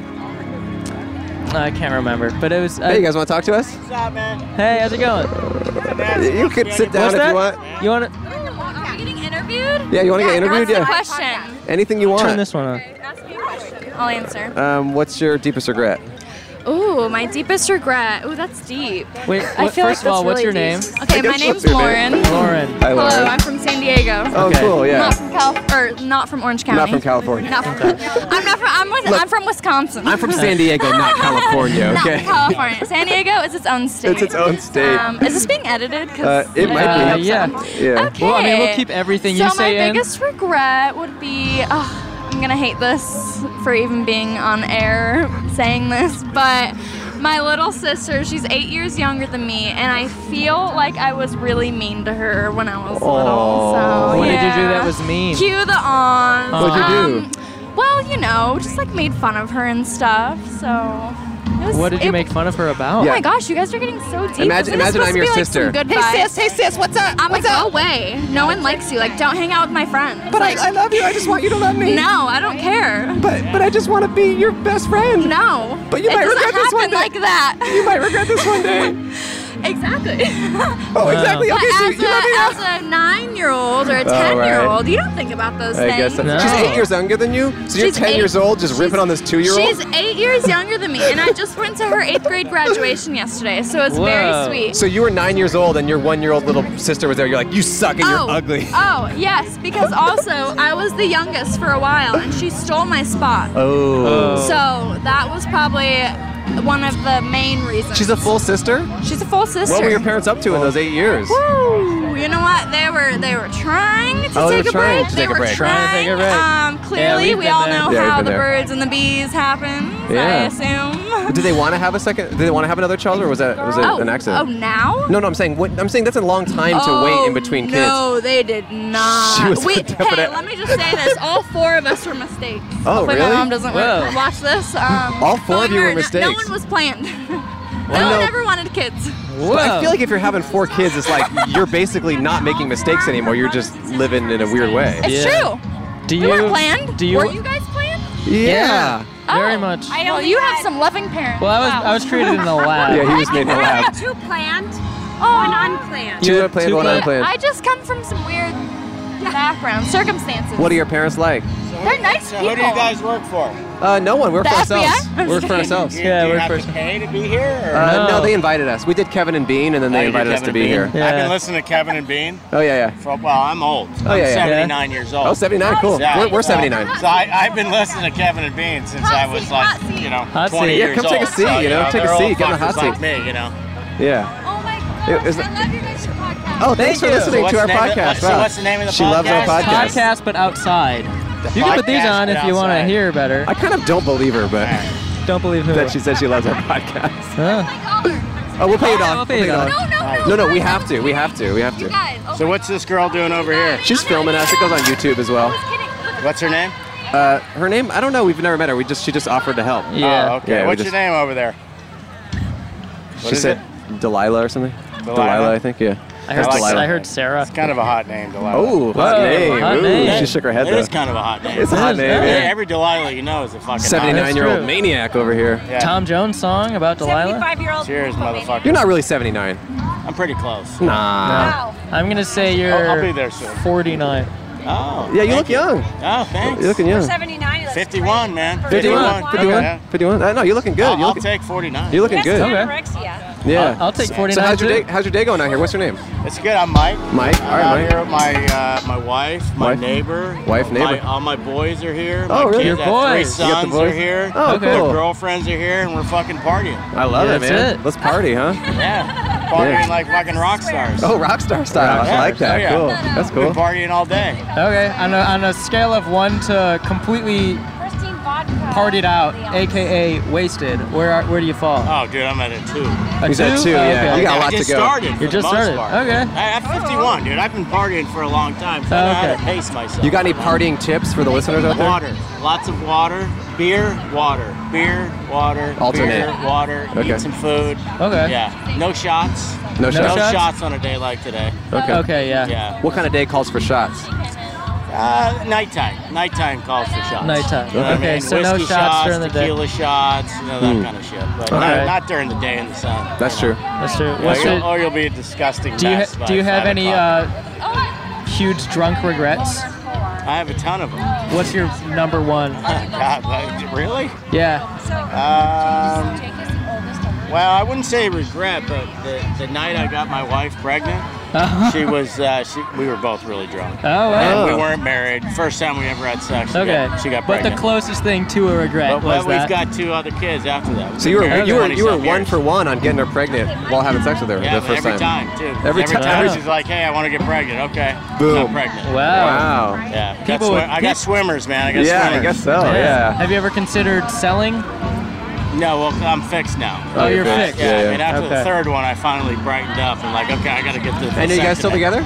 [SPEAKER 22] I can't remember, but it was. Uh,
[SPEAKER 2] Hey, you guys want to talk to us?
[SPEAKER 22] What's up, man? Hey, how's it going?
[SPEAKER 2] You could sit down
[SPEAKER 22] What's
[SPEAKER 2] if
[SPEAKER 22] that?
[SPEAKER 2] you want.
[SPEAKER 22] You want to?
[SPEAKER 23] Are we getting interviewed?
[SPEAKER 2] Yeah, you want to get interviewed?
[SPEAKER 23] That's
[SPEAKER 2] Yeah.
[SPEAKER 23] the question.
[SPEAKER 2] Anything you want.
[SPEAKER 22] Turn this one on.
[SPEAKER 23] I'll answer.
[SPEAKER 2] Um, what's your deepest regret?
[SPEAKER 23] Ooh, my deepest regret. Ooh, that's deep.
[SPEAKER 2] Wait,
[SPEAKER 23] I
[SPEAKER 2] what-
[SPEAKER 23] feel
[SPEAKER 2] first
[SPEAKER 23] like
[SPEAKER 2] of
[SPEAKER 23] that's
[SPEAKER 2] all, what's
[SPEAKER 23] really
[SPEAKER 2] your name?
[SPEAKER 23] deep. Okay, my
[SPEAKER 2] What's
[SPEAKER 23] name's
[SPEAKER 2] your name?
[SPEAKER 23] Lauren.
[SPEAKER 2] Lauren. Hi,
[SPEAKER 23] Hello,
[SPEAKER 2] Lauren.
[SPEAKER 23] I'm from San Diego.
[SPEAKER 2] Oh, Okay. cool, yeah.
[SPEAKER 23] Not from Cal, or not from Orange County.
[SPEAKER 2] Not from California.
[SPEAKER 23] Not from. I'm not from. I'm, with,
[SPEAKER 2] Look.
[SPEAKER 23] I'm from Wisconsin.
[SPEAKER 2] I'm from San Diego, not California.
[SPEAKER 23] Not
[SPEAKER 2] Okay.
[SPEAKER 23] from California. San Diego is its own state.
[SPEAKER 2] It's its own state.
[SPEAKER 23] Um, is this being edited? 'Cause
[SPEAKER 2] Uh, it might
[SPEAKER 23] I
[SPEAKER 2] be.
[SPEAKER 23] hope so.
[SPEAKER 2] Yeah.
[SPEAKER 23] Okay. so my
[SPEAKER 2] in.
[SPEAKER 23] biggest regret would be, oh, I'm gonna hate this for even being on air saying this, but my little sister, she's eight years younger than me, and I feel like I was really mean to her when I was little. So
[SPEAKER 22] what did you do
[SPEAKER 23] yeah.
[SPEAKER 22] that was mean?
[SPEAKER 23] Cue the on.
[SPEAKER 22] What'd you do?
[SPEAKER 23] um, well, you know, just like made fun of her and stuff. So. It was,
[SPEAKER 22] um, what did you
[SPEAKER 23] it-
[SPEAKER 22] make fun of her about?
[SPEAKER 23] Oh my gosh, you guys are getting so deep.
[SPEAKER 22] Imagine-
[SPEAKER 23] Isn't
[SPEAKER 22] imagine
[SPEAKER 23] this supposed
[SPEAKER 22] I'm
[SPEAKER 23] to
[SPEAKER 22] your
[SPEAKER 23] be, like,
[SPEAKER 22] sister.
[SPEAKER 23] some Good
[SPEAKER 17] Hey, sis,
[SPEAKER 23] hey sis, what's up? I'm like, go away. No one likes you. Like, don't hang out with my friends.
[SPEAKER 17] But I-
[SPEAKER 23] Like-
[SPEAKER 17] I love you. I just want you to love me.
[SPEAKER 23] No, I don't care.
[SPEAKER 17] But- but I just
[SPEAKER 23] want to be your best friend. No.
[SPEAKER 17] But you
[SPEAKER 23] It
[SPEAKER 17] might
[SPEAKER 23] doesn't
[SPEAKER 17] regret this one
[SPEAKER 23] happen like that. You might regret this one day. exactly.
[SPEAKER 2] Oh, exactly.
[SPEAKER 23] But
[SPEAKER 2] Okay, so
[SPEAKER 23] as,
[SPEAKER 2] you love me
[SPEAKER 23] a,
[SPEAKER 2] now.
[SPEAKER 23] as a nine-year-old or a
[SPEAKER 2] Oh, right.
[SPEAKER 23] ten-year-old, you don't think about those
[SPEAKER 2] I
[SPEAKER 23] things.
[SPEAKER 2] guess that's, she's eight years younger than you, so you're
[SPEAKER 23] She's
[SPEAKER 2] ten
[SPEAKER 23] eight.
[SPEAKER 2] years old, just ripping on this two-year-old.
[SPEAKER 23] She's eight years younger than me, and I just went to her eighth grade graduation yesterday, so it's very sweet.
[SPEAKER 2] So you were nine years old, and your one-year-old little sister was there. You're like, you suck, and
[SPEAKER 23] Oh,
[SPEAKER 2] you're ugly.
[SPEAKER 23] Oh, yes, because also I was the youngest for a while and she stole my spot.
[SPEAKER 2] Oh.
[SPEAKER 23] So that was probably one of the main reasons.
[SPEAKER 2] she's a full sister.
[SPEAKER 23] She's a full sister.
[SPEAKER 2] What were your parents up to in those eight years?
[SPEAKER 23] Woo! You know what? They were they were trying to
[SPEAKER 2] Oh, they
[SPEAKER 23] take
[SPEAKER 2] were
[SPEAKER 23] a
[SPEAKER 2] trying
[SPEAKER 23] break.
[SPEAKER 2] to
[SPEAKER 23] they
[SPEAKER 2] take a
[SPEAKER 23] were
[SPEAKER 2] break. Trying
[SPEAKER 23] trying.
[SPEAKER 2] to take a break.
[SPEAKER 23] Um,
[SPEAKER 2] Yeah,
[SPEAKER 23] clearly,
[SPEAKER 2] we've
[SPEAKER 23] we
[SPEAKER 2] been
[SPEAKER 23] all
[SPEAKER 2] there.
[SPEAKER 23] know
[SPEAKER 2] Yeah, we've
[SPEAKER 23] how
[SPEAKER 2] been
[SPEAKER 23] the
[SPEAKER 2] there.
[SPEAKER 23] birds and the bees happen. I
[SPEAKER 2] Yeah.
[SPEAKER 23] assume.
[SPEAKER 2] Did they want to have a second? Did they want to have another child, or was that was it
[SPEAKER 23] um, oh,
[SPEAKER 2] an accident?
[SPEAKER 23] Oh, now?
[SPEAKER 2] No, no, I'm saying what, I'm saying that's a long time to wait in between kids.
[SPEAKER 23] Oh, No, they did not.
[SPEAKER 2] She was
[SPEAKER 23] we,
[SPEAKER 2] a
[SPEAKER 23] hey,
[SPEAKER 2] definite-
[SPEAKER 23] let me just say this: all four of us were mistakes.
[SPEAKER 2] Oh,
[SPEAKER 23] Hopefully
[SPEAKER 2] really?
[SPEAKER 23] My mom doesn't
[SPEAKER 2] Whoa.
[SPEAKER 23] watch this. Um,
[SPEAKER 2] All four
[SPEAKER 23] but
[SPEAKER 2] of
[SPEAKER 23] we
[SPEAKER 2] you were
[SPEAKER 23] no- No
[SPEAKER 2] mistakes.
[SPEAKER 23] one was planned.
[SPEAKER 2] Well,
[SPEAKER 23] no
[SPEAKER 2] no.
[SPEAKER 23] one ever wanted kids.
[SPEAKER 2] But I feel like if you're having four kids, it's like you're basically not making mistakes anymore. You're just living in a weird way.
[SPEAKER 23] It's true.
[SPEAKER 2] Do
[SPEAKER 23] we weren't planned.
[SPEAKER 2] do you-
[SPEAKER 23] Were you Oh. guys planned?
[SPEAKER 2] Yeah.
[SPEAKER 23] Very much. well, you have some loving parents.
[SPEAKER 1] Well, I was I was treated in the lab.
[SPEAKER 2] Yeah, he was made in the lab.
[SPEAKER 23] two planned, one unplanned.
[SPEAKER 2] Two unplanned, one unplanned.
[SPEAKER 23] I just come from some weird background circumstances.
[SPEAKER 2] What are your parents like?
[SPEAKER 23] They're nice people.
[SPEAKER 18] work for?
[SPEAKER 2] Uh, no one. We're
[SPEAKER 23] The
[SPEAKER 2] for
[SPEAKER 23] FBI?
[SPEAKER 2] ourselves.
[SPEAKER 23] I'm
[SPEAKER 2] We're
[SPEAKER 23] just
[SPEAKER 2] for
[SPEAKER 23] kidding.
[SPEAKER 2] ourselves.
[SPEAKER 18] Do you- do you have to pay to be here? Or?
[SPEAKER 2] Uh, no. they invited us. We did Kevin and Bean, and then
[SPEAKER 18] Oh,
[SPEAKER 2] they
[SPEAKER 18] you did
[SPEAKER 2] invited us
[SPEAKER 18] Kevin
[SPEAKER 2] to
[SPEAKER 18] and
[SPEAKER 2] be
[SPEAKER 18] Bean?
[SPEAKER 2] here.
[SPEAKER 18] I've been listening to Kevin and Bean.
[SPEAKER 2] Oh yeah, yeah.
[SPEAKER 18] For, well, I'm old.
[SPEAKER 2] Oh,
[SPEAKER 18] I'm
[SPEAKER 2] yeah, yeah.
[SPEAKER 18] 79 years old.
[SPEAKER 2] Oh, 79, cool.
[SPEAKER 18] Yeah,
[SPEAKER 2] We're- we're 79.
[SPEAKER 18] So I, I've been listening to Kevin and Bean since I was like, you know,
[SPEAKER 2] Hot
[SPEAKER 18] 20
[SPEAKER 2] seat. Yeah,
[SPEAKER 18] years
[SPEAKER 2] come
[SPEAKER 18] old.
[SPEAKER 2] take a seat,
[SPEAKER 18] So,
[SPEAKER 2] you know, take a
[SPEAKER 18] they're old
[SPEAKER 2] seat, get on the hot
[SPEAKER 18] fuckers Like
[SPEAKER 2] seat.
[SPEAKER 18] me, you know.
[SPEAKER 2] Yeah.
[SPEAKER 23] Oh my
[SPEAKER 2] It was- Oh,
[SPEAKER 22] Thank
[SPEAKER 2] thanks for
[SPEAKER 22] you.
[SPEAKER 2] listening
[SPEAKER 22] What's
[SPEAKER 2] to our
[SPEAKER 22] the name of-
[SPEAKER 2] podcast.
[SPEAKER 22] so
[SPEAKER 2] Wow.
[SPEAKER 22] what's the name of the
[SPEAKER 2] she loves our podcast.
[SPEAKER 22] Podcast, but outside. you can put these
[SPEAKER 2] podcast,
[SPEAKER 22] on
[SPEAKER 2] but
[SPEAKER 22] if you want to
[SPEAKER 2] outside.
[SPEAKER 22] hear better.
[SPEAKER 2] I kind of don't believe her, but
[SPEAKER 22] don't believe her
[SPEAKER 2] that she said she loves our podcast. Oh, we'll pay it off.
[SPEAKER 18] We'll pay it
[SPEAKER 2] We'll
[SPEAKER 18] off.
[SPEAKER 2] No, no, oh no. We have to. We have to. We have to.
[SPEAKER 18] So what's this girl doing over here?
[SPEAKER 2] She's filming us. It goes on YouTube as well.
[SPEAKER 18] What's her name?
[SPEAKER 2] Uh, her name? I don't know. We've never met her. We just she just offered to help.
[SPEAKER 18] Oh, okay.
[SPEAKER 2] we
[SPEAKER 18] What's
[SPEAKER 2] just-
[SPEAKER 18] your name over there? What
[SPEAKER 2] she
[SPEAKER 18] is
[SPEAKER 2] said Delilah or something.
[SPEAKER 18] Delilah?
[SPEAKER 2] I think. Yeah.
[SPEAKER 18] I heard-
[SPEAKER 2] That's Delilah.
[SPEAKER 18] I heard
[SPEAKER 22] Sarah.
[SPEAKER 18] It's kind of a hot name, Delilah.
[SPEAKER 2] Oh, hot Whoa, name. hot Ooh, name. she shook her head
[SPEAKER 18] It
[SPEAKER 2] though.
[SPEAKER 18] is kind of a hot name.
[SPEAKER 2] It's a hot It is, name, yeah. yeah.
[SPEAKER 18] Every Delilah you know is a fucking. hot
[SPEAKER 2] 79 year
[SPEAKER 18] name.
[SPEAKER 2] old maniac over here.
[SPEAKER 22] Tom Jones song about Delilah.
[SPEAKER 18] year old. Cheers, motherfucker.
[SPEAKER 2] You're not really 79.
[SPEAKER 18] I'm pretty close.
[SPEAKER 2] Nah.
[SPEAKER 22] I'm gonna say you're.
[SPEAKER 18] I'll- I'll be there soon.
[SPEAKER 22] 49.
[SPEAKER 18] Oh.
[SPEAKER 2] Yeah, you look young.
[SPEAKER 18] Oh, thanks.
[SPEAKER 2] You're looking young.
[SPEAKER 18] 79. 51, man.
[SPEAKER 2] 51. 51. 51. Uh, no, you're looking good.
[SPEAKER 18] I'll,
[SPEAKER 2] you're
[SPEAKER 18] I'll
[SPEAKER 2] looking,
[SPEAKER 18] take 49.
[SPEAKER 2] You're looking good.
[SPEAKER 18] anorexia.
[SPEAKER 2] Yeah.
[SPEAKER 18] I'll- I'll take
[SPEAKER 2] So
[SPEAKER 18] 49
[SPEAKER 2] how's your
[SPEAKER 18] too.
[SPEAKER 2] day? How's your day going out here? What's your name?
[SPEAKER 18] It's good. I'm Mike.
[SPEAKER 2] Mike.
[SPEAKER 18] I'm
[SPEAKER 2] All right,
[SPEAKER 18] out
[SPEAKER 2] Mike.
[SPEAKER 18] here with my uh, my wife, my
[SPEAKER 2] Wife.
[SPEAKER 18] neighbor,
[SPEAKER 2] Wife,
[SPEAKER 18] my-
[SPEAKER 2] neighbor.
[SPEAKER 18] all my boys are here.
[SPEAKER 2] Oh,
[SPEAKER 18] my
[SPEAKER 2] really? Your
[SPEAKER 18] Kids, I have Three
[SPEAKER 2] boys. You got the
[SPEAKER 18] sons are
[SPEAKER 2] boys?
[SPEAKER 18] here.
[SPEAKER 2] Oh, Okay. cool.
[SPEAKER 18] Their girlfriends are here, and we're fucking partying.
[SPEAKER 2] I love it, man. Let's party, huh?
[SPEAKER 18] Yeah, partying
[SPEAKER 2] Yeah.
[SPEAKER 18] like fucking rock stars.
[SPEAKER 2] Oh, rock star style. I like that. Cool. That's
[SPEAKER 18] We've
[SPEAKER 2] cool.
[SPEAKER 18] been partying all day.
[SPEAKER 22] Okay, on a, on a scale of one to completely
[SPEAKER 1] partied out, aka wasted, where are, where do you fall?
[SPEAKER 18] Oh, dude, I'm at a two.
[SPEAKER 1] A He's at two? two, yeah. You got a lot
[SPEAKER 18] I just
[SPEAKER 1] to go.
[SPEAKER 18] Started for
[SPEAKER 1] You
[SPEAKER 18] the
[SPEAKER 1] just
[SPEAKER 18] most
[SPEAKER 1] started.
[SPEAKER 18] part.
[SPEAKER 1] Okay.
[SPEAKER 18] I, I'm 51, dude. I've been partying for a long time, so I know how
[SPEAKER 2] Okay.
[SPEAKER 18] to pace myself.
[SPEAKER 2] You got any partying tips for the listeners out there?
[SPEAKER 18] Water, lots of water, beer, water, beer, water,
[SPEAKER 2] Alternate.
[SPEAKER 18] beer, water.
[SPEAKER 2] Okay.
[SPEAKER 18] Eat some food.
[SPEAKER 2] Okay.
[SPEAKER 18] Yeah. No shots.
[SPEAKER 2] No shots?
[SPEAKER 18] No shots on a day like today.
[SPEAKER 2] Okay.
[SPEAKER 1] Okay, yeah.
[SPEAKER 18] Yeah.
[SPEAKER 2] What kind of day calls for shots?
[SPEAKER 18] Uh, nighttime. Nighttime calls for shots.
[SPEAKER 1] Nighttime.
[SPEAKER 18] You know what I
[SPEAKER 1] Okay,
[SPEAKER 18] mean?
[SPEAKER 1] so no
[SPEAKER 18] Whiskey
[SPEAKER 1] shots during the day.
[SPEAKER 18] Tequila shots, you know that
[SPEAKER 2] Hmm.
[SPEAKER 18] kind of shit. But
[SPEAKER 2] All
[SPEAKER 18] not,
[SPEAKER 2] right.
[SPEAKER 18] not during the day in the sun.
[SPEAKER 2] That's true.
[SPEAKER 1] That's true.
[SPEAKER 18] Yeah,
[SPEAKER 1] What's
[SPEAKER 18] you'll-
[SPEAKER 1] your-
[SPEAKER 18] or you'll be a disgusting
[SPEAKER 1] do you
[SPEAKER 18] mess
[SPEAKER 1] ha-
[SPEAKER 18] by
[SPEAKER 1] do you have
[SPEAKER 18] five
[SPEAKER 1] any
[SPEAKER 18] o'clock.
[SPEAKER 1] uh, huge drunk regrets?
[SPEAKER 18] I have a ton of them.
[SPEAKER 1] What's your number one?
[SPEAKER 18] God, like, really?
[SPEAKER 1] Yeah.
[SPEAKER 18] Um, well, I wouldn't say regret, but the, the night I got my wife pregnant, she was uh, she, we were both really drunk.
[SPEAKER 1] Uh-huh. Oh, wow.
[SPEAKER 18] And we weren't married. First time we ever had sex. She
[SPEAKER 1] Okay.
[SPEAKER 18] got, she got
[SPEAKER 1] but the
[SPEAKER 18] pregnant.
[SPEAKER 1] closest thing to a regret
[SPEAKER 18] but well,
[SPEAKER 1] was that.
[SPEAKER 18] we've got two other kids after that. We've
[SPEAKER 2] So you
[SPEAKER 18] been
[SPEAKER 2] were
[SPEAKER 18] married
[SPEAKER 2] you were you were
[SPEAKER 18] 20-something
[SPEAKER 2] one
[SPEAKER 18] years.
[SPEAKER 2] for one on getting her pregnant while having sex with her
[SPEAKER 18] Yeah,
[SPEAKER 2] the
[SPEAKER 18] but
[SPEAKER 2] first
[SPEAKER 18] every time, too.
[SPEAKER 2] Every time.
[SPEAKER 18] she's like, "Hey, I want to get pregnant." Okay,
[SPEAKER 2] Boom.
[SPEAKER 18] Not pregnant.
[SPEAKER 2] Wow. Wow.
[SPEAKER 18] Yeah. got
[SPEAKER 1] People
[SPEAKER 18] swi-
[SPEAKER 1] with-
[SPEAKER 18] I got
[SPEAKER 1] peop-
[SPEAKER 18] swimmers, man. I got swimmers.
[SPEAKER 1] Have you ever considered selling?
[SPEAKER 18] No, well, I'm fixed now.
[SPEAKER 1] Oh, you're fixed.
[SPEAKER 18] Yeah,
[SPEAKER 1] Yeah,
[SPEAKER 18] and
[SPEAKER 1] yeah.
[SPEAKER 18] after
[SPEAKER 1] Okay.
[SPEAKER 18] the third one, I finally brightened up and like, okay, I gotta get this.
[SPEAKER 2] And are you guys still
[SPEAKER 18] vasectomy.
[SPEAKER 2] together?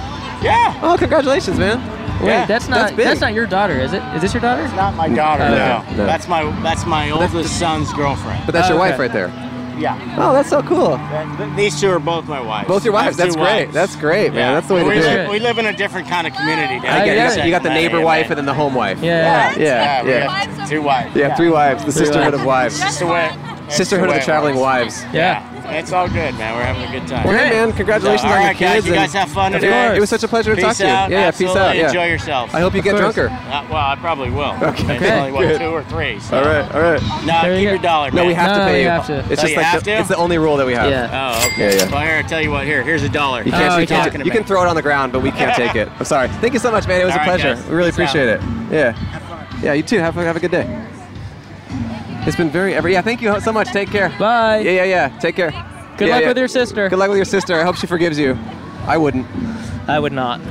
[SPEAKER 18] Yeah.
[SPEAKER 2] Oh, congratulations, man.
[SPEAKER 1] Wait,
[SPEAKER 18] Yeah.
[SPEAKER 1] that's not that's,
[SPEAKER 18] That's big.
[SPEAKER 1] not your daughter, is it? Is this your daughter?
[SPEAKER 18] not my daughter.
[SPEAKER 1] Okay.
[SPEAKER 18] No.
[SPEAKER 1] No.
[SPEAKER 18] that's my that's my oldest son's girlfriend.
[SPEAKER 2] But that's
[SPEAKER 1] Oh,
[SPEAKER 2] your wife right there.
[SPEAKER 18] Yeah.
[SPEAKER 2] Oh, that's so cool.
[SPEAKER 18] Th- th- These two are both my wives.
[SPEAKER 2] Both your
[SPEAKER 18] I
[SPEAKER 2] wives.
[SPEAKER 18] have
[SPEAKER 2] That's
[SPEAKER 18] two
[SPEAKER 2] great.
[SPEAKER 18] wives.
[SPEAKER 2] That's great, man.
[SPEAKER 18] Yeah.
[SPEAKER 2] That's the way
[SPEAKER 18] we
[SPEAKER 2] to do
[SPEAKER 18] live,
[SPEAKER 2] it.
[SPEAKER 18] We live in a different kind of community. down
[SPEAKER 2] I
[SPEAKER 18] here
[SPEAKER 2] get
[SPEAKER 18] in
[SPEAKER 2] it. You got the
[SPEAKER 18] Sacramento,
[SPEAKER 2] neighbor
[SPEAKER 18] and
[SPEAKER 2] wife
[SPEAKER 18] then-
[SPEAKER 2] and then the home wife.
[SPEAKER 1] Yeah.
[SPEAKER 2] Yeah.
[SPEAKER 18] we
[SPEAKER 2] Yeah.
[SPEAKER 18] got two wives.
[SPEAKER 2] Yeah, three wives. The
[SPEAKER 1] Three
[SPEAKER 2] sisterhood
[SPEAKER 1] wives.
[SPEAKER 2] of wives.
[SPEAKER 18] Just the way.
[SPEAKER 2] Sisterhood of the traveling wives.
[SPEAKER 18] Yeah. It's all good, man. We're having a good time.
[SPEAKER 2] Well, hey, man, congratulations
[SPEAKER 18] So,
[SPEAKER 2] on
[SPEAKER 18] all
[SPEAKER 2] your
[SPEAKER 18] right,
[SPEAKER 2] kids.
[SPEAKER 18] guys. You
[SPEAKER 2] and-
[SPEAKER 18] guys have fun
[SPEAKER 2] Of
[SPEAKER 18] today.
[SPEAKER 2] course. It was such a pleasure to
[SPEAKER 18] Peace
[SPEAKER 2] talk to you.
[SPEAKER 18] out.
[SPEAKER 2] Yeah, yeah, peace
[SPEAKER 18] Absolutely.
[SPEAKER 2] out. Yeah.
[SPEAKER 18] Enjoy yourselves.
[SPEAKER 2] I hope you get drunker.
[SPEAKER 18] Uh, well, I probably will.
[SPEAKER 2] Okay.
[SPEAKER 18] Maybe
[SPEAKER 2] Okay,
[SPEAKER 18] only, what,
[SPEAKER 2] good.
[SPEAKER 18] two or three. So.
[SPEAKER 2] All right, all right.
[SPEAKER 18] No, keep your dollar,
[SPEAKER 2] No,
[SPEAKER 18] man.
[SPEAKER 2] we have to pay you. It's
[SPEAKER 18] So
[SPEAKER 2] just
[SPEAKER 18] you
[SPEAKER 2] like
[SPEAKER 18] have
[SPEAKER 2] the,
[SPEAKER 18] to?
[SPEAKER 2] it's the only rule that we have.
[SPEAKER 18] Oh, okay.
[SPEAKER 2] Yeah, yeah.
[SPEAKER 18] Well, here, I tell you what. Here, here's a dollar.
[SPEAKER 2] You can't,
[SPEAKER 18] Stop
[SPEAKER 2] you, can't,
[SPEAKER 18] talking to
[SPEAKER 2] you
[SPEAKER 18] me.
[SPEAKER 2] can throw it on the ground, but we can't take it. I'm sorry. Thank you so much, man. It was
[SPEAKER 18] All
[SPEAKER 2] a
[SPEAKER 18] right,
[SPEAKER 2] pleasure.
[SPEAKER 18] guys.
[SPEAKER 2] We really
[SPEAKER 18] Peace out.
[SPEAKER 2] appreciate it. Yeah. Yeah, you too. Have, a- have a good day. It's been very every. Yeah, thank you so much. Take care.
[SPEAKER 1] Bye.
[SPEAKER 2] Yeah, yeah, yeah. Take care.
[SPEAKER 1] Good
[SPEAKER 2] Yeah,
[SPEAKER 1] luck
[SPEAKER 2] yeah.
[SPEAKER 1] with your sister.
[SPEAKER 2] Good luck with your sister. I hope she forgives you. I wouldn't.
[SPEAKER 1] I would not.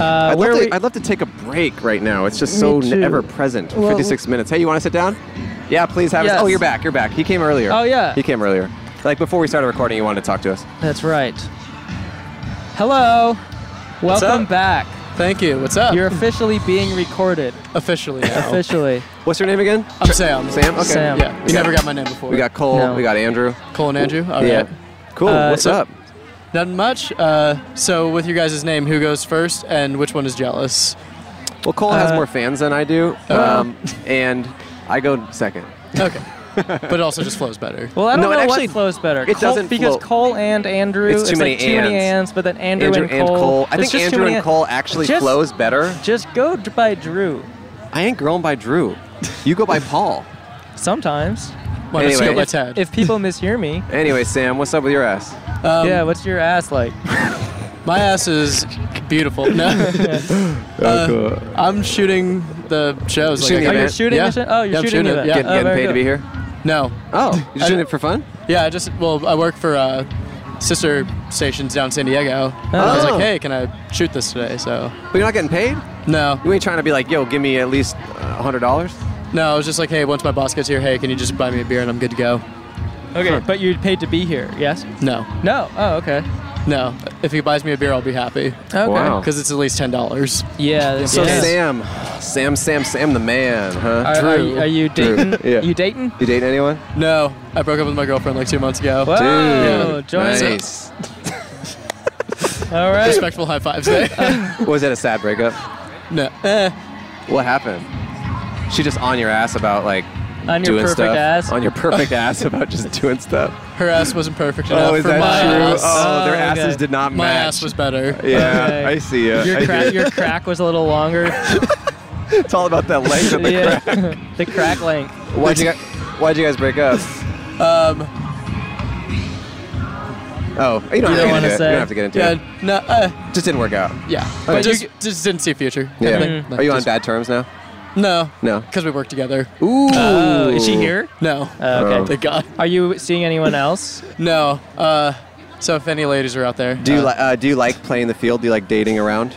[SPEAKER 1] Uh,
[SPEAKER 2] I'd,
[SPEAKER 1] where
[SPEAKER 2] love
[SPEAKER 1] are
[SPEAKER 2] to,
[SPEAKER 1] we-
[SPEAKER 2] I'd love to take a break right now. It's just
[SPEAKER 1] Me
[SPEAKER 2] so
[SPEAKER 1] too.
[SPEAKER 2] ever present.
[SPEAKER 1] Well,
[SPEAKER 2] 56 minutes. Hey, you want to sit down? Yeah, please have us. Oh,
[SPEAKER 1] Yes.
[SPEAKER 2] you're back. You're back. He came earlier.
[SPEAKER 1] Oh, yeah.
[SPEAKER 2] He came earlier. Like before we started recording, you wanted to talk to us.
[SPEAKER 1] That's right. Hello. Welcome back.
[SPEAKER 6] Thank you. What's up?
[SPEAKER 1] You're officially being recorded.
[SPEAKER 6] Officially. now.
[SPEAKER 1] Officially.
[SPEAKER 2] What's your name again?
[SPEAKER 6] I'm Sam.
[SPEAKER 2] Sam? Okay.
[SPEAKER 6] Sam.
[SPEAKER 2] Yeah.
[SPEAKER 6] You
[SPEAKER 2] We got-
[SPEAKER 6] never got my name before.
[SPEAKER 2] We got Cole.
[SPEAKER 6] No.
[SPEAKER 2] We got Andrew.
[SPEAKER 6] Cole and Andrew.
[SPEAKER 1] Oh,
[SPEAKER 6] All right.
[SPEAKER 2] yeah. Cool.
[SPEAKER 6] Uh,
[SPEAKER 2] What's
[SPEAKER 6] so-
[SPEAKER 2] up?
[SPEAKER 6] Nothing much. Uh, so with your guys' name, who goes first, and which one is jealous?
[SPEAKER 2] Well, Cole has
[SPEAKER 6] Uh,
[SPEAKER 2] more fans than I do,
[SPEAKER 6] oh.
[SPEAKER 1] uh,
[SPEAKER 2] um, and I go second.
[SPEAKER 6] Okay. but it also just flows better.
[SPEAKER 1] Well, I don't
[SPEAKER 2] No, it
[SPEAKER 1] know
[SPEAKER 2] actually-
[SPEAKER 1] what flows better.
[SPEAKER 2] it doesn't
[SPEAKER 1] because
[SPEAKER 2] flow.
[SPEAKER 1] Cole and Andrew.
[SPEAKER 2] It's too many
[SPEAKER 1] like too many
[SPEAKER 2] ands.
[SPEAKER 1] ands, but then Andrew, and Cole.
[SPEAKER 2] I
[SPEAKER 1] It's just
[SPEAKER 2] think
[SPEAKER 1] too
[SPEAKER 2] Andrew
[SPEAKER 1] many
[SPEAKER 2] and
[SPEAKER 1] ands.
[SPEAKER 2] Cole actually
[SPEAKER 1] Just-
[SPEAKER 2] flows better.
[SPEAKER 1] Just go d- by Drew.
[SPEAKER 2] I ain't grown by Drew. You go by Paul.
[SPEAKER 1] Sometimes.
[SPEAKER 2] Why don't you go by
[SPEAKER 1] if,
[SPEAKER 2] Ted?
[SPEAKER 1] if people mishear me.
[SPEAKER 2] Anyway, Sam, what's up with your ass?
[SPEAKER 6] Um,
[SPEAKER 1] yeah, what's your ass like?
[SPEAKER 6] My ass is beautiful. No. Uh,
[SPEAKER 2] Oh, cool.
[SPEAKER 6] I'm shooting the shows.
[SPEAKER 2] Shooting
[SPEAKER 6] like
[SPEAKER 2] the
[SPEAKER 6] I-
[SPEAKER 2] event? Oh, you're shooting
[SPEAKER 6] Yeah.
[SPEAKER 1] the show- oh, you're
[SPEAKER 6] Yeah, I'm
[SPEAKER 1] shooting the
[SPEAKER 6] it,
[SPEAKER 1] event.
[SPEAKER 6] Yeah.
[SPEAKER 1] Get- Oh, getting very paid to good. be
[SPEAKER 2] here?
[SPEAKER 6] No.
[SPEAKER 2] Oh, you're shooting it for fun?
[SPEAKER 6] Yeah, I just well, I work for uh, sister stations down San Diego. And I was
[SPEAKER 2] Oh.
[SPEAKER 6] like, hey, can I shoot this today? So.
[SPEAKER 2] But you're not getting paid?
[SPEAKER 6] No.
[SPEAKER 2] You ain't trying to be like, yo, give me at least uh, $100?
[SPEAKER 6] No, I was just like, hey, once my boss gets here, hey, can you just buy me a beer and I'm good to go?
[SPEAKER 1] Okay, but you're paid to be here, yes?
[SPEAKER 6] No.
[SPEAKER 1] No. Oh, okay.
[SPEAKER 6] No. If he buys me a beer, I'll be happy.
[SPEAKER 1] Okay. Wow.
[SPEAKER 6] Because it's at least ten dollars.
[SPEAKER 1] Yeah.
[SPEAKER 2] So Sam, Sam, Sam, Sam, the man, huh?
[SPEAKER 6] Are- are you- are you
[SPEAKER 2] Drew.
[SPEAKER 6] dating-
[SPEAKER 2] yeah.
[SPEAKER 6] you dating?
[SPEAKER 2] You dating anyone?
[SPEAKER 6] No, I broke up with my girlfriend like two months ago.
[SPEAKER 2] Whoa,
[SPEAKER 6] Dude,
[SPEAKER 2] Dude, nice.
[SPEAKER 1] All right.
[SPEAKER 6] Respectful high fives there.
[SPEAKER 2] Was that a sad breakup? Eh.
[SPEAKER 6] No.
[SPEAKER 2] What happened? She just on your ass about like
[SPEAKER 6] On your
[SPEAKER 2] doing
[SPEAKER 6] perfect
[SPEAKER 2] stuff.
[SPEAKER 6] ass?
[SPEAKER 2] On your perfect ass about just doing stuff.
[SPEAKER 6] Her ass wasn't perfect
[SPEAKER 2] Oh,
[SPEAKER 6] enough
[SPEAKER 2] is
[SPEAKER 6] for
[SPEAKER 2] that
[SPEAKER 6] my
[SPEAKER 2] true?
[SPEAKER 6] ass.
[SPEAKER 2] Oh, their Oh, asses okay. did not
[SPEAKER 6] My
[SPEAKER 2] match.
[SPEAKER 6] ass was better.
[SPEAKER 2] Yeah,
[SPEAKER 1] Okay.
[SPEAKER 2] I see ya. I
[SPEAKER 1] Your, cra-
[SPEAKER 2] see ya.
[SPEAKER 1] your crack was a little longer.
[SPEAKER 2] It's all about that length of the
[SPEAKER 1] Yeah.
[SPEAKER 2] crack.
[SPEAKER 1] the crack length.
[SPEAKER 2] Why'd you guys, Why'd you guys break up?
[SPEAKER 6] Um,
[SPEAKER 2] Oh,
[SPEAKER 6] You
[SPEAKER 2] you don't, have, to
[SPEAKER 6] don't
[SPEAKER 2] get
[SPEAKER 6] wanna
[SPEAKER 2] into it.
[SPEAKER 6] say.
[SPEAKER 2] You don't have to get into
[SPEAKER 6] Yeah,
[SPEAKER 2] it.
[SPEAKER 6] no, uh,
[SPEAKER 2] just didn't work out.
[SPEAKER 6] Yeah,
[SPEAKER 2] Okay.
[SPEAKER 6] but just, just didn't see future.
[SPEAKER 2] Yeah.
[SPEAKER 6] kind of thing.
[SPEAKER 2] Are you on
[SPEAKER 6] Just-
[SPEAKER 2] bad terms now?
[SPEAKER 6] No,
[SPEAKER 2] No.
[SPEAKER 6] because we work together.
[SPEAKER 2] Ooh.
[SPEAKER 1] Oh, is she here?
[SPEAKER 6] No.
[SPEAKER 1] Oh, okay.
[SPEAKER 6] Thank God.
[SPEAKER 1] Are you seeing anyone else?
[SPEAKER 6] No. Uh, so if any ladies are out there,
[SPEAKER 2] Do you
[SPEAKER 6] uh,
[SPEAKER 2] like uh, Do you like playing the field? Do you like dating around?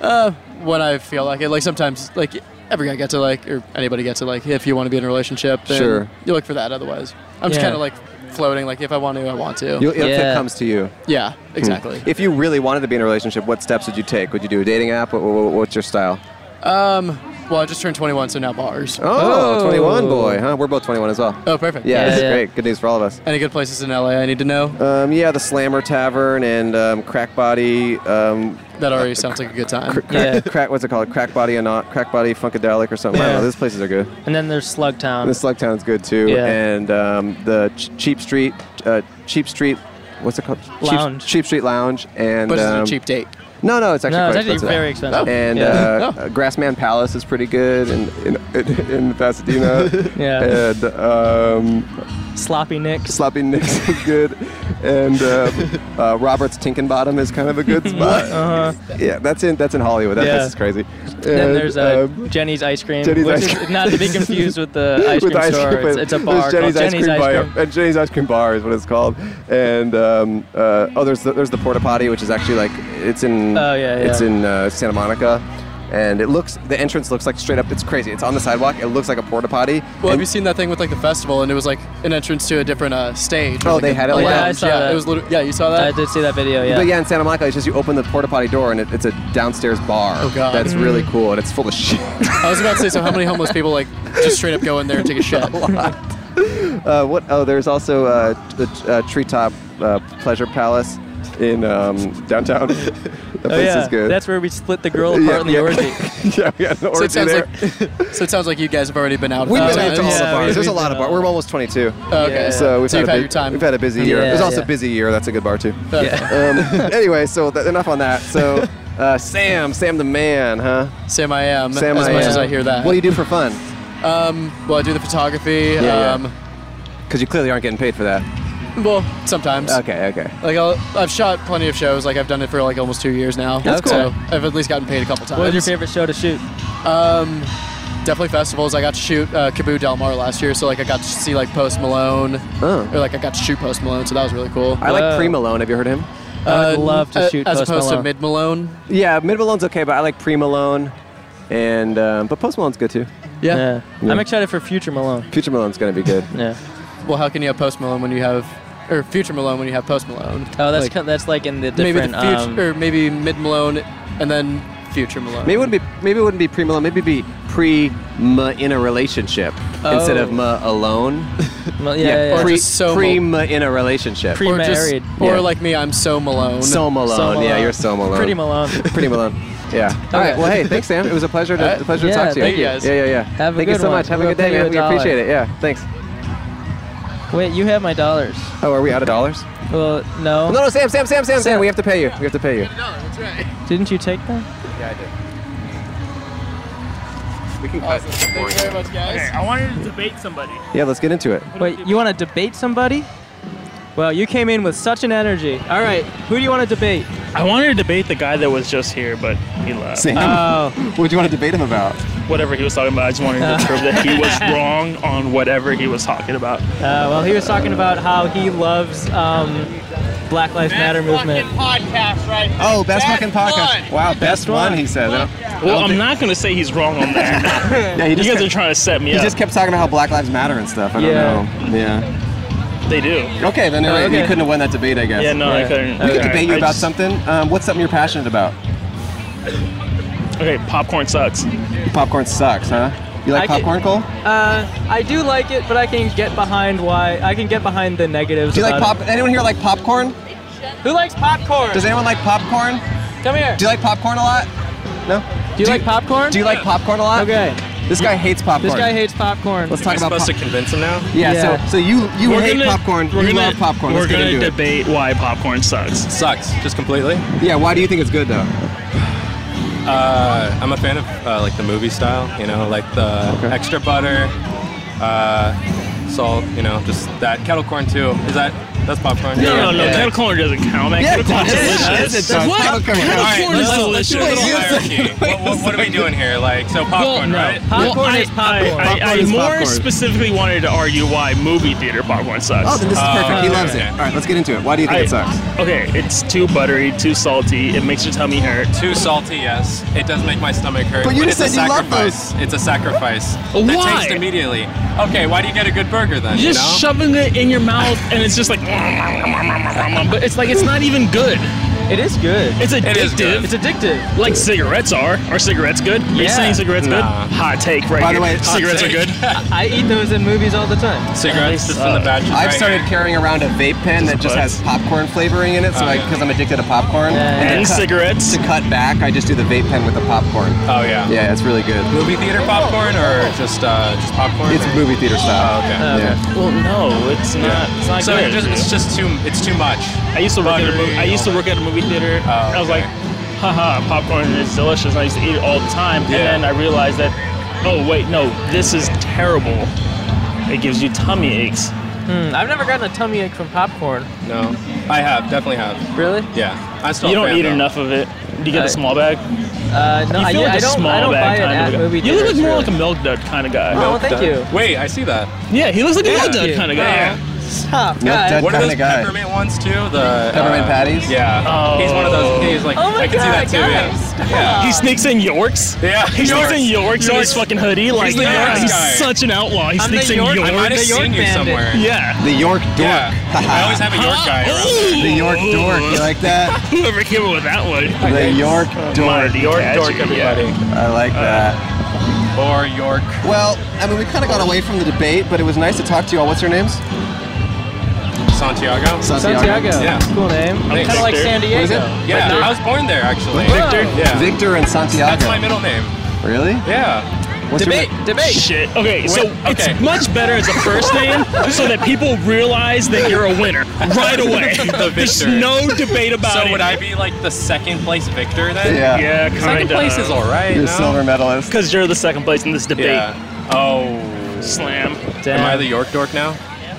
[SPEAKER 6] Uh, when I feel like it, like sometimes, like every guy gets it, like, or anybody gets it, like, if you want to be in a relationship, then
[SPEAKER 2] Sure.
[SPEAKER 6] you look for that otherwise. I'm just
[SPEAKER 2] Yeah.
[SPEAKER 6] kind of like floating, like, if I want to, I want to.
[SPEAKER 2] You, if it comes to you.
[SPEAKER 6] Yeah,
[SPEAKER 2] Hmm.
[SPEAKER 6] exactly.
[SPEAKER 2] If you really wanted to be in a relationship, what steps would you take? Would you do a dating app? What, what, what's your style?
[SPEAKER 6] Um, well, I just turned 21, so now bars.
[SPEAKER 2] Oh, 21 boy, huh? We're both 21 as well.
[SPEAKER 6] Oh, perfect.
[SPEAKER 2] Yeah,
[SPEAKER 6] Yeah,
[SPEAKER 2] this is
[SPEAKER 6] yeah.
[SPEAKER 2] great. Good news for all of us.
[SPEAKER 6] Any good places in LA I need to know?
[SPEAKER 2] Um, yeah, the Slammer Tavern and um, Crack Body. Um,
[SPEAKER 6] That already sounds like a good time.
[SPEAKER 2] crack, crack, what's it called? Crack Body and not Crack Body Funkadelic or something. I don't
[SPEAKER 1] Yeah.
[SPEAKER 2] know. Those places are good.
[SPEAKER 1] And then there's Slugtown.
[SPEAKER 2] And the Slug Town's good too.
[SPEAKER 1] Yeah.
[SPEAKER 2] And um, the Ch- Cheap Street, uh, Cheap Street, what's it called?
[SPEAKER 1] Lounge.
[SPEAKER 2] Cheap, Cheap Street Lounge. And
[SPEAKER 1] But it's a
[SPEAKER 2] um,
[SPEAKER 1] cheap date.
[SPEAKER 2] No, no, it's actually
[SPEAKER 1] No,
[SPEAKER 2] quite
[SPEAKER 1] it's actually very expensive. Oh.
[SPEAKER 2] And
[SPEAKER 1] Yeah.
[SPEAKER 2] uh, uh, Grassman Palace is pretty good in in, in, in Pasadena.
[SPEAKER 1] Yeah.
[SPEAKER 2] And um,
[SPEAKER 1] Sloppy Nick.
[SPEAKER 2] Sloppy Nick's is good. And um, uh, Robert's Tinkenbottom is kind of a good spot.
[SPEAKER 1] Uh-huh.
[SPEAKER 2] Yeah, that's in that's in Hollywood. That
[SPEAKER 1] Yeah.
[SPEAKER 2] place is crazy.
[SPEAKER 1] then
[SPEAKER 2] And,
[SPEAKER 1] there's uh,
[SPEAKER 2] um,
[SPEAKER 1] Jenny's ice cream,
[SPEAKER 2] Jenny's
[SPEAKER 1] which
[SPEAKER 2] ice
[SPEAKER 1] is
[SPEAKER 2] cream.
[SPEAKER 1] not to be confused with the ice
[SPEAKER 2] With
[SPEAKER 1] cream store. it's,
[SPEAKER 2] place.
[SPEAKER 1] it's a
[SPEAKER 2] There's
[SPEAKER 1] bar called
[SPEAKER 2] Jenny's ice
[SPEAKER 1] Jenny's
[SPEAKER 2] cream
[SPEAKER 1] ice cream.
[SPEAKER 2] bar. Uh, Jenny's ice cream bar is what it's called. And um, uh, oh, there's the, there's the porta potty, which is actually like it's in
[SPEAKER 1] Oh, yeah,
[SPEAKER 2] it's
[SPEAKER 1] yeah.
[SPEAKER 2] in uh, Santa Monica. And it looks, the entrance looks like straight up, it's crazy. It's on the sidewalk. It looks like a porta potty.
[SPEAKER 6] Well, have you seen that thing with like the festival, and it was like an entrance to a different uh, stage?
[SPEAKER 2] Oh,
[SPEAKER 6] Like
[SPEAKER 2] they
[SPEAKER 6] a-
[SPEAKER 2] had it
[SPEAKER 6] a
[SPEAKER 2] like
[SPEAKER 6] lounge.
[SPEAKER 2] that?
[SPEAKER 6] Yeah,
[SPEAKER 2] I saw that.
[SPEAKER 6] It was lit- yeah, you saw that.
[SPEAKER 2] I
[SPEAKER 1] did see that video.
[SPEAKER 2] But yeah, in Santa Monica, it's just you open the porta potty door and it, it's a downstairs bar.
[SPEAKER 6] Oh, God.
[SPEAKER 2] That's
[SPEAKER 6] Mhm.
[SPEAKER 1] Mm.
[SPEAKER 2] really cool and it's full of shit.
[SPEAKER 6] I was about to say, so how many homeless people like just straight up go in there and take a shit?
[SPEAKER 2] Uh, what? Oh, there's also uh, the uh, Treetop uh, Pleasure Palace in um, downtown. that place
[SPEAKER 1] Oh, yeah.
[SPEAKER 2] is good.
[SPEAKER 1] That's where we split the girl apart
[SPEAKER 2] Yeah,
[SPEAKER 1] in the
[SPEAKER 2] yeah.
[SPEAKER 1] orgy.
[SPEAKER 2] yeah, we had an
[SPEAKER 6] So
[SPEAKER 2] orgy
[SPEAKER 6] it sounds
[SPEAKER 2] there.
[SPEAKER 6] like so it sounds like you guys have already been out. a
[SPEAKER 2] We've
[SPEAKER 6] few
[SPEAKER 2] been out to all
[SPEAKER 6] times.
[SPEAKER 2] the bars. There's a lot of bars. We're almost 22.
[SPEAKER 6] Okay. Yeah.
[SPEAKER 2] Oh, So we've
[SPEAKER 6] So
[SPEAKER 2] had,
[SPEAKER 6] you've
[SPEAKER 2] a
[SPEAKER 6] had
[SPEAKER 2] bu-
[SPEAKER 6] your time.
[SPEAKER 2] We've had a busy year.
[SPEAKER 6] Yeah,
[SPEAKER 2] There's also
[SPEAKER 6] yeah.
[SPEAKER 2] busy year. That's a good bar too.
[SPEAKER 6] Okay.
[SPEAKER 2] Um, anyway, so th- enough on that. So uh, Sam, Sam the man, huh?
[SPEAKER 6] Sam I am.
[SPEAKER 2] Sam
[SPEAKER 6] Um, as
[SPEAKER 2] I
[SPEAKER 6] much
[SPEAKER 2] am.
[SPEAKER 6] as I hear that.
[SPEAKER 2] What do you do for fun?
[SPEAKER 6] Um, well, I do the photography.
[SPEAKER 2] Yeah, yeah.
[SPEAKER 6] um,
[SPEAKER 2] Because you clearly aren't getting paid for that.
[SPEAKER 6] Well, sometimes.
[SPEAKER 2] Okay. Okay.
[SPEAKER 6] Like I'll, I've shot plenty of shows. Like I've done it for like almost two years now.
[SPEAKER 2] That's cool.
[SPEAKER 6] So I've at least gotten paid a couple times.
[SPEAKER 1] What was your favorite show to shoot?
[SPEAKER 6] Um, definitely festivals. I got to shoot uh, Caboo Del Mar last year, so like I got to see like Post Malone, or like I got to shoot Post Malone, so that was really cool.
[SPEAKER 2] I like Pre Malone. Have you heard of him?
[SPEAKER 6] Uh, uh, as opposed to Mid Malone.
[SPEAKER 2] Yeah, Mid Malone's okay, but I like Pre Malone, and um, but Post Malone's good too.
[SPEAKER 6] Yeah.
[SPEAKER 2] Yeah.
[SPEAKER 1] I'm excited for Future Malone.
[SPEAKER 2] Future Malone's gonna be good.
[SPEAKER 1] yeah.
[SPEAKER 6] Well, how can you have Post Malone when you have, or Future Malone when you have Post Malone?
[SPEAKER 1] Oh, that's
[SPEAKER 6] Like,
[SPEAKER 1] ki- that's like in the
[SPEAKER 6] maybe the
[SPEAKER 1] different.
[SPEAKER 6] future,
[SPEAKER 1] um,
[SPEAKER 6] or maybe Mid Malone, and then Future Malone.
[SPEAKER 2] Maybe it wouldn't be maybe it wouldn't be Pre Malone. Maybe it'd be Pre Ma in a relationship instead of
[SPEAKER 6] Oh.
[SPEAKER 2] Ma alone.
[SPEAKER 1] Well,
[SPEAKER 6] Or
[SPEAKER 2] Pre,
[SPEAKER 6] just so
[SPEAKER 2] pre Ma in a relationship.
[SPEAKER 6] Or just- Or
[SPEAKER 2] Yeah.
[SPEAKER 6] like me, I'm so Malone.
[SPEAKER 2] So Malone. Yeah, you're so Malone.
[SPEAKER 6] Pretty
[SPEAKER 1] Malone.
[SPEAKER 2] Pretty Malone. Yeah. All right. Well, hey, thanks, Sam. It was a pleasure to,
[SPEAKER 1] Alright.
[SPEAKER 2] a pleasure
[SPEAKER 1] Yeah,
[SPEAKER 2] to talk to you.
[SPEAKER 1] thank you guys.
[SPEAKER 2] Yeah, yeah, yeah.
[SPEAKER 1] Have a
[SPEAKER 2] thank you
[SPEAKER 1] good
[SPEAKER 2] so
[SPEAKER 1] one.
[SPEAKER 2] much. Have
[SPEAKER 1] We'll
[SPEAKER 2] a good
[SPEAKER 1] pay
[SPEAKER 2] day,
[SPEAKER 1] you
[SPEAKER 2] man.
[SPEAKER 1] a
[SPEAKER 2] We
[SPEAKER 1] dollar.
[SPEAKER 2] appreciate it. Yeah. Thanks.
[SPEAKER 1] Wait, you have my dollars.
[SPEAKER 2] Oh, are we out of dollars?
[SPEAKER 1] Well, no.
[SPEAKER 2] No, no, Sam, Sam, Sam, Sam, Sam. We have to pay you. We have to pay you.
[SPEAKER 1] Didn't you take that?
[SPEAKER 2] Yeah, I did. We can cut.
[SPEAKER 1] Thank you very much, guys.
[SPEAKER 20] Okay, I wanted to debate somebody.
[SPEAKER 2] Yeah, let's get into it.
[SPEAKER 1] Wait, you want to debate somebody? Well, you came in with such an energy. All right, who do you want to debate?
[SPEAKER 20] I wanted to debate the guy that was just here, but he left.
[SPEAKER 2] Sam.
[SPEAKER 1] Oh.
[SPEAKER 2] What do Oh, you want to debate him about?
[SPEAKER 20] Whatever he was talking about, I just wanted to prove that he was wrong on whatever he was talking about.
[SPEAKER 1] Uh, well, he was talking about how he loves um, Black Lives Matter movement.
[SPEAKER 20] Podcast, right?
[SPEAKER 2] Oh, best fucking podcast. Wow, best one, he said.
[SPEAKER 20] Well, I'm not going to say he's wrong on that.
[SPEAKER 2] Yeah, he
[SPEAKER 20] you
[SPEAKER 2] just
[SPEAKER 20] guys
[SPEAKER 2] kept-
[SPEAKER 20] are trying to set me
[SPEAKER 2] He
[SPEAKER 20] up.
[SPEAKER 2] just kept talking about how Black Lives Matter and stuff. I don't
[SPEAKER 20] Yeah.
[SPEAKER 2] know. Yeah.
[SPEAKER 20] they do.
[SPEAKER 2] Okay, then you're right. you couldn't have won that debate, I guess.
[SPEAKER 20] Yeah, no, I couldn't.
[SPEAKER 2] We could
[SPEAKER 20] Okay.
[SPEAKER 2] debate you
[SPEAKER 20] I
[SPEAKER 2] about
[SPEAKER 20] just-
[SPEAKER 2] something. Um, what's something you're passionate about?
[SPEAKER 20] Okay, popcorn sucks.
[SPEAKER 2] Popcorn sucks, huh? You like
[SPEAKER 1] I could-
[SPEAKER 2] popcorn, Cole?
[SPEAKER 1] Uh, I do like it, but I can get behind why. I can get behind the negatives.
[SPEAKER 2] Do you like
[SPEAKER 1] about
[SPEAKER 2] pop?
[SPEAKER 1] it.
[SPEAKER 2] Anyone here like popcorn?
[SPEAKER 1] Who likes popcorn?
[SPEAKER 2] Does anyone like popcorn?
[SPEAKER 1] Come here.
[SPEAKER 2] Do you like popcorn a lot? No.
[SPEAKER 1] Do you like popcorn?
[SPEAKER 2] Do you like popcorn a lot?
[SPEAKER 1] Okay.
[SPEAKER 2] This guy hates popcorn.
[SPEAKER 1] This guy hates popcorn.
[SPEAKER 2] Let's talk about. pop-
[SPEAKER 20] convince him now?
[SPEAKER 2] Yeah, so- so you- you hate popcorn, you love popcorn.
[SPEAKER 20] We're
[SPEAKER 2] Let's get
[SPEAKER 20] gonna
[SPEAKER 2] into it.
[SPEAKER 20] debate why popcorn sucks.
[SPEAKER 24] Sucks, just completely.
[SPEAKER 2] Yeah. Why do you think it's good though?
[SPEAKER 24] Uh, I'm a fan of uh, like the movie style, you know, like the extra butter, uh, salt, you know, just that kettle corn too. Is that That's popcorn.
[SPEAKER 20] No, no, no. Kettle corn doesn't count. Man.
[SPEAKER 24] Yeah, it
[SPEAKER 20] Kettle corn
[SPEAKER 24] does. Yes, it does.
[SPEAKER 20] What?
[SPEAKER 24] Kettle corn.
[SPEAKER 20] Kettle
[SPEAKER 24] All right,
[SPEAKER 20] corn
[SPEAKER 24] let's-
[SPEAKER 20] is
[SPEAKER 24] let's do a
[SPEAKER 20] delicious.
[SPEAKER 24] little hierarchy. what, what, what are we doing here? Like, so popcorn, right?
[SPEAKER 20] Well, I- I, I, I more specifically wanted to argue why movie theater popcorn sucks. Uh,
[SPEAKER 2] Oh, then this is perfect. He loves it. All right, let's get into it. Why do you think it sucks?
[SPEAKER 20] Okay, it's too buttery, too salty. It makes your tummy hurt.
[SPEAKER 24] Too salty, yes. It does make my stomach hurt.
[SPEAKER 20] But you just
[SPEAKER 24] it's
[SPEAKER 20] said
[SPEAKER 24] a
[SPEAKER 20] you love
[SPEAKER 24] sacrifice. It's a sacrifice.
[SPEAKER 20] Why?
[SPEAKER 24] That taste immediately. Okay, why do you get a good burger then?
[SPEAKER 20] You're
[SPEAKER 24] you
[SPEAKER 20] just
[SPEAKER 24] know?
[SPEAKER 20] shoving it in your mouth, and it's just like, but it's like it's not even good. It is good. It's addictive.
[SPEAKER 22] It is good.
[SPEAKER 20] It's addictive. Like cigarettes are. Are cigarettes good? Are you
[SPEAKER 22] Yeah.
[SPEAKER 20] saying cigarettes
[SPEAKER 22] Nah.
[SPEAKER 20] good? Hot take right
[SPEAKER 22] By
[SPEAKER 20] here.
[SPEAKER 22] the way, hot
[SPEAKER 20] cigarettes are
[SPEAKER 22] take.
[SPEAKER 20] good.
[SPEAKER 1] I eat those in movies all the time.
[SPEAKER 24] Cigarettes
[SPEAKER 1] just from the batch
[SPEAKER 2] I've
[SPEAKER 1] right
[SPEAKER 2] started carrying around a vape pen that just has popcorn flavoring in it, so
[SPEAKER 1] Oh,
[SPEAKER 2] like
[SPEAKER 1] yeah.
[SPEAKER 2] because I'm addicted to popcorn
[SPEAKER 1] yeah,
[SPEAKER 2] to
[SPEAKER 1] yeah. And
[SPEAKER 2] cut-
[SPEAKER 20] cigarettes.
[SPEAKER 2] To cut back, I just do the vape pen with the popcorn.
[SPEAKER 24] Oh yeah.
[SPEAKER 2] Yeah, it's really good.
[SPEAKER 24] Movie theater popcorn or just uh, just popcorn?
[SPEAKER 2] It's movie theater
[SPEAKER 24] Oh,
[SPEAKER 2] style.
[SPEAKER 24] okay.
[SPEAKER 2] yeah.
[SPEAKER 20] Um, Well, no, it's not. It's not
[SPEAKER 24] so
[SPEAKER 20] good.
[SPEAKER 24] you're just, it's just too it's too much.
[SPEAKER 20] I used to work at a movie, I used to work at a movie theater.
[SPEAKER 24] Oh,
[SPEAKER 20] I was like, haha, popcorn is delicious. And I used to eat it all the time,
[SPEAKER 24] Yeah.
[SPEAKER 20] and then I realized that, oh wait, no, this is terrible. It gives you tummy aches.
[SPEAKER 1] Hmm, I've never gotten a tummy ache from popcorn.
[SPEAKER 24] No, I have definitely have.
[SPEAKER 1] Really?
[SPEAKER 24] Yeah, I still.
[SPEAKER 20] you don't eat enough
[SPEAKER 24] enough.
[SPEAKER 20] of it. Do you get
[SPEAKER 24] I-
[SPEAKER 20] the small bag?
[SPEAKER 1] Uh, no,
[SPEAKER 20] you feel
[SPEAKER 1] I-
[SPEAKER 20] like
[SPEAKER 1] I
[SPEAKER 20] a
[SPEAKER 1] don't- I
[SPEAKER 20] small
[SPEAKER 1] don't buy
[SPEAKER 20] bag
[SPEAKER 1] it
[SPEAKER 20] kind
[SPEAKER 1] at
[SPEAKER 20] of
[SPEAKER 1] movie
[SPEAKER 20] guy. You look
[SPEAKER 1] theaters,
[SPEAKER 20] more like a
[SPEAKER 1] really.
[SPEAKER 20] milk dud kind of guy.
[SPEAKER 1] Oh, Milk thank dud. you.
[SPEAKER 24] Wait, I see that.
[SPEAKER 20] Yeah, he looks like a
[SPEAKER 24] Yeah.
[SPEAKER 20] milk dud
[SPEAKER 24] Thank
[SPEAKER 20] kind of
[SPEAKER 24] you.
[SPEAKER 20] guy.
[SPEAKER 24] Yeah.
[SPEAKER 1] Stop.
[SPEAKER 24] One of those
[SPEAKER 2] kinda guy.
[SPEAKER 24] peppermint ones too. The
[SPEAKER 2] Peppermint
[SPEAKER 24] uh,
[SPEAKER 2] patties?
[SPEAKER 24] Yeah.
[SPEAKER 2] Oh.
[SPEAKER 24] He's one of those. He's
[SPEAKER 1] Oh
[SPEAKER 24] like, I can see that too. yeah.
[SPEAKER 20] He sneaks in Yorks.
[SPEAKER 24] Yeah,
[SPEAKER 20] he sneaks in Yorks in his
[SPEAKER 24] Yorks.
[SPEAKER 20] fucking hoodie.
[SPEAKER 24] He's
[SPEAKER 20] Like,
[SPEAKER 24] the
[SPEAKER 20] yeah,
[SPEAKER 24] Yorks
[SPEAKER 20] he's
[SPEAKER 24] guy.
[SPEAKER 20] such an outlaw. He
[SPEAKER 24] I'm the
[SPEAKER 20] sneaks in
[SPEAKER 24] York-
[SPEAKER 20] Yorks.
[SPEAKER 24] I might have seen you somewhere.
[SPEAKER 20] Yeah.
[SPEAKER 2] The York dork.
[SPEAKER 24] I always have a York guy around.
[SPEAKER 2] The York dork. You like that?
[SPEAKER 20] Whoever came up with that one.
[SPEAKER 2] The York dork.
[SPEAKER 20] The York dork, everybody.
[SPEAKER 2] I like that.
[SPEAKER 24] Or York.
[SPEAKER 2] Well, I mean, we kind of got away from the debate, but it was nice to talk to you all. What's your names?
[SPEAKER 24] Santiago.
[SPEAKER 2] Santiago. Santiago.
[SPEAKER 24] Yeah.
[SPEAKER 1] Cool name.
[SPEAKER 24] Thanks.
[SPEAKER 1] Kind of like
[SPEAKER 24] Victor.
[SPEAKER 1] San
[SPEAKER 24] What is
[SPEAKER 1] Diego.
[SPEAKER 24] it? Yeah,
[SPEAKER 1] but not-
[SPEAKER 24] I was born there actually.
[SPEAKER 1] Victor?
[SPEAKER 24] Yeah.
[SPEAKER 2] Victor and Santiago.
[SPEAKER 24] That's my middle name.
[SPEAKER 2] Really?
[SPEAKER 24] Yeah.
[SPEAKER 2] What's your mi-
[SPEAKER 1] debate.
[SPEAKER 20] Shit. Okay, so
[SPEAKER 24] Wait, okay.
[SPEAKER 20] it's much better as a first name so that people realize that you're a winner right away.
[SPEAKER 24] The
[SPEAKER 20] There's
[SPEAKER 24] Victor.
[SPEAKER 20] no debate about
[SPEAKER 24] so
[SPEAKER 20] it.
[SPEAKER 24] would I be like the second place victor then?
[SPEAKER 20] Yeah, kinda.
[SPEAKER 24] Second place is all right. no?
[SPEAKER 2] medalist.
[SPEAKER 20] Because you're the second place in this debate.
[SPEAKER 24] Yeah. Oh.
[SPEAKER 20] Slam.
[SPEAKER 24] Am I the York dork now?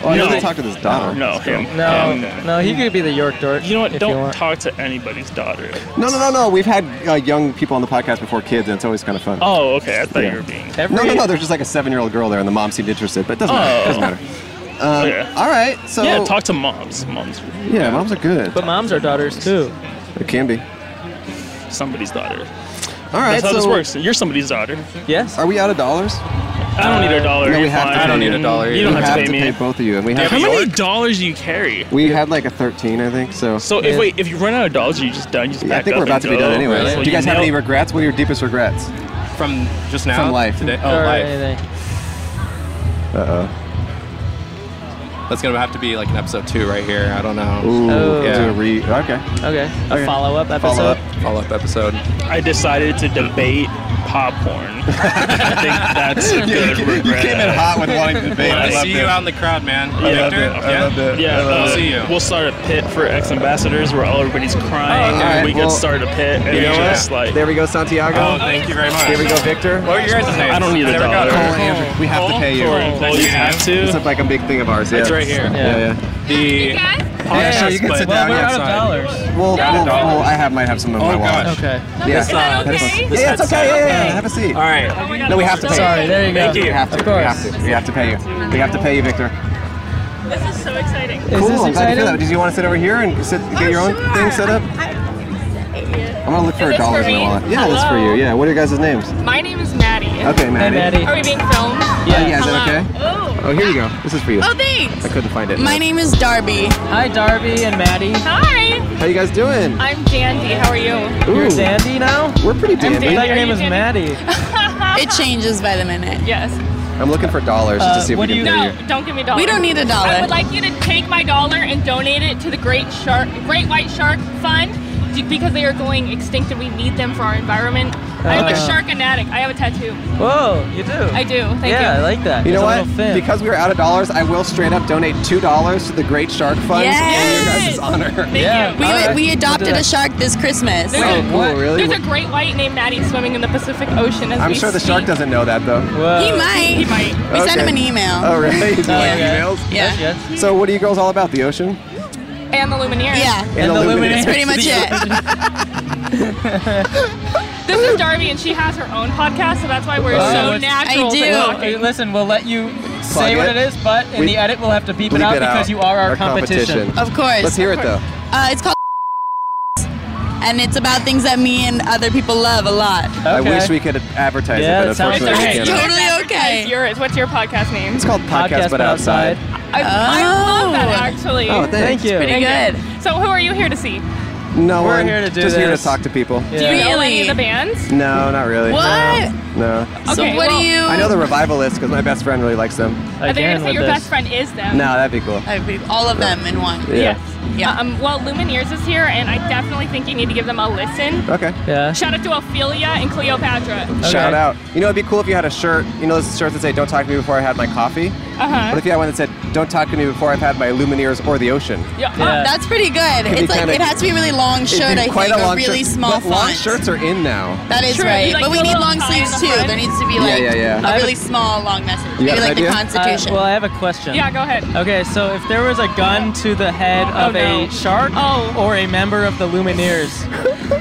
[SPEAKER 2] Oh, I
[SPEAKER 20] No.
[SPEAKER 2] need to talk to this daughter.
[SPEAKER 20] No, him.
[SPEAKER 1] No,
[SPEAKER 20] Him.
[SPEAKER 1] no, he could be the York dork.
[SPEAKER 20] You know what?
[SPEAKER 1] if you
[SPEAKER 20] Don't
[SPEAKER 1] want.
[SPEAKER 20] talk to anybody's daughter.
[SPEAKER 2] No, no, no, no. We've had uh, young people on the podcast before kids, and it's always kind of fun.
[SPEAKER 20] Oh, okay. I thought
[SPEAKER 2] Yeah.
[SPEAKER 20] you were being.
[SPEAKER 2] No, no, no. There's just like a seven-year-old girl there, and the mom seemed interested, but it doesn't matter. It doesn't
[SPEAKER 20] Oh.
[SPEAKER 2] matter. Um,
[SPEAKER 20] Yeah.
[SPEAKER 2] All right. So
[SPEAKER 20] yeah, talk to moms. Moms.
[SPEAKER 2] Yeah, moms are good.
[SPEAKER 1] But moms are daughters too.
[SPEAKER 2] It can be.
[SPEAKER 20] Somebody's daughter.
[SPEAKER 2] All right.
[SPEAKER 20] That's how
[SPEAKER 2] so
[SPEAKER 20] this works. You're somebody's daughter.
[SPEAKER 1] Yes.
[SPEAKER 2] Are we out of dollars?
[SPEAKER 20] I don't need a dollar.
[SPEAKER 2] No, we
[SPEAKER 20] You're
[SPEAKER 2] have
[SPEAKER 20] fine.
[SPEAKER 2] to pay you.
[SPEAKER 20] You don't
[SPEAKER 2] We
[SPEAKER 20] have, to pay me.
[SPEAKER 2] both of you, and we have.
[SPEAKER 20] How many dollars do you carry?
[SPEAKER 2] We had like a 13, I think. So.
[SPEAKER 20] So if wait, if you run out of dollars, are you just done. You just
[SPEAKER 2] Yeah,
[SPEAKER 20] back
[SPEAKER 2] I think
[SPEAKER 20] up
[SPEAKER 2] we're about
[SPEAKER 20] and
[SPEAKER 2] to be
[SPEAKER 20] go?
[SPEAKER 2] done anyway.
[SPEAKER 20] Really?
[SPEAKER 2] Do you guys have
[SPEAKER 20] nail-
[SPEAKER 2] any regrets? What are your deepest regrets?
[SPEAKER 24] From just now?
[SPEAKER 2] From life.
[SPEAKER 24] Today? Oh,
[SPEAKER 1] Or
[SPEAKER 24] life.
[SPEAKER 1] anything.
[SPEAKER 2] Uh
[SPEAKER 24] That's gonna have to be like an episode two right here. I
[SPEAKER 20] Um,
[SPEAKER 24] don't know.
[SPEAKER 2] Ooh,
[SPEAKER 1] Oh.
[SPEAKER 2] do a re- okay.
[SPEAKER 1] Okay. A
[SPEAKER 24] Okay.
[SPEAKER 1] follow-up episode.
[SPEAKER 24] Follow up. Follow up episode.
[SPEAKER 20] I decided to debate popcorn. I think that's a
[SPEAKER 24] You-
[SPEAKER 20] good
[SPEAKER 24] you
[SPEAKER 20] regret.
[SPEAKER 24] came in hot with wanting to debate. I
[SPEAKER 20] Yeah.
[SPEAKER 24] see you out in the crowd, man. Victor? Yeah?
[SPEAKER 20] Yeah,
[SPEAKER 24] We'll
[SPEAKER 20] uh,
[SPEAKER 24] see you.
[SPEAKER 20] We'll start a pit for ex ambassadors where all everybody's crying.
[SPEAKER 2] Oh, okay.
[SPEAKER 20] and we
[SPEAKER 2] Well,
[SPEAKER 20] could start a pit and
[SPEAKER 2] you know what?
[SPEAKER 20] just like.
[SPEAKER 2] There we go, Santiago.
[SPEAKER 20] Oh, thank you very much.
[SPEAKER 2] Here we go, Victor.
[SPEAKER 20] What were your guys' names? I don't need a
[SPEAKER 2] Never got
[SPEAKER 20] dollar.
[SPEAKER 2] it. Cole and Andrew. We have to
[SPEAKER 20] Cole?
[SPEAKER 2] pay you.
[SPEAKER 20] Cole and Cole, you have to?
[SPEAKER 2] This is like a big thing of ours. Yeah.
[SPEAKER 24] It's right here.
[SPEAKER 2] Yeah, yeah.
[SPEAKER 24] The
[SPEAKER 2] Yeah, sure, you can sit down. yeah, it's fine. Well,
[SPEAKER 24] Out
[SPEAKER 2] well,
[SPEAKER 24] of dollars.
[SPEAKER 2] well, I have might have some in
[SPEAKER 24] Oh,
[SPEAKER 2] my wallet.
[SPEAKER 24] gosh. Okay.
[SPEAKER 2] Yeah.
[SPEAKER 24] Is that
[SPEAKER 2] Have a-
[SPEAKER 24] okay?
[SPEAKER 2] Yeah, it's okay. Yeah, yeah, yeah. Have a seat. All
[SPEAKER 24] right.
[SPEAKER 2] no, we have to pay.
[SPEAKER 1] Oh Sorry, there you go.
[SPEAKER 2] We have to.
[SPEAKER 1] Of course.
[SPEAKER 2] We have to. We have to pay you. We have to pay you, Victor.
[SPEAKER 16] This is so exciting.
[SPEAKER 2] cool. I'm glad you feel that. Did you want to sit over here and sit,
[SPEAKER 16] Oh,
[SPEAKER 2] get your own thing set up? I'm gonna look for
[SPEAKER 16] Is
[SPEAKER 2] a
[SPEAKER 16] this
[SPEAKER 2] dollar
[SPEAKER 16] for
[SPEAKER 2] in my
[SPEAKER 16] me?
[SPEAKER 2] wallet. Yeah, that's for you.
[SPEAKER 16] Hello?
[SPEAKER 2] Yeah. What are your guys' names?
[SPEAKER 16] My name is Maddie.
[SPEAKER 2] Okay, Maddie. Maddie.
[SPEAKER 16] Are we being filmed?
[SPEAKER 2] Yeah. yeah, is that
[SPEAKER 16] Hello.
[SPEAKER 2] Oh, here you go. This is for you.
[SPEAKER 16] Oh, thanks.
[SPEAKER 2] I couldn't find it.
[SPEAKER 16] name is Darby. Hi, Darby and Maddie. Hi.
[SPEAKER 2] How you guys doing?
[SPEAKER 16] I'm Dandy. How are you?
[SPEAKER 2] Ooh.
[SPEAKER 1] You're dandy now?
[SPEAKER 2] We're pretty
[SPEAKER 1] I
[SPEAKER 2] dandy.
[SPEAKER 1] thought your name was Maddie.
[SPEAKER 25] it changes by the minute. Yes.
[SPEAKER 2] I'm looking for dollars
[SPEAKER 1] Uh,
[SPEAKER 2] to see if
[SPEAKER 1] what
[SPEAKER 2] we
[SPEAKER 1] do
[SPEAKER 2] can
[SPEAKER 1] you-
[SPEAKER 2] pay
[SPEAKER 1] No.
[SPEAKER 2] you.
[SPEAKER 25] Don't give me dollars. We don't need a dollar.
[SPEAKER 16] I would like you to take my dollar and donate it to the Great Shark, Great White Shark Fund, d- because they are going extinct and we need them for our environment. I'm a
[SPEAKER 2] Okay.
[SPEAKER 16] shark fanatic. I have a tattoo.
[SPEAKER 1] Whoa, you do.
[SPEAKER 16] I do. Thank
[SPEAKER 1] yeah,
[SPEAKER 16] you.
[SPEAKER 1] I like that.
[SPEAKER 2] You know
[SPEAKER 1] It's a
[SPEAKER 2] what?
[SPEAKER 1] little thin.
[SPEAKER 2] Because we are out of dollars, I will straight up donate two dollars to the Great Shark Fund in your guys' honor.
[SPEAKER 1] Yeah.
[SPEAKER 25] We,
[SPEAKER 2] All right.
[SPEAKER 25] we
[SPEAKER 2] We'll do
[SPEAKER 25] adopted a
[SPEAKER 2] that.
[SPEAKER 25] shark this Christmas.
[SPEAKER 2] Wait, Oh, cool, what? really?
[SPEAKER 16] There's a great white named Maddie swimming in the Pacific Ocean as
[SPEAKER 2] I'm
[SPEAKER 16] we
[SPEAKER 2] sure the
[SPEAKER 16] speak.
[SPEAKER 2] shark doesn't know that though.
[SPEAKER 25] He might.
[SPEAKER 16] He might. Uh,
[SPEAKER 25] We sent him an email.
[SPEAKER 2] Oh, really? You
[SPEAKER 25] Yeah.
[SPEAKER 2] like emails?
[SPEAKER 25] Yeah.
[SPEAKER 2] So, what are you girls all about? The ocean?
[SPEAKER 16] and the Lumineers.
[SPEAKER 23] Yeah. And And the the Lumineers. Lumineers. That's pretty much
[SPEAKER 16] this is Darby, and she has her own podcast, so that's why we're
[SPEAKER 1] Oh,
[SPEAKER 16] so
[SPEAKER 1] it's-
[SPEAKER 16] natural. to
[SPEAKER 1] Well,
[SPEAKER 16] talking.
[SPEAKER 1] okay, listen, we'll let you say
[SPEAKER 2] Plug
[SPEAKER 1] what
[SPEAKER 2] it.
[SPEAKER 1] it is, but in
[SPEAKER 2] We-
[SPEAKER 1] the edit, we'll have to beep it
[SPEAKER 2] bleep
[SPEAKER 1] out
[SPEAKER 2] it
[SPEAKER 1] because
[SPEAKER 2] out.
[SPEAKER 1] you are our,
[SPEAKER 2] Our competition.
[SPEAKER 23] Of course.
[SPEAKER 2] Let's hear
[SPEAKER 23] of
[SPEAKER 2] it,
[SPEAKER 23] course. Uh, it's called and it's about things that me and other people love a lot.
[SPEAKER 2] I wish we could advertise it, but unfortunately we
[SPEAKER 16] You
[SPEAKER 2] can't.
[SPEAKER 16] guys advertise Yours. What's your podcast name? It's
[SPEAKER 2] called Podcast But Outside.
[SPEAKER 16] I, I love that actually.
[SPEAKER 2] Oh, thanks. Thank you. Pretty
[SPEAKER 16] Thank you. So who are you here to see?
[SPEAKER 2] No,
[SPEAKER 1] We're
[SPEAKER 2] one-
[SPEAKER 1] here to do
[SPEAKER 2] just here to
[SPEAKER 1] this.
[SPEAKER 2] talk to people.
[SPEAKER 16] Do you know any of the bands?
[SPEAKER 2] No, not really.
[SPEAKER 16] What?
[SPEAKER 2] No.
[SPEAKER 16] So Okay, what do well- you-
[SPEAKER 2] I know the revivalists because my best friend really likes them.
[SPEAKER 16] I think you're gonna say your best friend is them.
[SPEAKER 2] No, that'd be cool.
[SPEAKER 16] all
[SPEAKER 2] of them
[SPEAKER 16] in one.
[SPEAKER 2] Yeah.
[SPEAKER 16] Yeah. Um, well, Lumineers is here, and I definitely think you need to give them a listen.
[SPEAKER 2] Okay. Yeah.
[SPEAKER 16] Shout out to Ophelia and Cleopatra.
[SPEAKER 2] Shout out. You know, it'd be cool if you had a shirt. You know, those shirts that say "Don't talk to me before I had my coffee."
[SPEAKER 16] Uh-huh.
[SPEAKER 2] What if you had one that said "Don't talk to me before I've had my Lumineers or the ocean"?
[SPEAKER 16] Yeah.
[SPEAKER 23] That's pretty good.
[SPEAKER 2] It'd be
[SPEAKER 23] it's like
[SPEAKER 2] kinda-
[SPEAKER 23] it has to Oh, be a really long
[SPEAKER 2] It'd
[SPEAKER 23] shirt,
[SPEAKER 2] be
[SPEAKER 23] I
[SPEAKER 2] quite
[SPEAKER 23] think,
[SPEAKER 2] a long
[SPEAKER 23] or really
[SPEAKER 2] shirt.
[SPEAKER 23] small
[SPEAKER 2] But long
[SPEAKER 23] font.
[SPEAKER 2] shirts are in now.
[SPEAKER 23] That is
[SPEAKER 16] True,
[SPEAKER 23] right.
[SPEAKER 16] like
[SPEAKER 23] but we
[SPEAKER 16] the
[SPEAKER 23] need
[SPEAKER 16] little
[SPEAKER 23] long
[SPEAKER 16] tie in
[SPEAKER 23] sleeves
[SPEAKER 16] the
[SPEAKER 23] too.
[SPEAKER 16] front.
[SPEAKER 23] There needs to be
[SPEAKER 2] Yeah,
[SPEAKER 23] like
[SPEAKER 2] yeah, yeah. I
[SPEAKER 23] a
[SPEAKER 2] have
[SPEAKER 23] really
[SPEAKER 2] a-
[SPEAKER 23] small long message.
[SPEAKER 2] You
[SPEAKER 23] Maybe
[SPEAKER 2] got an
[SPEAKER 23] like the
[SPEAKER 2] idea?
[SPEAKER 23] Constitution.
[SPEAKER 1] Uh, well, I have a question.
[SPEAKER 23] Yeah, go Oh,
[SPEAKER 16] ahead.
[SPEAKER 1] Okay, so if there was a gun to the head of
[SPEAKER 16] no.
[SPEAKER 1] a shark or a member of the Lumineers,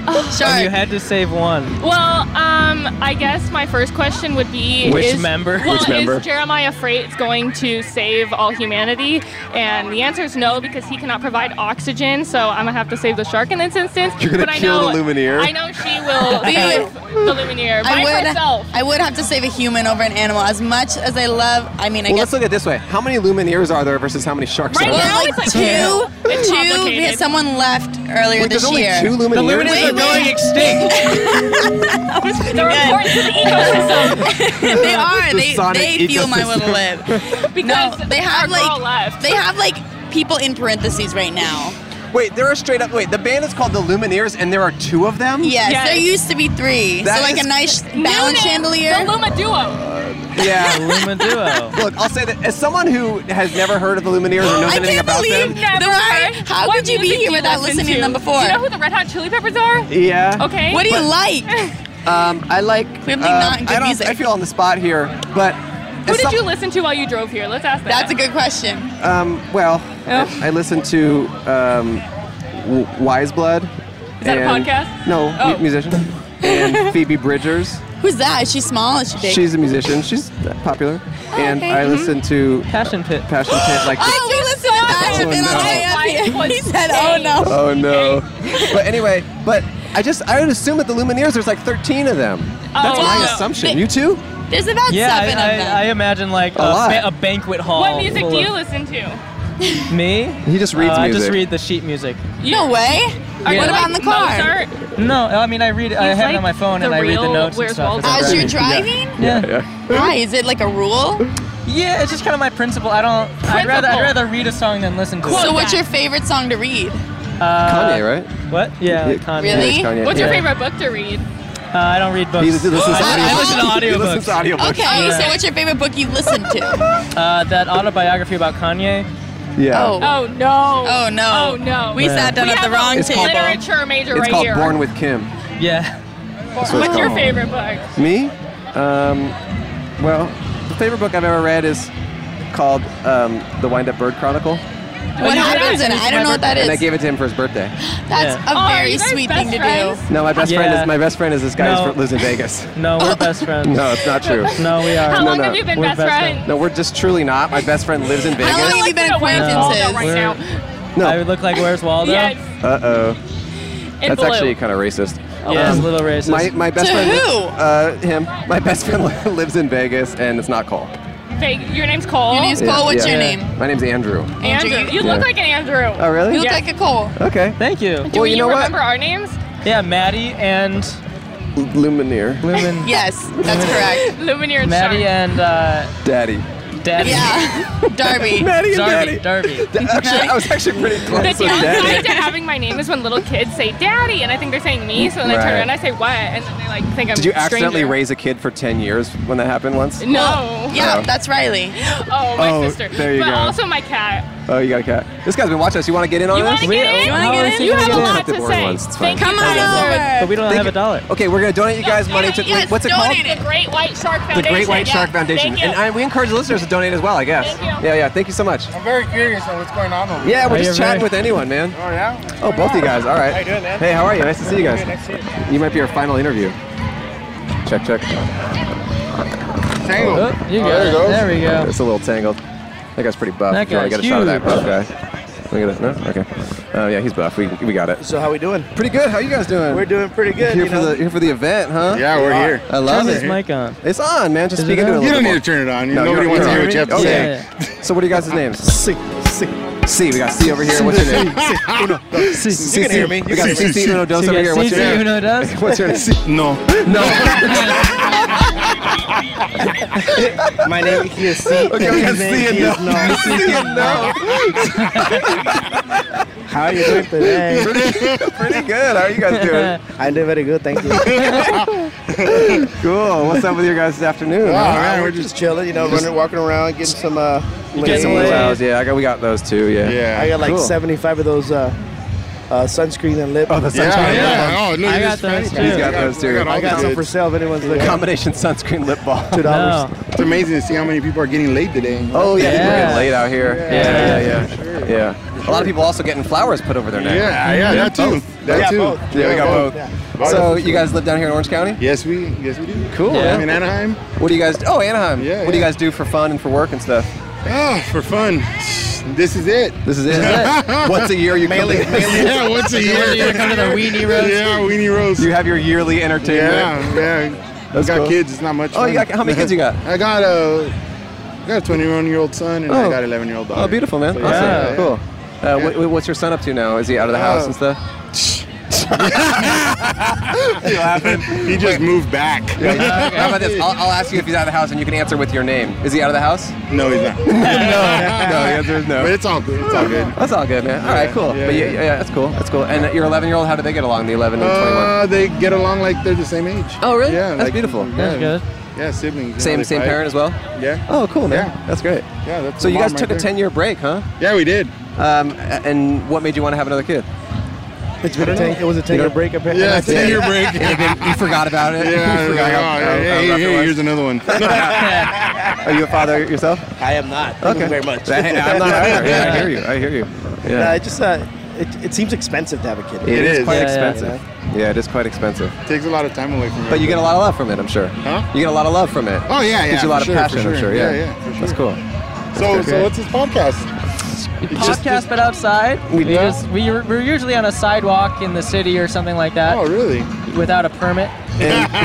[SPEAKER 23] Oh,
[SPEAKER 1] and you had to save one,
[SPEAKER 16] Well, um, I guess my first question would be
[SPEAKER 1] Which
[SPEAKER 16] is,
[SPEAKER 1] member?
[SPEAKER 16] Well,
[SPEAKER 1] Which member?
[SPEAKER 16] is Jeremiah Freight going to save all humanity? And the answer is no because he cannot provide oxygen. So I'm gonna have to save the shark in this instance.
[SPEAKER 2] You're gonna
[SPEAKER 16] but
[SPEAKER 2] kill
[SPEAKER 16] I
[SPEAKER 2] the
[SPEAKER 16] know,
[SPEAKER 2] Lumineer?
[SPEAKER 16] I know she will
[SPEAKER 23] Dude.
[SPEAKER 16] save the Lumineer by
[SPEAKER 23] I would,
[SPEAKER 16] herself.
[SPEAKER 23] I would have to save a human over an animal. As much as I love, I mean, I
[SPEAKER 2] well, let's
[SPEAKER 23] guess
[SPEAKER 2] look at it this way: How many Lumineers are there versus how many sharks
[SPEAKER 23] Right
[SPEAKER 2] are there?
[SPEAKER 23] now, Well, it's like two. It's two, complicated. because someone left earlier
[SPEAKER 2] Wait,
[SPEAKER 23] this
[SPEAKER 2] there's only
[SPEAKER 23] year.
[SPEAKER 2] two Lumineers? The Lumineers are going
[SPEAKER 1] extinct.
[SPEAKER 16] They're important to the ecosystem.
[SPEAKER 23] they are.
[SPEAKER 16] The
[SPEAKER 23] They,
[SPEAKER 16] sonic
[SPEAKER 23] they fuel my will to
[SPEAKER 16] ecosystem.
[SPEAKER 23] live.
[SPEAKER 16] Because
[SPEAKER 23] no, they have
[SPEAKER 16] our girl
[SPEAKER 23] like
[SPEAKER 16] left.
[SPEAKER 23] they have like people in parentheses right now.
[SPEAKER 2] Wait, there are straight up. Wait, the band is called the Lumineers, and there are two of them.
[SPEAKER 23] Yes, there used to be three.
[SPEAKER 2] Um, That
[SPEAKER 23] so like
[SPEAKER 2] is-
[SPEAKER 23] a nice balanced chandelier.
[SPEAKER 16] The Luma Duo.
[SPEAKER 2] Yeah,
[SPEAKER 1] Luma Duo.
[SPEAKER 2] Look, I'll say that as someone who has never heard of the Lumineers or knows
[SPEAKER 23] I
[SPEAKER 2] anything
[SPEAKER 23] can't
[SPEAKER 2] about them.
[SPEAKER 23] believe the why, How could you be here without listening to them before?
[SPEAKER 16] You know who the Red Hot Chili Peppers are?
[SPEAKER 2] Yeah.
[SPEAKER 16] Okay.
[SPEAKER 23] What do you like?
[SPEAKER 2] Um, I like.
[SPEAKER 16] Clearly
[SPEAKER 2] uh,
[SPEAKER 16] not good
[SPEAKER 2] I don't.
[SPEAKER 16] music.
[SPEAKER 2] I feel on the spot here, but
[SPEAKER 16] Who did you listen to while you drove here? Let's ask that. That's a
[SPEAKER 23] good question.
[SPEAKER 2] um, well,
[SPEAKER 16] Oh.
[SPEAKER 2] I, I listened to um, w- Wise Blood.
[SPEAKER 23] Is that a
[SPEAKER 2] and-
[SPEAKER 23] podcast?
[SPEAKER 2] No, mu-
[SPEAKER 23] Oh.
[SPEAKER 2] musician. And Phoebe Bridgers.
[SPEAKER 23] Who's that? Is she small? Is she big?
[SPEAKER 2] She's a musician. She's popular. and
[SPEAKER 23] okay.
[SPEAKER 2] I
[SPEAKER 23] Mhm.
[SPEAKER 2] listened to
[SPEAKER 1] Passion Pit.
[SPEAKER 2] Passion Pit, like.
[SPEAKER 23] oh, we listened to Passion Pit on the way up here. He said, "Oh no."
[SPEAKER 2] Oh no. but anyway, but I just I would assume at the Lumineers there's like 13 of them. That's
[SPEAKER 1] Oh,
[SPEAKER 2] my
[SPEAKER 1] wow.
[SPEAKER 2] assumption. You too?
[SPEAKER 23] There's about
[SPEAKER 1] yeah,
[SPEAKER 23] seven
[SPEAKER 1] I,
[SPEAKER 23] of them.
[SPEAKER 1] I, I imagine like a,
[SPEAKER 2] A lot.
[SPEAKER 1] ba- a banquet hall.
[SPEAKER 16] What music
[SPEAKER 1] full
[SPEAKER 16] do you
[SPEAKER 1] of-
[SPEAKER 16] listen to?
[SPEAKER 1] Me?
[SPEAKER 2] He just reads
[SPEAKER 1] uh, I just
[SPEAKER 2] music.
[SPEAKER 1] read the sheet music.
[SPEAKER 23] No way.
[SPEAKER 1] Yeah.
[SPEAKER 23] What about in the car?
[SPEAKER 16] Mozart?
[SPEAKER 1] No, I mean I read. I
[SPEAKER 23] He's
[SPEAKER 1] have it
[SPEAKER 23] like
[SPEAKER 1] on my phone
[SPEAKER 23] the
[SPEAKER 1] and I read
[SPEAKER 23] real
[SPEAKER 1] the notes
[SPEAKER 23] Where's
[SPEAKER 1] and stuff.
[SPEAKER 23] Waldo? As you're driving?
[SPEAKER 1] Yeah. yeah.
[SPEAKER 23] Why? Is it like a rule?
[SPEAKER 1] Yeah, it's just kind of my principle. I don't. I'd rather I'd rather read a song than listen to it.
[SPEAKER 23] so, what's your favorite song to read?
[SPEAKER 1] Uh,
[SPEAKER 2] Kanye, right?
[SPEAKER 1] What? Yeah, Kanye.
[SPEAKER 23] Really? Yeah,
[SPEAKER 16] What's your
[SPEAKER 1] Yeah.
[SPEAKER 16] favorite book to read?
[SPEAKER 1] Uh, I don't read books.
[SPEAKER 2] He listens to
[SPEAKER 1] I, I listen to
[SPEAKER 2] audiobooks. He
[SPEAKER 1] audiobooks.
[SPEAKER 2] listens to audiobooks.
[SPEAKER 23] Okay, so what's your favorite book you've listened to?
[SPEAKER 1] Uh, that autobiography about Kanye.
[SPEAKER 2] Yeah.
[SPEAKER 16] Oh no.
[SPEAKER 23] Oh no.
[SPEAKER 16] Oh no.
[SPEAKER 23] We sat down
[SPEAKER 16] We
[SPEAKER 23] at the
[SPEAKER 16] have
[SPEAKER 23] wrong
[SPEAKER 16] a
[SPEAKER 2] It's called-
[SPEAKER 16] Literature major
[SPEAKER 2] it's
[SPEAKER 16] right
[SPEAKER 2] called
[SPEAKER 16] here.
[SPEAKER 2] Born with Kim.
[SPEAKER 1] Yeah.
[SPEAKER 2] That's what it's
[SPEAKER 16] What's your
[SPEAKER 2] called.
[SPEAKER 16] favorite book?
[SPEAKER 2] Me? Um, well, the favorite book I've ever read is called um, The Wind Up Bird Chronicle.
[SPEAKER 23] What happens in it? I don't know what that
[SPEAKER 2] And I
[SPEAKER 23] is.
[SPEAKER 2] gave it to him for his birthday.
[SPEAKER 23] That's
[SPEAKER 2] Yeah.
[SPEAKER 23] a
[SPEAKER 2] Oh, are
[SPEAKER 23] very
[SPEAKER 2] you guys
[SPEAKER 23] sweet
[SPEAKER 2] best
[SPEAKER 23] thing to
[SPEAKER 2] friends?
[SPEAKER 23] do.
[SPEAKER 2] No, my best friend
[SPEAKER 1] Yeah.
[SPEAKER 2] is my best friend is this guy
[SPEAKER 1] No.
[SPEAKER 2] who lives in Vegas.
[SPEAKER 1] No, we're best friends.
[SPEAKER 2] No, it's not true.
[SPEAKER 1] No, we are.
[SPEAKER 16] How
[SPEAKER 2] no,
[SPEAKER 16] long
[SPEAKER 2] no.
[SPEAKER 16] have you been
[SPEAKER 2] We're
[SPEAKER 16] best friends?
[SPEAKER 2] No, we're just truly not. My best friend lives in Vegas.
[SPEAKER 23] How long have you been acquaintances?
[SPEAKER 16] right now.
[SPEAKER 2] No.
[SPEAKER 1] I would look like Where's Waldo?
[SPEAKER 23] Yes.
[SPEAKER 2] Uh oh.
[SPEAKER 23] In
[SPEAKER 2] That's
[SPEAKER 23] blue.
[SPEAKER 2] actually kind of racist. Um,
[SPEAKER 1] Yeah, it's a little racist.
[SPEAKER 2] My, my best
[SPEAKER 23] To
[SPEAKER 2] friend.
[SPEAKER 23] who?
[SPEAKER 2] Uh, him. My best friend lives in Vegas, and it's not Cole.
[SPEAKER 16] Fake. Your name's Cole. Your
[SPEAKER 23] name's
[SPEAKER 2] My name's Andrew.
[SPEAKER 16] Andrew. You
[SPEAKER 2] Yeah.
[SPEAKER 16] look like an Andrew.
[SPEAKER 2] Oh, really? You look
[SPEAKER 23] like a Cole.
[SPEAKER 2] Okay.
[SPEAKER 1] Thank you.
[SPEAKER 16] Do you, remember our names?
[SPEAKER 1] Yeah, Maddie and
[SPEAKER 2] Lumineer.
[SPEAKER 1] Lumen.
[SPEAKER 23] Yes, that's correct.
[SPEAKER 16] Lumineer and
[SPEAKER 1] Maddie and uh,
[SPEAKER 2] Daddy.
[SPEAKER 1] Daddy.
[SPEAKER 23] Yeah, Darby.
[SPEAKER 2] Maddie and
[SPEAKER 1] Darby.
[SPEAKER 2] Daddy.
[SPEAKER 1] Darby.
[SPEAKER 2] Actually, I was actually pretty
[SPEAKER 16] The
[SPEAKER 2] close with
[SPEAKER 16] downside
[SPEAKER 2] Daddy.
[SPEAKER 16] to having my name is when little kids say daddy, and I think they're saying me, so then I turn
[SPEAKER 2] Right.
[SPEAKER 16] around and I say what, and then they like think I'm
[SPEAKER 2] Did you
[SPEAKER 16] a stranger.
[SPEAKER 2] accidentally raise a kid for 10 years when that happened once?
[SPEAKER 16] No.
[SPEAKER 2] Yeah, Oh.
[SPEAKER 23] that's Riley.
[SPEAKER 16] Oh, my
[SPEAKER 2] Oh,
[SPEAKER 16] sister.
[SPEAKER 2] there you
[SPEAKER 16] but
[SPEAKER 2] go.
[SPEAKER 16] also my cat.
[SPEAKER 2] Oh, you got a cat. This guy's been watching us. You want to get in on
[SPEAKER 25] You wanna
[SPEAKER 2] this?
[SPEAKER 25] get in? You wanna get in? You have a lot to say. Thank you, Come on Tyler. over.
[SPEAKER 2] But we don't have a dollar. Okay, we're gonna donate you guys money to wait, what's it called?
[SPEAKER 16] The Great White Shark
[SPEAKER 2] The
[SPEAKER 16] Foundation.
[SPEAKER 2] Great White
[SPEAKER 16] yeah.
[SPEAKER 2] Shark Foundation.
[SPEAKER 16] Thank you.
[SPEAKER 2] And I, we encourage the listeners to donate as well, I guess.
[SPEAKER 16] Thank you.
[SPEAKER 2] Yeah, yeah. Thank you so much.
[SPEAKER 18] I'm very curious on what's going on over
[SPEAKER 2] Yeah,
[SPEAKER 18] there.
[SPEAKER 2] we're just chatting with anyone, man.
[SPEAKER 18] Oh, yeah?
[SPEAKER 2] Oh, both you guys. All right.
[SPEAKER 18] How you doing, man?
[SPEAKER 2] Hey, how are you? Nice to see you guys.
[SPEAKER 18] Good, nice to see
[SPEAKER 2] You might be our final interview. Check, check.
[SPEAKER 18] Tangled.
[SPEAKER 2] Oh,
[SPEAKER 18] you Oh, got there it it. goes. There we go.
[SPEAKER 2] It's a little tangled. That guy's pretty buff.
[SPEAKER 18] That
[SPEAKER 2] If you wanna
[SPEAKER 18] guy's
[SPEAKER 2] get a shot of that
[SPEAKER 18] huge.
[SPEAKER 2] buff guy. Look at that. No? Okay. Oh, yeah, he's buff. We, we got it.
[SPEAKER 18] So how we doing?
[SPEAKER 2] Pretty good. How you guys doing?
[SPEAKER 18] We're doing pretty good.
[SPEAKER 2] Here
[SPEAKER 18] you
[SPEAKER 2] for
[SPEAKER 18] know?
[SPEAKER 2] the here for the event, huh?
[SPEAKER 18] Yeah, we're here.
[SPEAKER 2] I love
[SPEAKER 18] Turn
[SPEAKER 2] it.
[SPEAKER 18] this mic
[SPEAKER 2] on. It's on, man. Just
[SPEAKER 18] Is
[SPEAKER 2] speak
[SPEAKER 18] it
[SPEAKER 2] into it.
[SPEAKER 18] on?
[SPEAKER 2] a
[SPEAKER 18] You
[SPEAKER 2] little bit
[SPEAKER 18] don't need
[SPEAKER 2] more.
[SPEAKER 18] to turn it on. You-
[SPEAKER 2] you
[SPEAKER 18] nobody
[SPEAKER 2] don't-
[SPEAKER 18] wants to
[SPEAKER 2] don't
[SPEAKER 18] hear what you have to
[SPEAKER 2] Okay.
[SPEAKER 18] say.
[SPEAKER 2] So what are you guys' names? C. C. C. We got C over here. What's your name? C. C.
[SPEAKER 18] You can hear me.
[SPEAKER 2] We got
[SPEAKER 18] You
[SPEAKER 2] C.
[SPEAKER 18] can
[SPEAKER 2] C.
[SPEAKER 18] hear
[SPEAKER 2] Uno
[SPEAKER 18] me.
[SPEAKER 2] Dos
[SPEAKER 18] So
[SPEAKER 2] over
[SPEAKER 18] you
[SPEAKER 2] here.
[SPEAKER 18] got
[SPEAKER 2] What's
[SPEAKER 18] C,
[SPEAKER 2] your
[SPEAKER 18] C,
[SPEAKER 2] name?
[SPEAKER 18] Uno Dos?
[SPEAKER 2] What's your name? No.
[SPEAKER 18] My name is C.
[SPEAKER 2] Okay, we got
[SPEAKER 18] His name
[SPEAKER 2] C and
[SPEAKER 18] is
[SPEAKER 2] no.
[SPEAKER 18] no.
[SPEAKER 2] C and
[SPEAKER 18] no. How are you doing today?
[SPEAKER 2] Pretty, pretty good. How are you guys doing?
[SPEAKER 18] I'm doing very good, thank you.
[SPEAKER 2] cool. What's up with your guys this afternoon?
[SPEAKER 18] Wow,
[SPEAKER 2] huh?
[SPEAKER 18] man, we're just chilling, you know, running, walking around, getting some. Uh,
[SPEAKER 2] You get some
[SPEAKER 18] lays.
[SPEAKER 2] allows. Yeah, I got, we got those too. Yeah.
[SPEAKER 18] I got like
[SPEAKER 2] Cool.
[SPEAKER 18] 75 of those uh, uh, sunscreen and lip. Oh,
[SPEAKER 2] the sunscreen
[SPEAKER 18] Yeah,
[SPEAKER 2] and lip.
[SPEAKER 18] yeah. Oh, no,
[SPEAKER 2] I
[SPEAKER 18] you
[SPEAKER 2] got
[SPEAKER 18] just
[SPEAKER 2] those,
[SPEAKER 18] fancy.
[SPEAKER 2] too. He's got those, too.
[SPEAKER 18] I got,
[SPEAKER 2] I got
[SPEAKER 18] some
[SPEAKER 2] it.
[SPEAKER 18] for sale if anyone's looking.
[SPEAKER 2] Combination sunscreen lip balm.
[SPEAKER 18] Two dollars.
[SPEAKER 26] It's amazing to see how many people are getting laid today.
[SPEAKER 2] Oh yeah, people are getting laid out here.
[SPEAKER 26] Yeah.
[SPEAKER 2] Yeah, yeah, yeah. yeah. A lot of people also getting flowers put over their nose.
[SPEAKER 26] Yeah, yeah, that too.
[SPEAKER 2] both.
[SPEAKER 26] That
[SPEAKER 2] yeah,
[SPEAKER 26] too.
[SPEAKER 2] both. Yeah, we
[SPEAKER 26] Yeah,
[SPEAKER 2] got
[SPEAKER 26] both.
[SPEAKER 2] both.
[SPEAKER 26] Yeah.
[SPEAKER 2] So you guys live down here in Orange County?
[SPEAKER 26] Yes, we yes we do.
[SPEAKER 2] Cool.
[SPEAKER 26] Yeah.
[SPEAKER 2] man.
[SPEAKER 26] I'm in Anaheim.
[SPEAKER 2] What do you guys? Oh, Anaheim.
[SPEAKER 26] Yeah,
[SPEAKER 2] What do you
[SPEAKER 26] yeah.
[SPEAKER 2] guys do for fun and for work and stuff?
[SPEAKER 26] Ah, for fun. This is it.
[SPEAKER 2] This is it. Once a year you come
[SPEAKER 26] Mainly-
[SPEAKER 2] to- mainly-
[SPEAKER 26] yeah, once a year.
[SPEAKER 2] You come to the Weenie Roast?
[SPEAKER 26] Yeah, Weenie Roast.
[SPEAKER 2] You have your yearly entertainment.
[SPEAKER 26] Yeah, yeah.
[SPEAKER 2] That's
[SPEAKER 26] I got
[SPEAKER 2] cool.
[SPEAKER 26] kids. It's not much.
[SPEAKER 2] Oh, you
[SPEAKER 26] fun.
[SPEAKER 2] got- how many kids you got?
[SPEAKER 26] I got a, I got a 21 year old son and I
[SPEAKER 2] Oh.
[SPEAKER 26] got 11 year old daughter.
[SPEAKER 2] Oh, beautiful, man.
[SPEAKER 26] So,
[SPEAKER 2] awesome. Cool. Uh, what- what- what's your son up to now? Is he out of the house
[SPEAKER 26] Oh.
[SPEAKER 2] and stuff?
[SPEAKER 26] He just moved back.
[SPEAKER 2] Yeah, yeah. How about this? I'll, I'll ask you if he's out of the house, and you can answer with your name. Is he out of the house?
[SPEAKER 26] No, he's not.
[SPEAKER 2] no, no. The answer is no.
[SPEAKER 26] But it's all good. It's all good.
[SPEAKER 2] That's all good, man. All right,
[SPEAKER 26] Yeah,
[SPEAKER 2] cool.
[SPEAKER 26] yeah,
[SPEAKER 2] but yeah,
[SPEAKER 26] yeah.
[SPEAKER 2] yeah, that's cool. That's cool. And your 11 year old, how do they get along? The 11 and 21.
[SPEAKER 26] Uh, they get along like they're the same age.
[SPEAKER 2] Oh, really?
[SPEAKER 26] Yeah,
[SPEAKER 2] That's
[SPEAKER 26] like-
[SPEAKER 2] beautiful.
[SPEAKER 26] Yeah.
[SPEAKER 2] That's good.
[SPEAKER 26] Yeah, siblings. you
[SPEAKER 2] Same-
[SPEAKER 26] they
[SPEAKER 2] same
[SPEAKER 26] fight.
[SPEAKER 2] parent as well?
[SPEAKER 26] Yeah.
[SPEAKER 2] Oh, cool, man. That's great.
[SPEAKER 26] Yeah, that's
[SPEAKER 2] so
[SPEAKER 26] the
[SPEAKER 2] you guys
[SPEAKER 26] mom
[SPEAKER 2] took
[SPEAKER 26] right
[SPEAKER 2] a
[SPEAKER 26] there.
[SPEAKER 2] 10 year break, huh?
[SPEAKER 26] Yeah, we did.
[SPEAKER 2] Um, a- and what made you want to have another kid?
[SPEAKER 18] It's been a ten, it was a 10 year break. apparently.
[SPEAKER 26] Yeah, 10 year break.
[SPEAKER 2] you forgot about it.
[SPEAKER 26] Yeah,
[SPEAKER 2] You forgot
[SPEAKER 26] like,
[SPEAKER 2] how-
[SPEAKER 26] oh,
[SPEAKER 2] how-
[SPEAKER 26] hey,
[SPEAKER 2] how rough it
[SPEAKER 26] hey,
[SPEAKER 2] was.
[SPEAKER 26] here's another one.
[SPEAKER 2] Are you a father yourself?
[SPEAKER 18] I am not. Thank
[SPEAKER 2] Okay.
[SPEAKER 18] you very much.
[SPEAKER 2] Hey, I'm not either. Yeah, I hear you. I hear you. Yeah.
[SPEAKER 18] Nah, it just uh, it, it seems expensive to have a kid.
[SPEAKER 2] it is, quite expensive. yeah, it is quite expensive.
[SPEAKER 26] Takes a lot of time away from you.
[SPEAKER 2] But you get a lot of love from it, I'm sure.
[SPEAKER 26] Huh?
[SPEAKER 2] You get a lot of love from it.
[SPEAKER 26] Oh, yeah,
[SPEAKER 2] Gives
[SPEAKER 26] yeah,
[SPEAKER 2] you a lot
[SPEAKER 26] for
[SPEAKER 2] of
[SPEAKER 26] sure,
[SPEAKER 2] passion,
[SPEAKER 26] for
[SPEAKER 2] I'm
[SPEAKER 26] sure.
[SPEAKER 2] sure.
[SPEAKER 26] Yeah,
[SPEAKER 2] Yeah,
[SPEAKER 26] yeah, for
[SPEAKER 2] That's
[SPEAKER 26] sure.
[SPEAKER 2] cool.
[SPEAKER 26] So,
[SPEAKER 2] That's
[SPEAKER 26] so
[SPEAKER 2] good.
[SPEAKER 26] what's his podcast?
[SPEAKER 1] podcast, but outside. We, just we we're usually on a sidewalk in the city or something like that. Oh,
[SPEAKER 26] really?
[SPEAKER 1] Without a permit.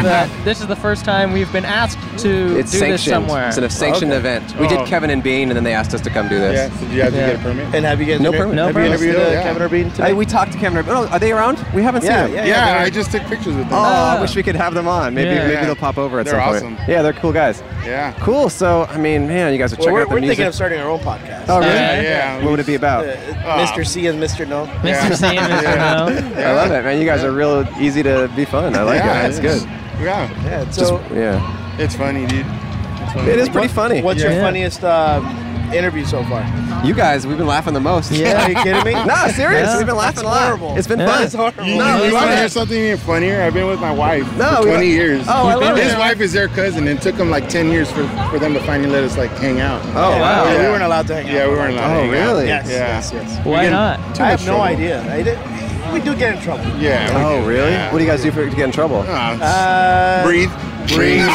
[SPEAKER 1] but this is the first time we've been asked to
[SPEAKER 2] It's
[SPEAKER 1] do
[SPEAKER 2] sanctioned.
[SPEAKER 1] this somewhere. Oh.
[SPEAKER 2] It's a sanctioned event. We did Kevin and Bean, and then they asked us to come do this.
[SPEAKER 26] Yeah, so do you have to Yeah. get a permit?
[SPEAKER 18] And have you guys
[SPEAKER 2] no
[SPEAKER 18] inter-
[SPEAKER 2] permit?
[SPEAKER 18] have you interviewed uh, Kevin Urbeen today?
[SPEAKER 2] Hey, we talked to Kevin Urbeen. Oh, are they around? We haven't
[SPEAKER 18] Yeah,
[SPEAKER 2] seen
[SPEAKER 18] yeah,
[SPEAKER 2] them.
[SPEAKER 18] yeah, Yeah, I they're-
[SPEAKER 26] just took pictures with them.
[SPEAKER 2] Oh, I wish we could have them on. Maybe
[SPEAKER 26] Yeah.
[SPEAKER 2] maybe
[SPEAKER 26] Yeah.
[SPEAKER 2] they'll pop over at
[SPEAKER 26] They're
[SPEAKER 2] some
[SPEAKER 26] awesome.
[SPEAKER 2] point. Yeah, they're cool guys.
[SPEAKER 26] Yeah.
[SPEAKER 2] Cool. So, I mean, man, you guys are
[SPEAKER 18] Well,
[SPEAKER 2] checking
[SPEAKER 18] we're
[SPEAKER 2] out the
[SPEAKER 18] we're
[SPEAKER 2] music.
[SPEAKER 18] thinking of starting our own podcast.
[SPEAKER 2] Oh, really?
[SPEAKER 18] Yeah,
[SPEAKER 2] What would it be about?
[SPEAKER 26] Ah.
[SPEAKER 18] Mr. C and Mr. No.
[SPEAKER 2] Yeah. I love it, man. You guys are real easy to be fun. I like
[SPEAKER 26] Yeah,
[SPEAKER 2] it. That's good.
[SPEAKER 26] Yeah.
[SPEAKER 18] Yeah. So
[SPEAKER 2] Yeah.
[SPEAKER 26] It's funny, dude. It's funny.
[SPEAKER 2] It is pretty funny.
[SPEAKER 18] What's
[SPEAKER 2] Yeah.
[SPEAKER 18] your funniest um, interview so far?
[SPEAKER 2] You guys, we've been laughing the most.
[SPEAKER 18] Yeah, are you kidding me?
[SPEAKER 2] no, Ah, serious.
[SPEAKER 18] Yeah.
[SPEAKER 2] We've been laughing a
[SPEAKER 18] That's
[SPEAKER 2] lot.
[SPEAKER 18] horrible.
[SPEAKER 2] It's been
[SPEAKER 18] Yeah.
[SPEAKER 2] fun.
[SPEAKER 18] That's horrible.
[SPEAKER 26] You,
[SPEAKER 2] No, we
[SPEAKER 26] want
[SPEAKER 2] love
[SPEAKER 26] to hear
[SPEAKER 2] it.
[SPEAKER 26] something even funnier? I've been with my wife
[SPEAKER 2] No,
[SPEAKER 26] for
[SPEAKER 2] we-
[SPEAKER 26] 20 years.
[SPEAKER 2] Oh, I love
[SPEAKER 26] His
[SPEAKER 2] it.
[SPEAKER 26] wife is their cousin, and it took him like 10 years for, for them to finally let us like hang out.
[SPEAKER 2] Oh, wow.
[SPEAKER 18] Yeah, we weren't allowed to hang out.
[SPEAKER 26] Yeah, we weren't allowed.
[SPEAKER 2] Oh,
[SPEAKER 26] to hang out.
[SPEAKER 2] really?
[SPEAKER 26] Yeah.
[SPEAKER 18] Yes, yes, yes.
[SPEAKER 26] Why
[SPEAKER 18] Again,
[SPEAKER 26] not? Too
[SPEAKER 18] I
[SPEAKER 26] much
[SPEAKER 18] have no
[SPEAKER 26] trouble.
[SPEAKER 18] idea. I did, we do get in trouble.
[SPEAKER 26] Yeah.
[SPEAKER 2] Oh, really?
[SPEAKER 26] Yeah.
[SPEAKER 2] What do you guys do for, to get in trouble?
[SPEAKER 18] Uh,
[SPEAKER 26] breathe, breathe,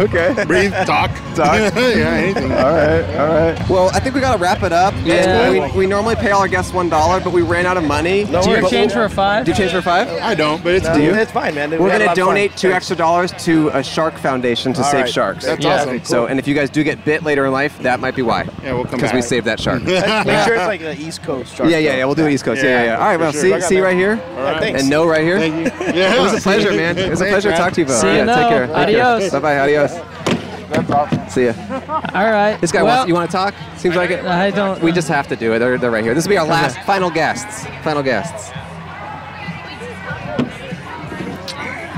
[SPEAKER 2] okay.
[SPEAKER 26] breathe, talk,
[SPEAKER 2] Talk.
[SPEAKER 26] yeah, anything.
[SPEAKER 2] All right, all right. Well, I think we gotta wrap it up.
[SPEAKER 26] Yeah.
[SPEAKER 2] We, we normally pay all our guests one dollar, but we ran out of money.
[SPEAKER 18] No Do you worries. change for a
[SPEAKER 1] five?
[SPEAKER 2] Do you change for a five?
[SPEAKER 26] I don't, but it's
[SPEAKER 2] do you?
[SPEAKER 18] It's fine, man. We
[SPEAKER 2] We're
[SPEAKER 18] had
[SPEAKER 2] gonna
[SPEAKER 18] a lot of fun.
[SPEAKER 2] donate two
[SPEAKER 18] Thanks.
[SPEAKER 2] extra dollars to a shark foundation to
[SPEAKER 18] All
[SPEAKER 2] save
[SPEAKER 18] right.
[SPEAKER 2] sharks.
[SPEAKER 18] That's Yeah. awesome.
[SPEAKER 2] So,
[SPEAKER 18] Cool.
[SPEAKER 2] and if you guys do get bit later in life, that might be why.
[SPEAKER 26] Yeah, we'll come
[SPEAKER 2] Because we
[SPEAKER 26] back.
[SPEAKER 2] saved that shark.
[SPEAKER 18] Make sure it's like an East Coast shark.
[SPEAKER 2] yeah, yeah, yeah. We'll do it East Coast. Yeah, yeah. yeah. All right,
[SPEAKER 18] for
[SPEAKER 2] well,
[SPEAKER 18] sure. I
[SPEAKER 2] see,
[SPEAKER 18] got
[SPEAKER 2] see you
[SPEAKER 18] that.
[SPEAKER 2] right here.
[SPEAKER 18] All right. Thanks.
[SPEAKER 2] And no right here.
[SPEAKER 26] Thank you.
[SPEAKER 2] Yeah. It was a pleasure, man. It was a
[SPEAKER 26] Thanks,
[SPEAKER 2] pleasure to
[SPEAKER 26] man.
[SPEAKER 2] talk to you, Bo.
[SPEAKER 26] See you
[SPEAKER 2] yeah,
[SPEAKER 26] now.
[SPEAKER 2] take care.
[SPEAKER 26] Adios.
[SPEAKER 2] Bye bye. Adios. See ya.
[SPEAKER 1] All right.
[SPEAKER 2] This guy wants. You want to talk? Seems like it.
[SPEAKER 1] I don't.
[SPEAKER 2] We just have to do it. They're, they're right here. This will be our
[SPEAKER 1] Okay.
[SPEAKER 2] last, final guests. Final guests.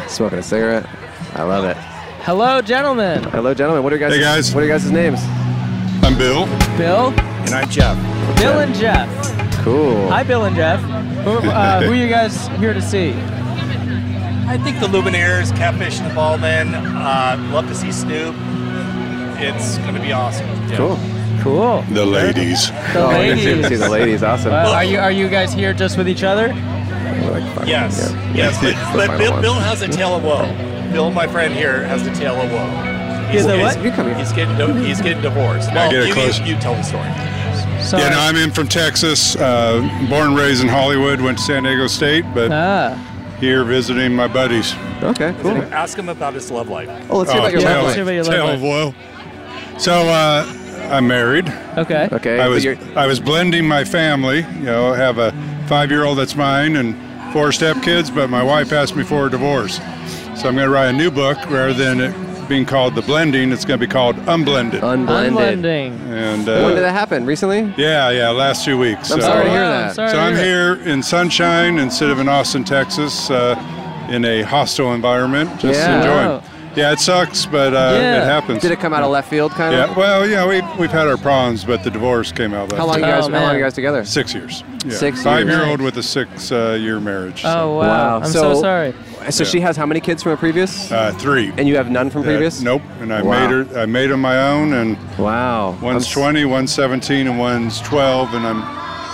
[SPEAKER 2] Smoking a cigarette. I love it.
[SPEAKER 1] Hello, gentlemen.
[SPEAKER 2] Hello, gentlemen. What are you guys?
[SPEAKER 1] Hey, guys.
[SPEAKER 2] What are you guys' names?
[SPEAKER 21] I'm Bill.
[SPEAKER 1] Bill.
[SPEAKER 21] And I'm Jeff.
[SPEAKER 1] Bill and Jeff.
[SPEAKER 2] Cool.
[SPEAKER 1] Hi, Bill and Jeff. Who, uh, who are you guys here to see?
[SPEAKER 11] I think the Lumineers, Catfish and the Ballmen. Uh, love to see Snoop. It's going to be awesome. Yeah.
[SPEAKER 2] Cool.
[SPEAKER 1] Cool.
[SPEAKER 21] The ladies.
[SPEAKER 26] Oh,
[SPEAKER 2] Oh,
[SPEAKER 1] The ladies.
[SPEAKER 2] See the ladies. Awesome.
[SPEAKER 1] Well, are you are you guys here just with each other?
[SPEAKER 11] Yes. Yes.
[SPEAKER 2] That's the
[SPEAKER 11] But, but
[SPEAKER 2] final
[SPEAKER 11] Bill,
[SPEAKER 2] one.
[SPEAKER 11] Bill has a tale of woe. Bill, my friend here, has a tale of woe.
[SPEAKER 1] He has a what?
[SPEAKER 11] He's, he's getting di- he's getting divorced.
[SPEAKER 21] Can I
[SPEAKER 11] Well,
[SPEAKER 21] get it
[SPEAKER 11] you,
[SPEAKER 21] close?
[SPEAKER 11] you, you tell the story.
[SPEAKER 21] Yeah, no, I'm in from Texas. Uh, born and raised in Hollywood, went to San Diego State, but here visiting my buddies.
[SPEAKER 2] Ah. Okay,
[SPEAKER 11] Ask him about his love life.
[SPEAKER 2] Oh, let's hear about your love life. Let's hear about your love
[SPEAKER 21] tale
[SPEAKER 2] life.
[SPEAKER 21] of woe. So uh, I'm married.
[SPEAKER 1] Okay.
[SPEAKER 2] Okay.
[SPEAKER 21] I
[SPEAKER 2] but
[SPEAKER 21] was
[SPEAKER 2] you're-
[SPEAKER 21] I was blending my family. You know, I have a five-year-old that's mine and four stepkids, but my wife asked me for a divorce. So I'm going to write a new book rather than it being called the blending. It's going to be called unblended.
[SPEAKER 2] Unblended.
[SPEAKER 1] Unblending.
[SPEAKER 21] And uh,
[SPEAKER 2] when did that happen? Recently?
[SPEAKER 21] yeah, yeah, last two weeks. so.
[SPEAKER 2] I'm sorry to hear Oh, that. I'm sorry
[SPEAKER 21] so
[SPEAKER 2] to
[SPEAKER 21] I'm
[SPEAKER 2] hear
[SPEAKER 21] here in sunshine instead of in Austin, Texas, uh, in a hostile environment, just
[SPEAKER 2] Yeah.
[SPEAKER 21] enjoying. Yeah, it sucks, but uh,
[SPEAKER 2] Yeah.
[SPEAKER 21] it happens.
[SPEAKER 2] Did it come out of left field, kind of?
[SPEAKER 21] Yeah. Well, yeah, we we've had our problems, but the divorce came out. Of left
[SPEAKER 2] How long you
[SPEAKER 21] field.
[SPEAKER 2] guys? how long you guys together?
[SPEAKER 21] Six years. Yeah.
[SPEAKER 2] Six
[SPEAKER 21] Five
[SPEAKER 2] years.
[SPEAKER 21] year old with a six uh, year marriage.
[SPEAKER 1] I'm so sorry.
[SPEAKER 2] Oh, So
[SPEAKER 21] Yeah.
[SPEAKER 2] she has how many kids from a previous?
[SPEAKER 21] Uh, three.
[SPEAKER 2] And you have none from
[SPEAKER 21] Yeah,
[SPEAKER 2] previous?
[SPEAKER 21] Nope. And I
[SPEAKER 2] Wow.
[SPEAKER 21] made her. I made them my own. And
[SPEAKER 2] wow.
[SPEAKER 21] One's 20, one's 17, and one's 12. And I'm,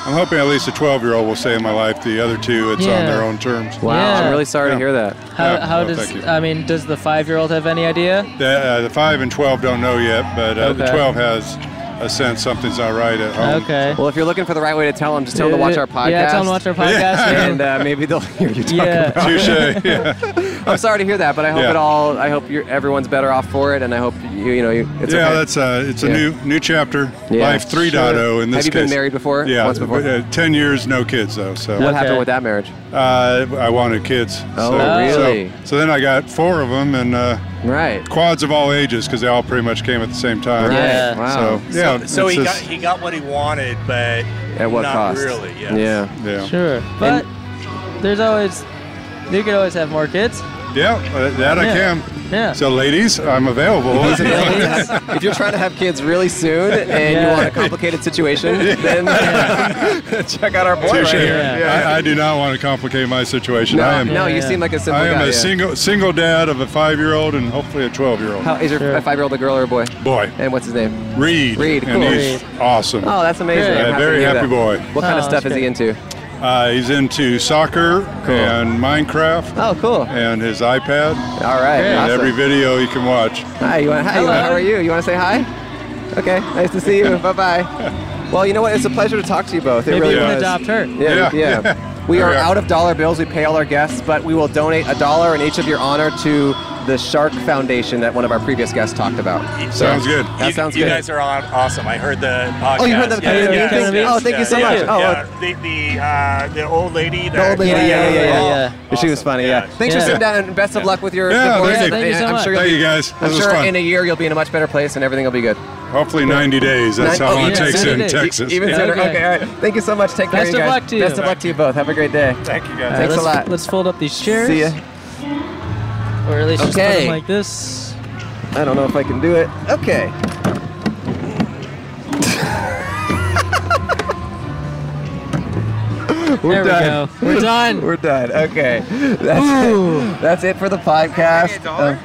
[SPEAKER 21] I'm hoping at least a 12 year old will stay in my life. The other two, it's on their
[SPEAKER 1] Yeah.
[SPEAKER 21] own terms.
[SPEAKER 1] Wow, I'm Yeah. really sorry to
[SPEAKER 21] Yeah.
[SPEAKER 1] hear
[SPEAKER 2] that.
[SPEAKER 1] How,
[SPEAKER 21] Yeah,
[SPEAKER 1] how
[SPEAKER 21] no,
[SPEAKER 1] does
[SPEAKER 21] Oh, thank you.
[SPEAKER 1] I mean does the five year old have any idea?
[SPEAKER 21] The, uh, the five and 12 don't know yet, but uh, the
[SPEAKER 1] Okay.
[SPEAKER 21] 12 has a sense something's not right at home.
[SPEAKER 1] Okay. Uh,
[SPEAKER 2] Well, if you're looking for the right way to tell them, just tell them to watch our podcast.
[SPEAKER 1] Yeah, tell 'em to watch our podcast,
[SPEAKER 2] and uh, maybe they'll hear you talk
[SPEAKER 1] Yeah.
[SPEAKER 2] about
[SPEAKER 21] it.
[SPEAKER 2] I'm sorry to hear that, but I hope
[SPEAKER 21] Yeah.
[SPEAKER 2] it all. I hope you're, everyone's better off for it, and I hope you you know you, it's
[SPEAKER 21] yeah,
[SPEAKER 2] okay.
[SPEAKER 21] that's uh, it's a
[SPEAKER 2] Yeah.
[SPEAKER 21] new new chapter.
[SPEAKER 2] Yeah,
[SPEAKER 21] Life 3.0
[SPEAKER 2] sure.
[SPEAKER 21] in this
[SPEAKER 2] Have you
[SPEAKER 21] case.
[SPEAKER 2] been married before?
[SPEAKER 21] Yeah,
[SPEAKER 2] Once before?
[SPEAKER 21] but, uh, ten years, no kids though. So
[SPEAKER 2] What happened Okay. with that marriage?
[SPEAKER 21] Uh, I wanted kids.
[SPEAKER 2] Oh,
[SPEAKER 21] so,
[SPEAKER 2] really?
[SPEAKER 21] So, so then I got four of them and uh,
[SPEAKER 2] right
[SPEAKER 21] quads of all ages because they all pretty much came at the same time. So yeah,
[SPEAKER 11] So, so
[SPEAKER 21] it's
[SPEAKER 11] he got
[SPEAKER 21] just-
[SPEAKER 11] he got what he wanted, but
[SPEAKER 21] At what
[SPEAKER 11] not
[SPEAKER 21] cost?
[SPEAKER 11] really. Yes.
[SPEAKER 21] Yeah. Yeah.
[SPEAKER 1] Sure. But there's always you could always have more kids.
[SPEAKER 21] yeah, uh, that I
[SPEAKER 1] Yeah.
[SPEAKER 21] can.
[SPEAKER 1] Yeah.
[SPEAKER 21] So ladies, I'm available.
[SPEAKER 2] Ladies, if you're trying to have kids really soon and you
[SPEAKER 21] Yeah.
[SPEAKER 2] want a complicated situation, then check out our boy right
[SPEAKER 21] Touche.
[SPEAKER 2] here.
[SPEAKER 21] I, I do not want to complicate my situation.
[SPEAKER 2] No,
[SPEAKER 21] I am,
[SPEAKER 2] no, you seem like a simple
[SPEAKER 21] I am
[SPEAKER 2] guy,
[SPEAKER 21] a
[SPEAKER 2] yeah.
[SPEAKER 21] single single dad of a five year old and hopefully a twelve year old.
[SPEAKER 2] How, is your a five-year-old a girl or a boy?
[SPEAKER 21] Boy.
[SPEAKER 2] And what's his name?
[SPEAKER 21] Reed.
[SPEAKER 2] Reed,
[SPEAKER 21] And
[SPEAKER 2] cool.
[SPEAKER 21] he's awesome.
[SPEAKER 2] Oh, that's amazing.
[SPEAKER 21] Yeah,
[SPEAKER 2] I'm happy
[SPEAKER 21] very
[SPEAKER 2] to hear
[SPEAKER 21] happy
[SPEAKER 2] that.
[SPEAKER 21] boy.
[SPEAKER 2] What kind of
[SPEAKER 21] Oh,
[SPEAKER 2] stuff
[SPEAKER 21] that's
[SPEAKER 2] is he into?
[SPEAKER 21] Uh, he's into soccer and Minecraft.
[SPEAKER 2] Oh, cool.
[SPEAKER 21] And his iPad.
[SPEAKER 2] All right.
[SPEAKER 21] And
[SPEAKER 2] awesome.
[SPEAKER 21] every video you can watch.
[SPEAKER 2] Hi, you want, hi, you want- how are you? You want to say hi? Okay, nice to see you. bye bye. Well, you know what? It's a pleasure to talk to you both. It
[SPEAKER 1] Maybe
[SPEAKER 2] really
[SPEAKER 1] you can
[SPEAKER 2] was.
[SPEAKER 1] adopt her.
[SPEAKER 2] Yeah, yeah.
[SPEAKER 1] Yeah, yeah.
[SPEAKER 2] We
[SPEAKER 1] There
[SPEAKER 2] are
[SPEAKER 1] we are.
[SPEAKER 2] out of dollar bills. We pay all our guests, but we will donate a dollar in each of your honor to the Shark Foundation that one of our previous guests talked about. So, That
[SPEAKER 11] you,
[SPEAKER 2] sounds
[SPEAKER 11] you
[SPEAKER 2] good.
[SPEAKER 11] guys are on awesome. I heard the podcast.
[SPEAKER 2] Oh, you heard the
[SPEAKER 11] Yeah,
[SPEAKER 2] Canadian
[SPEAKER 11] yeah,
[SPEAKER 2] Beef
[SPEAKER 11] yeah,
[SPEAKER 2] thing?
[SPEAKER 11] yeah,
[SPEAKER 2] Oh, thank you so
[SPEAKER 11] yeah,
[SPEAKER 2] much. Oh,
[SPEAKER 11] yeah. The the uh, the old lady.
[SPEAKER 2] The old lady, yeah, yeah, yeah, yeah. She was funny, Oh, yeah. Thanks for
[SPEAKER 11] Yeah.
[SPEAKER 2] sitting down and best of luck with your
[SPEAKER 11] Yeah,
[SPEAKER 2] divorce.
[SPEAKER 11] thank you.
[SPEAKER 2] And
[SPEAKER 11] Thank you so
[SPEAKER 2] I'm
[SPEAKER 11] much.
[SPEAKER 2] sure you'll
[SPEAKER 21] Thank
[SPEAKER 2] be-
[SPEAKER 21] you guys.
[SPEAKER 2] I'm
[SPEAKER 21] This was
[SPEAKER 2] sure
[SPEAKER 21] fun.
[SPEAKER 2] in a year you'll be in a much better place and everything will be good.
[SPEAKER 21] Hopefully 90 days. That's how
[SPEAKER 2] Nine- oh,
[SPEAKER 21] long
[SPEAKER 2] yeah,
[SPEAKER 21] it takes in
[SPEAKER 2] 90 days.
[SPEAKER 21] Texas.
[SPEAKER 2] Even
[SPEAKER 21] Yeah.
[SPEAKER 2] sooner. Okay. all right. Thank you so much. Take care,
[SPEAKER 1] Best
[SPEAKER 2] you
[SPEAKER 1] of
[SPEAKER 2] guys.
[SPEAKER 1] luck to you.
[SPEAKER 2] Best of luck to you both. Have a great day.
[SPEAKER 11] Thank you,
[SPEAKER 1] All right,
[SPEAKER 2] Thanks a
[SPEAKER 1] let's-
[SPEAKER 2] lot.
[SPEAKER 1] Let's fold up these chairs.
[SPEAKER 2] See ya.
[SPEAKER 1] Or at least just put 'em
[SPEAKER 2] Okay.
[SPEAKER 1] like this.
[SPEAKER 2] I don't know if I can do it. Okay. We're
[SPEAKER 1] There we go.
[SPEAKER 2] done.
[SPEAKER 1] We're done.
[SPEAKER 2] We're done. Okay.
[SPEAKER 1] Ooh.
[SPEAKER 2] That's it. That's it for the podcast. Um,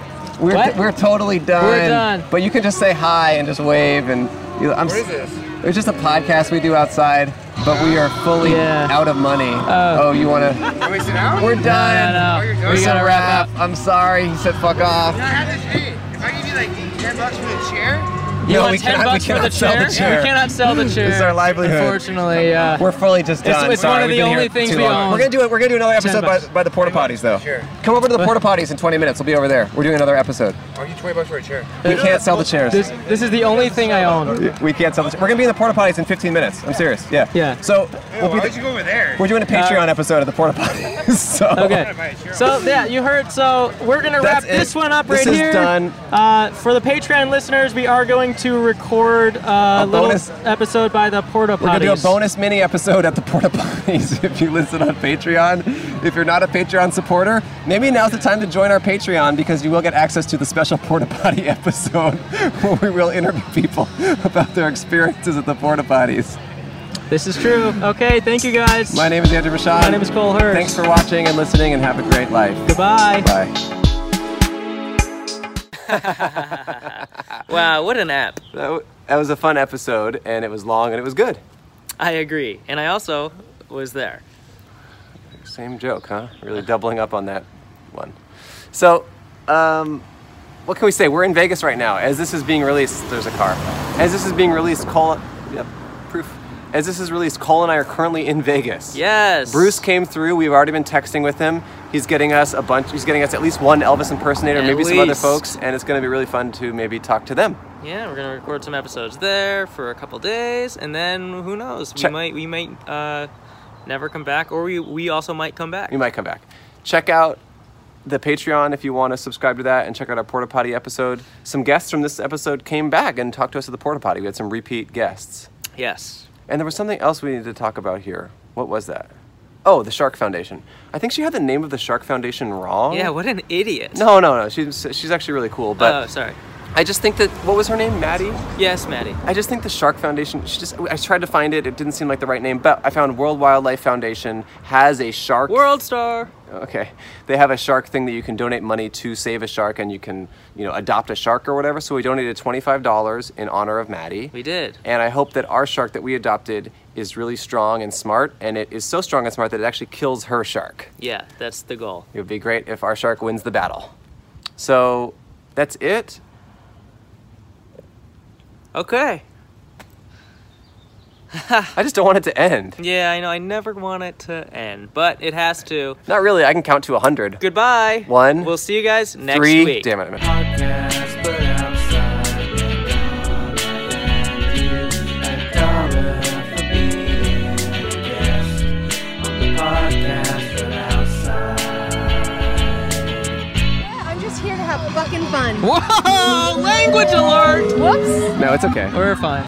[SPEAKER 2] we're,
[SPEAKER 1] What?
[SPEAKER 2] we're totally done.
[SPEAKER 1] done.
[SPEAKER 2] But you can just say hi and just wave and you, I'm
[SPEAKER 1] What is
[SPEAKER 2] this? It's just a podcast we do outside, but we are fully
[SPEAKER 1] Yeah.
[SPEAKER 2] out of money. oh, you want to
[SPEAKER 1] Can
[SPEAKER 2] we sit down? We're
[SPEAKER 1] No,
[SPEAKER 2] done.
[SPEAKER 1] no, no. We
[SPEAKER 2] It's a
[SPEAKER 1] gotta wrap
[SPEAKER 2] wrap. I'm sorry. He said fuck off.
[SPEAKER 27] If I give you like 10 bucks for the chair,
[SPEAKER 1] You
[SPEAKER 2] No,
[SPEAKER 1] want
[SPEAKER 2] we
[SPEAKER 1] 10
[SPEAKER 2] cannot- we
[SPEAKER 1] bucks for the
[SPEAKER 2] cannot sell
[SPEAKER 1] chair?
[SPEAKER 2] the chair.
[SPEAKER 1] We cannot sell the
[SPEAKER 2] This
[SPEAKER 1] chair.
[SPEAKER 2] is our livelihood.
[SPEAKER 1] Unfortunately, yeah.
[SPEAKER 2] We're fully just
[SPEAKER 1] It's-
[SPEAKER 2] done.
[SPEAKER 1] it's
[SPEAKER 2] Sorry,
[SPEAKER 1] one of
[SPEAKER 2] we've
[SPEAKER 1] the
[SPEAKER 2] been here
[SPEAKER 1] only things
[SPEAKER 2] too
[SPEAKER 1] we
[SPEAKER 2] long.
[SPEAKER 1] own.
[SPEAKER 2] We're gonna do it. We're gonna do another
[SPEAKER 1] Ten
[SPEAKER 2] episode by,
[SPEAKER 1] bucks.
[SPEAKER 2] by the porta potties though. Come over to the porta potties in 20 minutes. We'll be over there. We're doing another episode.
[SPEAKER 27] I'll give you 20 bucks for a chair.
[SPEAKER 2] We can't sell the chairs.
[SPEAKER 1] This, this is the only thing I own.
[SPEAKER 2] We can't sell the. We're gonna be in the porta potties in 15 minutes. I'm serious. Yeah. Yeah. So we'll be
[SPEAKER 27] you go over there?
[SPEAKER 2] we're doing a Patreon episode of the porta potties. so
[SPEAKER 1] Uh, Okay. So yeah, you heard. So we're gonna wrap
[SPEAKER 2] That's it.
[SPEAKER 1] this one up
[SPEAKER 2] This
[SPEAKER 1] right
[SPEAKER 2] is
[SPEAKER 1] here.
[SPEAKER 2] done.
[SPEAKER 1] Uh, for the Patreon listeners, we are going to record uh,
[SPEAKER 2] A
[SPEAKER 1] little
[SPEAKER 2] bonus-
[SPEAKER 1] episode by the porta potties.
[SPEAKER 2] We're gonna do a bonus mini episode at the porta potties if you listen on Patreon. If you're not a Patreon supporter, maybe now's the time to join our Patreon because you will get access to the special porta potty episode where we will interview people about their experiences at the porta potties.
[SPEAKER 28] This is true. Okay, thank you guys.
[SPEAKER 29] My name is Andrew Rashad.
[SPEAKER 28] My name is Cole Hurst.
[SPEAKER 29] Thanks for watching and listening, and have a great life.
[SPEAKER 28] Goodbye.
[SPEAKER 29] Bye.
[SPEAKER 1] Wow, what an app.
[SPEAKER 2] That, w- that was a fun episode, and it was long and it was good.
[SPEAKER 1] I agree. And I also was there.
[SPEAKER 2] Same joke, huh? Really doubling up on that one. So, um, what can we say? We're in Vegas right now. As this is being released, there's a car. As this is being released, Cole. Yep, proof. As this is released, Cole and I are currently in Vegas.
[SPEAKER 1] Yes.
[SPEAKER 2] Bruce came through. We've already been texting with him. He's getting us a bunch. He's getting us at least one Elvis impersonator,
[SPEAKER 1] At
[SPEAKER 2] maybe some other
[SPEAKER 1] least.
[SPEAKER 2] folks, and it's going to be really fun to maybe talk to them.
[SPEAKER 1] Yeah, we're gonna record some episodes there for a couple days, and then who knows?
[SPEAKER 2] Check-
[SPEAKER 1] We might we might uh, never come back, or we we also might come back.
[SPEAKER 2] You might come back. Check out the Patreon if you want to subscribe to that and check out our Porta Potty episode. Some guests from this episode came back and talked to us at the Porta Potty. We had some repeat guests.
[SPEAKER 1] Yes.
[SPEAKER 2] And there was something else we needed to talk about here. What was that? Oh, the Shark Foundation. I think she had the name of the Shark Foundation wrong.
[SPEAKER 1] Yeah, what an idiot.
[SPEAKER 2] No, no, no. She's, she's actually really cool, but.
[SPEAKER 1] oh, sorry.
[SPEAKER 2] I just think that what was her name, Maddie?
[SPEAKER 1] Yes, Maddie.
[SPEAKER 2] I just think the Shark Foundation. She just, I tried to find it. It didn't seem like the right name, but I found World Wildlife Foundation has a shark.
[SPEAKER 1] World Star.
[SPEAKER 2] Okay, they have a shark thing that you can donate money to save a shark, and you can, you know, adopt a shark or whatever. So we donated twenty-five dollars in honor of Maddie.
[SPEAKER 1] We did.
[SPEAKER 2] And I hope that our shark that we adopted is really strong and smart, and it is so strong and smart that it actually kills her shark.
[SPEAKER 1] Yeah, that's the goal.
[SPEAKER 2] It would be great if our shark wins the battle. So that's it.
[SPEAKER 1] Okay.
[SPEAKER 2] I just don't want it to end.
[SPEAKER 1] Yeah, I know. I never want it to end, but it has to.
[SPEAKER 2] Not really. I can count to a hundred.
[SPEAKER 1] Goodbye.
[SPEAKER 2] One.
[SPEAKER 1] We'll see you guys next
[SPEAKER 2] three.
[SPEAKER 1] week.
[SPEAKER 2] Damn it. I meant-
[SPEAKER 11] I'm just here to have fucking fun.
[SPEAKER 1] Whoa! Language alert!
[SPEAKER 11] Whoops.
[SPEAKER 29] No, it's okay.
[SPEAKER 28] We're fine.